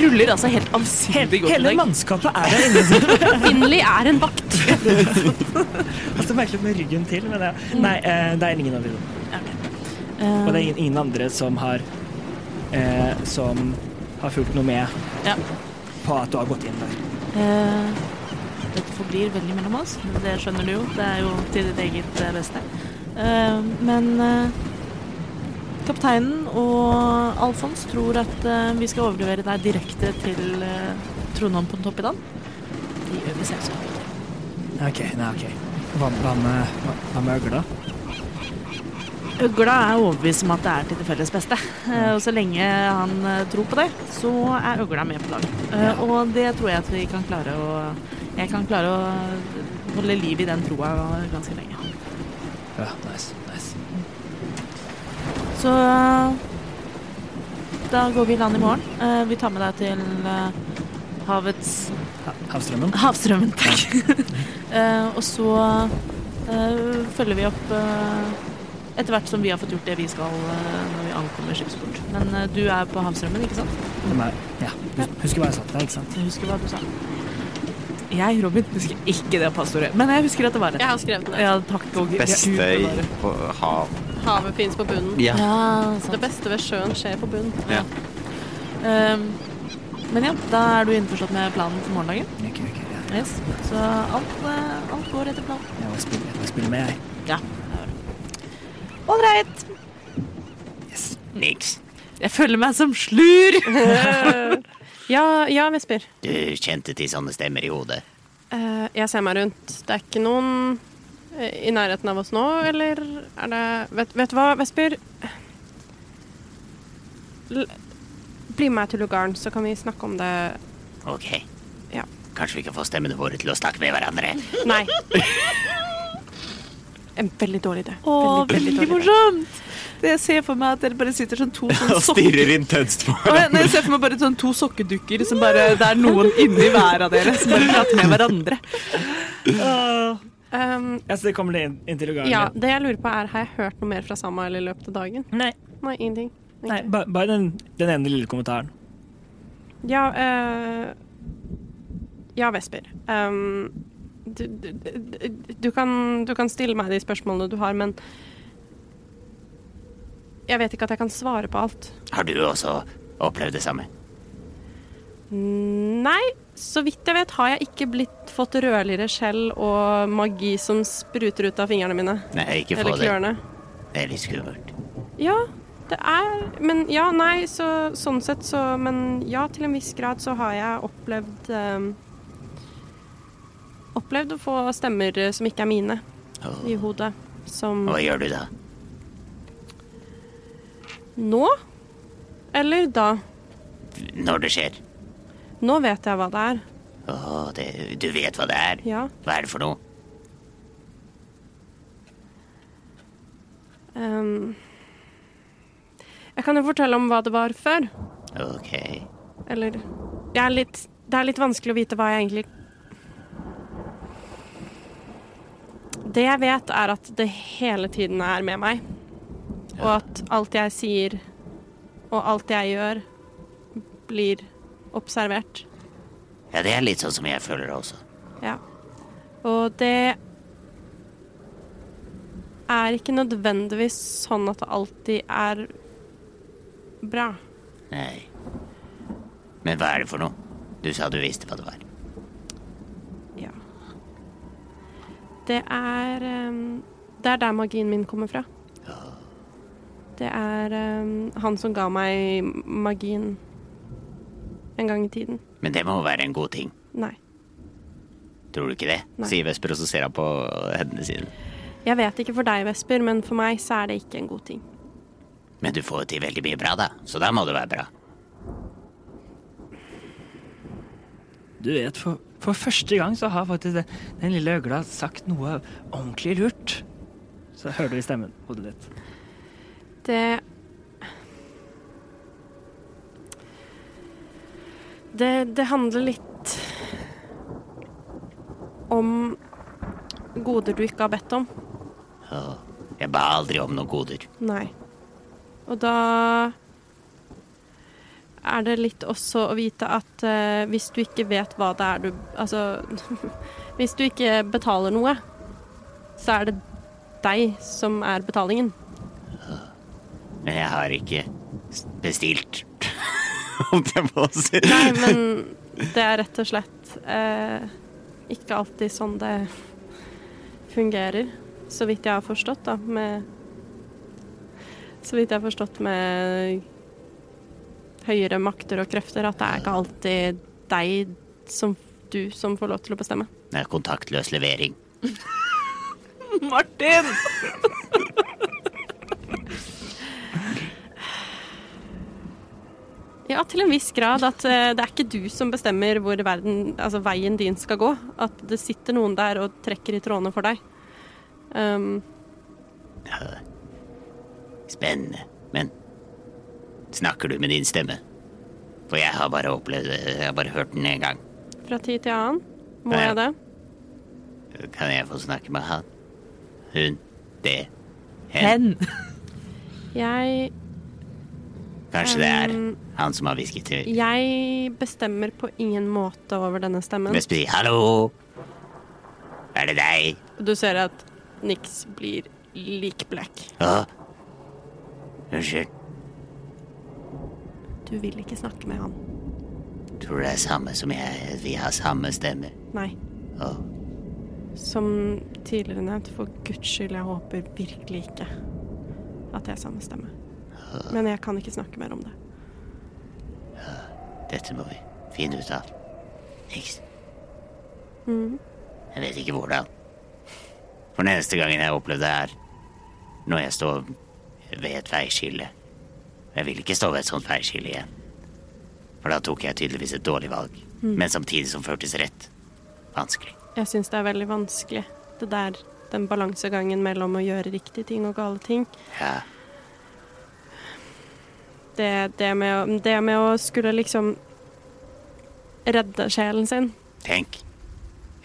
Speaker 5: Ruller altså helt avsindig godt i
Speaker 3: Hele
Speaker 5: dag.
Speaker 3: mannskapet er der inne. så-
Speaker 2: Finley er en vakt.
Speaker 3: Altså, merkelig med ryggen til, men ja. Nei, eh, det er ingen av de.
Speaker 5: Eh,
Speaker 3: Og det er ingen, ingen andre som har eh, som har fulgt noe med
Speaker 5: Ja.
Speaker 3: på at du har gått inn der.
Speaker 5: eh, dette forblir veldig mellom oss. men Det skjønner du jo. Det er jo til ditt eget eh, beste. Eh, men eh, kapteinen og Alfons tror at eh, vi skal overlevere deg direkte til eh, Trondheim på Toppiddan. De øver selvsagt ikke.
Speaker 3: Ok, nei, ok. Hva, hva med, hva- hva med øgla?
Speaker 5: Øgla er overbevist om at det er til det felles beste. Eh, Og så lenge han eh, tror på det, så er øgla med på laget. Eh, Og det tror jeg at vi kan klare å Jeg kan klare å holde liv i den troa ganske lenge.
Speaker 3: Ja, nice, nice.
Speaker 5: Så da går vi i land i morgen. Eh, Vi tar med deg til eh, havets
Speaker 3: Ha, havstrømmen?
Speaker 5: Havstrømmen, takk. Eh, og så eh, følger vi opp eh, etter hvert som vi har fått gjort det vi skal eh, når vi ankommer skipsport. Men eh, du er på Havstrømmen, ikke sant?
Speaker 3: Den er, ja. Hus- Husker hva jeg sa til deg, ikke sant?
Speaker 5: Jeg husker hva du sa. Jeg, Robin, husker ikke det passordet, men jeg husker at det var det.
Speaker 2: Jeg har skrevet den.
Speaker 5: Ja, takk og
Speaker 8: Beste
Speaker 5: Gud
Speaker 8: i
Speaker 5: bevare.
Speaker 8: på hav.
Speaker 2: Havet fins på bunnen.
Speaker 8: Ja.
Speaker 5: Ja,
Speaker 2: Det
Speaker 5: sant.
Speaker 2: beste ved sjøen skjer på bunnen.
Speaker 8: Ja.
Speaker 5: Ehm, men ja, da er du innforstått med planen for morgendagen.
Speaker 3: Ok, ok, ja.
Speaker 5: Yes. Så alt, eh, alt går etter planen.
Speaker 3: Jeg må spille, jeg må spille med, jeg.
Speaker 5: Ålreit.
Speaker 3: Yes.
Speaker 6: Niks.
Speaker 5: Jeg føler meg som slur.
Speaker 2: Ja, ja Vesper.
Speaker 6: Du kjente til sånne stemmer i hodet.
Speaker 2: Eh, jeg ser meg rundt. Det er ikke noen eh, i nærheten av oss nå, eller er det Vet, vet du hva, Vesper? L bli med meg til lugaren, så kan vi snakke om det
Speaker 6: Ok.
Speaker 2: Ja.
Speaker 6: Kanskje vi kan få stemmene våre til å snakke med hverandre.
Speaker 2: Nei. En veldig dårlig idé.
Speaker 5: Å,
Speaker 2: Veldig,
Speaker 5: veldig
Speaker 2: veldig dårlig idé.
Speaker 5: morsomt! Det jeg ser for meg at dere bare sitter sånn to sånn
Speaker 8: Og
Speaker 5: sokker...
Speaker 8: stirrer intenst på
Speaker 5: Å, ja, nei, jeg ser for meg bare sånn to sokkedukker som bare Det er noen inni hver av dere som bare prater med hverandre.
Speaker 2: Um,
Speaker 3: Ja, så Ah, det kommer det inn, inn til lugaren?
Speaker 2: ja,
Speaker 3: ja.
Speaker 2: det jeg lurer på er, har jeg hørt noe mer fra Samael i løpet av dagen?
Speaker 3: Nei,
Speaker 2: Nei, ingenting.
Speaker 3: nei, ba- bare den, den ene lille kommentaren.
Speaker 2: Ja, eh, ja Vesper. Ehm, du, du, du- du, kan, du kan stille meg de spørsmålene du har, men jeg vet ikke at jeg kan svare på alt.
Speaker 6: Har du også opplevd det samme?
Speaker 2: Nei, så vidt jeg vet har jeg ikke blitt fått rødligere skjell og magi som spruter ut av fingrene mine.
Speaker 6: Nei, ikke
Speaker 2: Eller
Speaker 6: få det.
Speaker 2: klørne.
Speaker 6: Det er litt skummelt.
Speaker 2: Ja, det er Men ja, nei, så sånn sett så Men ja, til en viss grad så har jeg opplevd ehm, Opplevd å få stemmer eh, som ikke er mine
Speaker 6: Åh.
Speaker 2: i hodet. Som
Speaker 6: Hva gjør du da?
Speaker 2: nå eller da.
Speaker 6: Når det skjer?
Speaker 2: Nå vet jeg hva det er.
Speaker 6: Åh, det, du vet hva det er.
Speaker 2: Ja.
Speaker 6: Hva er det for noe?
Speaker 2: ehm. jeg kan jo fortelle om hva det var før.
Speaker 6: Ok.
Speaker 2: Eller jeg er litt, Det er litt vanskelig å vite hva jeg egentlig Det jeg vet, er at det hele tiden er med meg. Og at alt jeg sier og alt jeg gjør, blir observert.
Speaker 6: Ja, det er litt sånn som jeg føler det også.
Speaker 2: Ja. Og det er ikke nødvendigvis sånn at det alltid er bra.
Speaker 6: Nei. Men hva er det for noe? Du sa du visste hva det var.
Speaker 2: Ja. Det er ehm, Det er der magien min kommer fra. Det er ehm, han som ga meg magien en gang i tiden.
Speaker 6: Men det må være en god ting.
Speaker 2: Nei.
Speaker 6: Tror du ikke det?
Speaker 2: Nei.
Speaker 8: Sier Vesper, og så ser han på hendene sine.
Speaker 2: Jeg vet ikke for deg, Vesper, men for meg så er det ikke en god ting.
Speaker 6: Men du får jo til veldig mye bra, da. Så da må det være bra.
Speaker 3: Du vet, for, for første gang så har faktisk det, den lille øgla sagt noe ordentlig lurt. Så hører du i stemmen hodet ditt.
Speaker 2: Det Det, det handler litt om goder du ikke har bedt om.
Speaker 6: Åh, Jeg ba aldri om noen goder.
Speaker 2: Nei. Og da er det litt også å vite at eh, hvis du ikke vet hva det er du Altså Hvis du ikke betaler noe, så er det deg som er betalingen.
Speaker 6: Men jeg har ikke s- bestilt, holdt jeg på å si.
Speaker 2: Nei, men det er rett og slett eh, ikke alltid sånn det fungerer. Så vidt jeg har forstått, da, med Så vidt jeg har forstått med høyere makter og krefter, at det er ikke alltid deg som du som får lov til å bestemme.
Speaker 6: Det er kontaktløs levering.
Speaker 9: Martin!
Speaker 2: Ja, til en viss grad. At eh, det er ikke du som bestemmer hvor verden, altså veien din skal gå. At det sitter noen der og trekker i trådene for deg. Um,
Speaker 6: Spennende. Men snakker du med din stemme? For jeg har bare opplevd Jeg har bare hørt den én gang.
Speaker 2: fra tid til annen må
Speaker 6: Ja, ja.
Speaker 2: jeg det.
Speaker 6: Kan jeg få snakke med han? Hun? Det? Hen?
Speaker 1: Hen.
Speaker 2: Jeg
Speaker 6: Kanskje det er
Speaker 2: Hen.
Speaker 6: han som har hvisket til
Speaker 2: Jeg bestemmer på ingen måte over denne stemmen.
Speaker 6: Vesperi? Hallo? Er det deg?
Speaker 2: Du ser at Nix blir likblekk.
Speaker 6: Å? Unnskyld.
Speaker 2: Du vil ikke snakke med han.
Speaker 6: Tror du det er samme som jeg? Vi har samme stemme?
Speaker 2: Nei.
Speaker 6: Å,
Speaker 2: Som tidligere nevnt, for guds skyld, jeg håper virkelig ikke at jeg er samme stemme. Men jeg kan ikke snakke mer om det.
Speaker 6: dette må vi finne ut av. Niks. Jeg vet ikke hvordan. For den eneste gangen jeg har opplevd det, er når jeg står ved et veiskille. Jeg vil ikke stå ved et sånt veiskille igjen. For da tok jeg tydeligvis et dårlig valg, men samtidig som føltes rett. Vanskelig.
Speaker 2: Jeg syns det er veldig vanskelig, det der den balansegangen mellom å gjøre riktige ting og gale ting.
Speaker 6: Ja.
Speaker 2: Det, det, med, å- det med å skulle liksom redde sjelen sin.
Speaker 6: Tenk.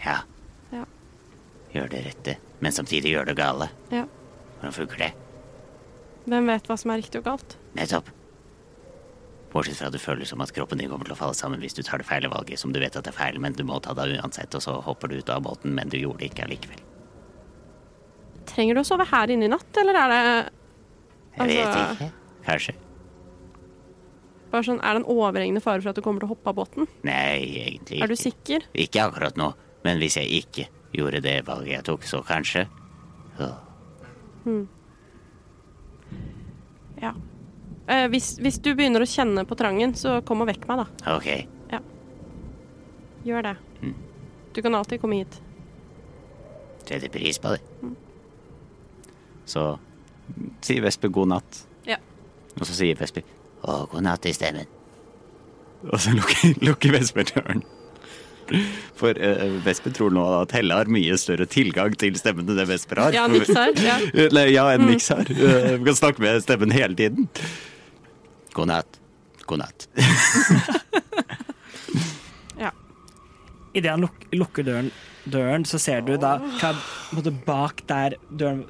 Speaker 6: Ja.
Speaker 2: Ja.
Speaker 6: Gjør det rette, men samtidig gjør det gale.
Speaker 2: Ja.
Speaker 6: Hvordan funker det?
Speaker 2: Hvem vet hva som er riktig og galt?
Speaker 6: Nettopp. Bortsett fra at du føler som at kroppen din kommer til å falle sammen hvis du tar det feile valget som du vet at det er feil, men du må ta det uansett, og så hopper du ut av båten, men du gjorde det ikke allikevel.
Speaker 2: Trenger du å sove her inne i natt, eller er det
Speaker 6: Jeg vet
Speaker 2: Altså-
Speaker 6: ikke. Kanskje.
Speaker 2: bare sånn, er det en overhengende fare for at du kommer til å hoppe av båten?
Speaker 6: Nei, egentlig
Speaker 2: Er du
Speaker 6: ikke.
Speaker 2: sikker?
Speaker 6: Ikke akkurat nå, men hvis jeg ikke gjorde det valget jeg tok, så kanskje. Åh,
Speaker 2: Ja. Eh, hvis, hvis du begynner å kjenne på trangen, så kom og vekk meg, da.
Speaker 6: Ok,
Speaker 2: Gjør det.
Speaker 3: Mm.
Speaker 2: Du kan alltid komme hit.
Speaker 6: setter pris på det.
Speaker 2: Mm.
Speaker 8: Så sier Vesper god natt.
Speaker 2: Ja.
Speaker 8: Og så sier Vesper
Speaker 6: Å, god natt i stemmen.
Speaker 8: Og så lukker, lukker Vesper døren. For eh, Vesper tror nå at Helle har mye større tilgang til stemmen enn det Vesper har.
Speaker 2: Ja, Mm. Nix her. Ja.
Speaker 8: Nei, ja, enn Nix har. Eh, vi kan snakke med stemmen hele tiden.
Speaker 6: God natt. God natt.
Speaker 2: ja.
Speaker 3: Idet han luk lukker døren, døren, så ser du da hva, på en måte bak der døren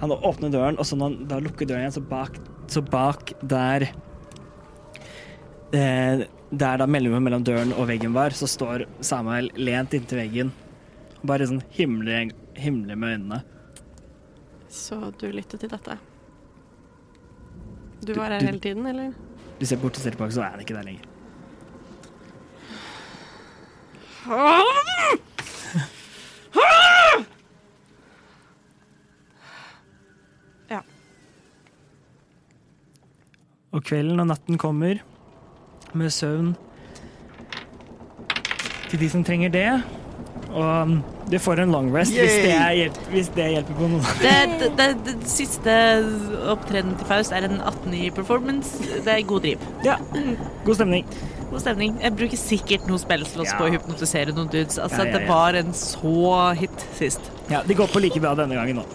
Speaker 3: Han åpner døren, og så når han da lukker døren igjen, så bak, så bak der eh, Der da mellomrommet mellom døren og veggen var, så står Samuel lent inntil veggen. Bare sånn himler himler med øynene.
Speaker 2: Så du lyttet til dette.
Speaker 3: Du-
Speaker 2: Du var her
Speaker 3: du-
Speaker 2: hele tiden, eller?
Speaker 3: Du ser bort og ser tilbake, så er han ikke der lenger.
Speaker 2: Ja.
Speaker 3: Og kvelden og natten kommer med søvn til de som trenger det. Og du får en long rest hvis det, er hjelp, hvis det hjelper på noen.
Speaker 5: Det, det, det, det siste opptredenen til Faust er en 18 i performance. Det er god driv.
Speaker 3: Ja, god stemning.
Speaker 5: God stemning. Jeg bruker sikkert noe spillslåss
Speaker 3: Ja.
Speaker 5: på å hypnotisere noen dudes. Altså,
Speaker 3: Ja, ja,
Speaker 5: Det
Speaker 3: ja.
Speaker 5: var en så hit sist.
Speaker 3: Ja, Det går på like bra denne gangen nå.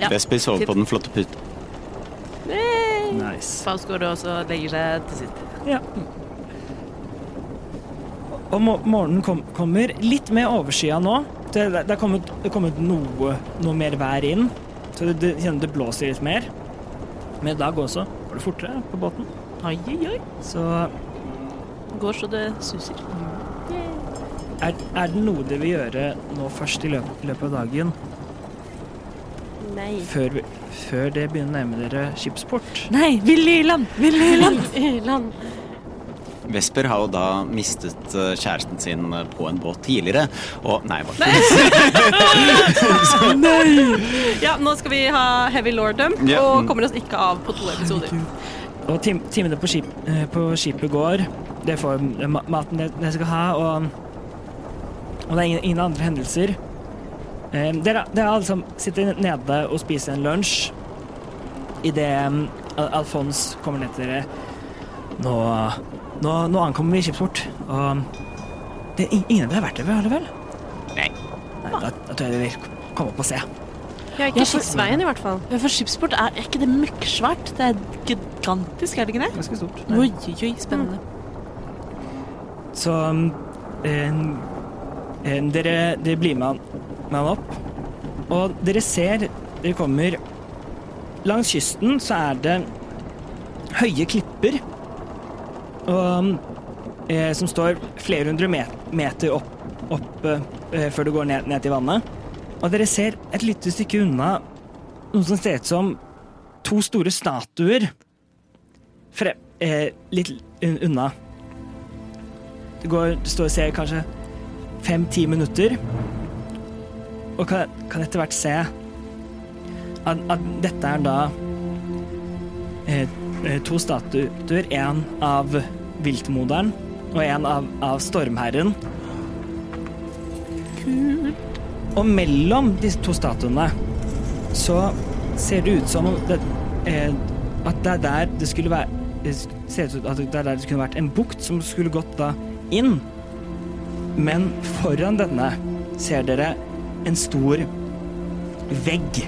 Speaker 5: Ja.
Speaker 8: Vesper sover på den flotte puta.
Speaker 3: Nice.
Speaker 5: Faust går også og legger seg til sist.
Speaker 3: Ja. Og mo- morgenen kom, kommer litt mer overskya nå. Det, det, det er kommet, det er kommet noe, noe mer vær inn, så det, det, kjenner det blåser litt mer. Men i dag også går det fortere på båten.
Speaker 9: Oi, oi, oi.
Speaker 3: Så
Speaker 9: Går så det suser.
Speaker 7: Mm.
Speaker 3: er, er det noe dere vil gjøre nå først i løpet, løpet av dagen,
Speaker 2: Nei.
Speaker 3: før, vi- før det begynner å nærme dere skipsport?
Speaker 7: Nei, Willy Land! Willy Land!
Speaker 2: Land.
Speaker 8: Vesper har jo da mistet eh, kjæresten sin eh, på en båt tidligere, og Nei, hva
Speaker 2: Ja, nå skal vi ha heavy lordom,
Speaker 8: Ja.
Speaker 3: Mm.
Speaker 2: og kommer oss ikke av på to episoder.
Speaker 3: Og tim timene på, skip eh, på skipet går. Dere får ma- maten dere- dere skal ha, og, og det er ingen, ingen andre hendelser. Eh, Dere, dere alle som sitter nede og spiser en lunsj idet um, Alfons kommer ned til dere. Nå, nå, nå ankommer vi skipsport, og det er in- ingen av dere har vært der, har dere vel?
Speaker 6: Nei.
Speaker 3: Nei, da, da tror jeg dere vil komme opp og se.
Speaker 2: Ja, ikke skipsveien i hvert fall.
Speaker 7: Ja, For skipsport er, er ikke det møkksvært? Det er gigantisk, er det ikke det?
Speaker 3: Ganske stort.
Speaker 7: Oi, oi, oi, spennende.
Speaker 3: Så um, en, en, dere, dere blir med han, med han opp. Og dere ser Dere kommer Langs kysten så er det høye klipper og, um, eh, som står flere hundre met meter opp, opp eh, før du går ned, ned til vannet. Og dere ser et lite stykke unna noe som ser ut som to store statuer fre eh, litt un unna. Det går, det står og ser kanskje fem-ti minutter, og kan, kan etter hvert se at, at dette er da eh, eh, to statuer, en av viltmoderen og en av, av stormherren. Og mellom disse to statuene så ser det ut som om det, eh, at det er der det skulle være det ser ut som at det er der det skulle vært en bukt som skulle gått da inn. Men foran denne ser dere en stor vegg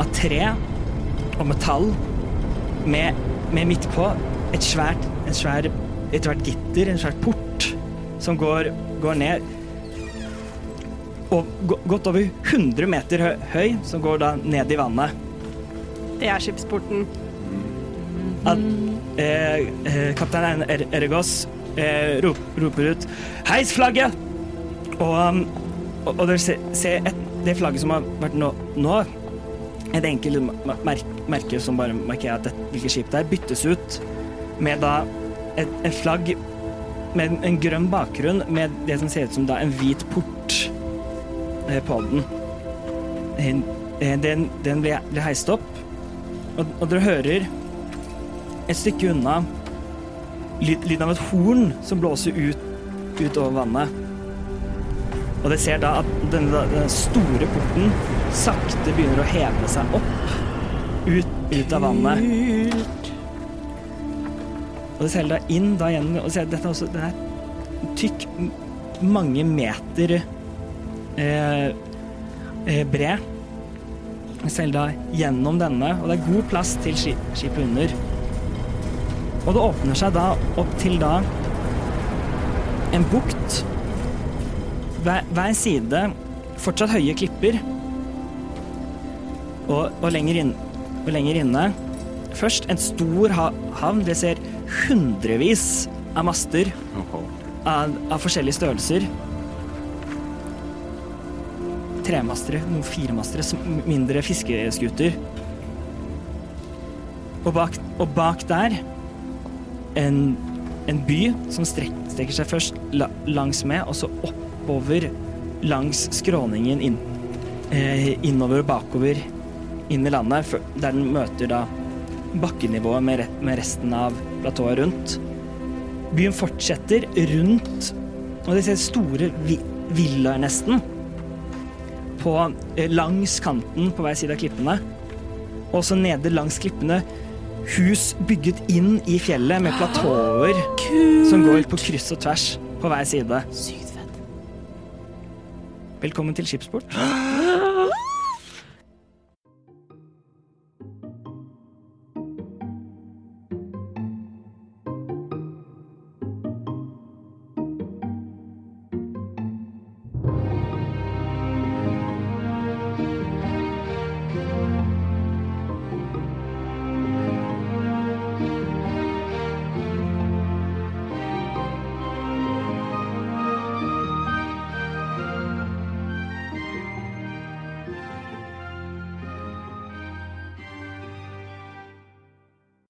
Speaker 3: av tre og metall med, med midtpå et svært, en svær, et svært gitter, en svær port, som går, går ned og gå- godt over 100 meter hø- høy, som går da ned i vannet.
Speaker 2: Det er skipsporten.
Speaker 3: at eh, eh, kaptein er Ergos eh, rop, roper ut Heis flagget! Og, um, og, og dere ser, ser et, det flagget som har vært nå, nå et enkelt ma- merk, merke som bare markerer at dette- hvilket skip det er, byttes ut med da et, et flagg med en- en grønn bakgrunn med det som ser ut som da en hvit port eh, på den. En- eh, Den, den blir blir heist opp, og, og dere hører et stykke unna lyd- lyden av et horn som blåser ut, ut over vannet. Og dere ser da at denne, da- denne store porten sakte begynner å heve seg opp ut, ut av vannet.
Speaker 7: Mm.
Speaker 3: Og dere ser da inn da igjen, og ser at dette er også den er tykk, m- mange meter eh, eh, bred. Dere ser da gjennom denne, og det er god plass til ski- skipet under. Og det åpner seg da opp til da en bukt. Hver, hver side fortsatt høye klipper. Og, og, lenger, inn, og lenger inne først en stor ha havn. Dere ser hundrevis av master av, av forskjellige størrelser. Tremastere, noen firemastere, sm- mindre fiskeskuter. Og bak, og bak der en, en by som strek, strekker seg først la, langs med, og så oppover langs skråningen inn, eh, innover og bakover inn i landet, før- der den møter da bakkenivået med, re- med resten av platået rundt. Byen fortsetter rundt, og de ser store vi, villaer nesten, på, eh, langs kanten på hver side av klippene. Og så nede langs klippene hus bygget inn i fjellet med platåer som går på kryss og tvers på hver side. Velkommen til skipsport.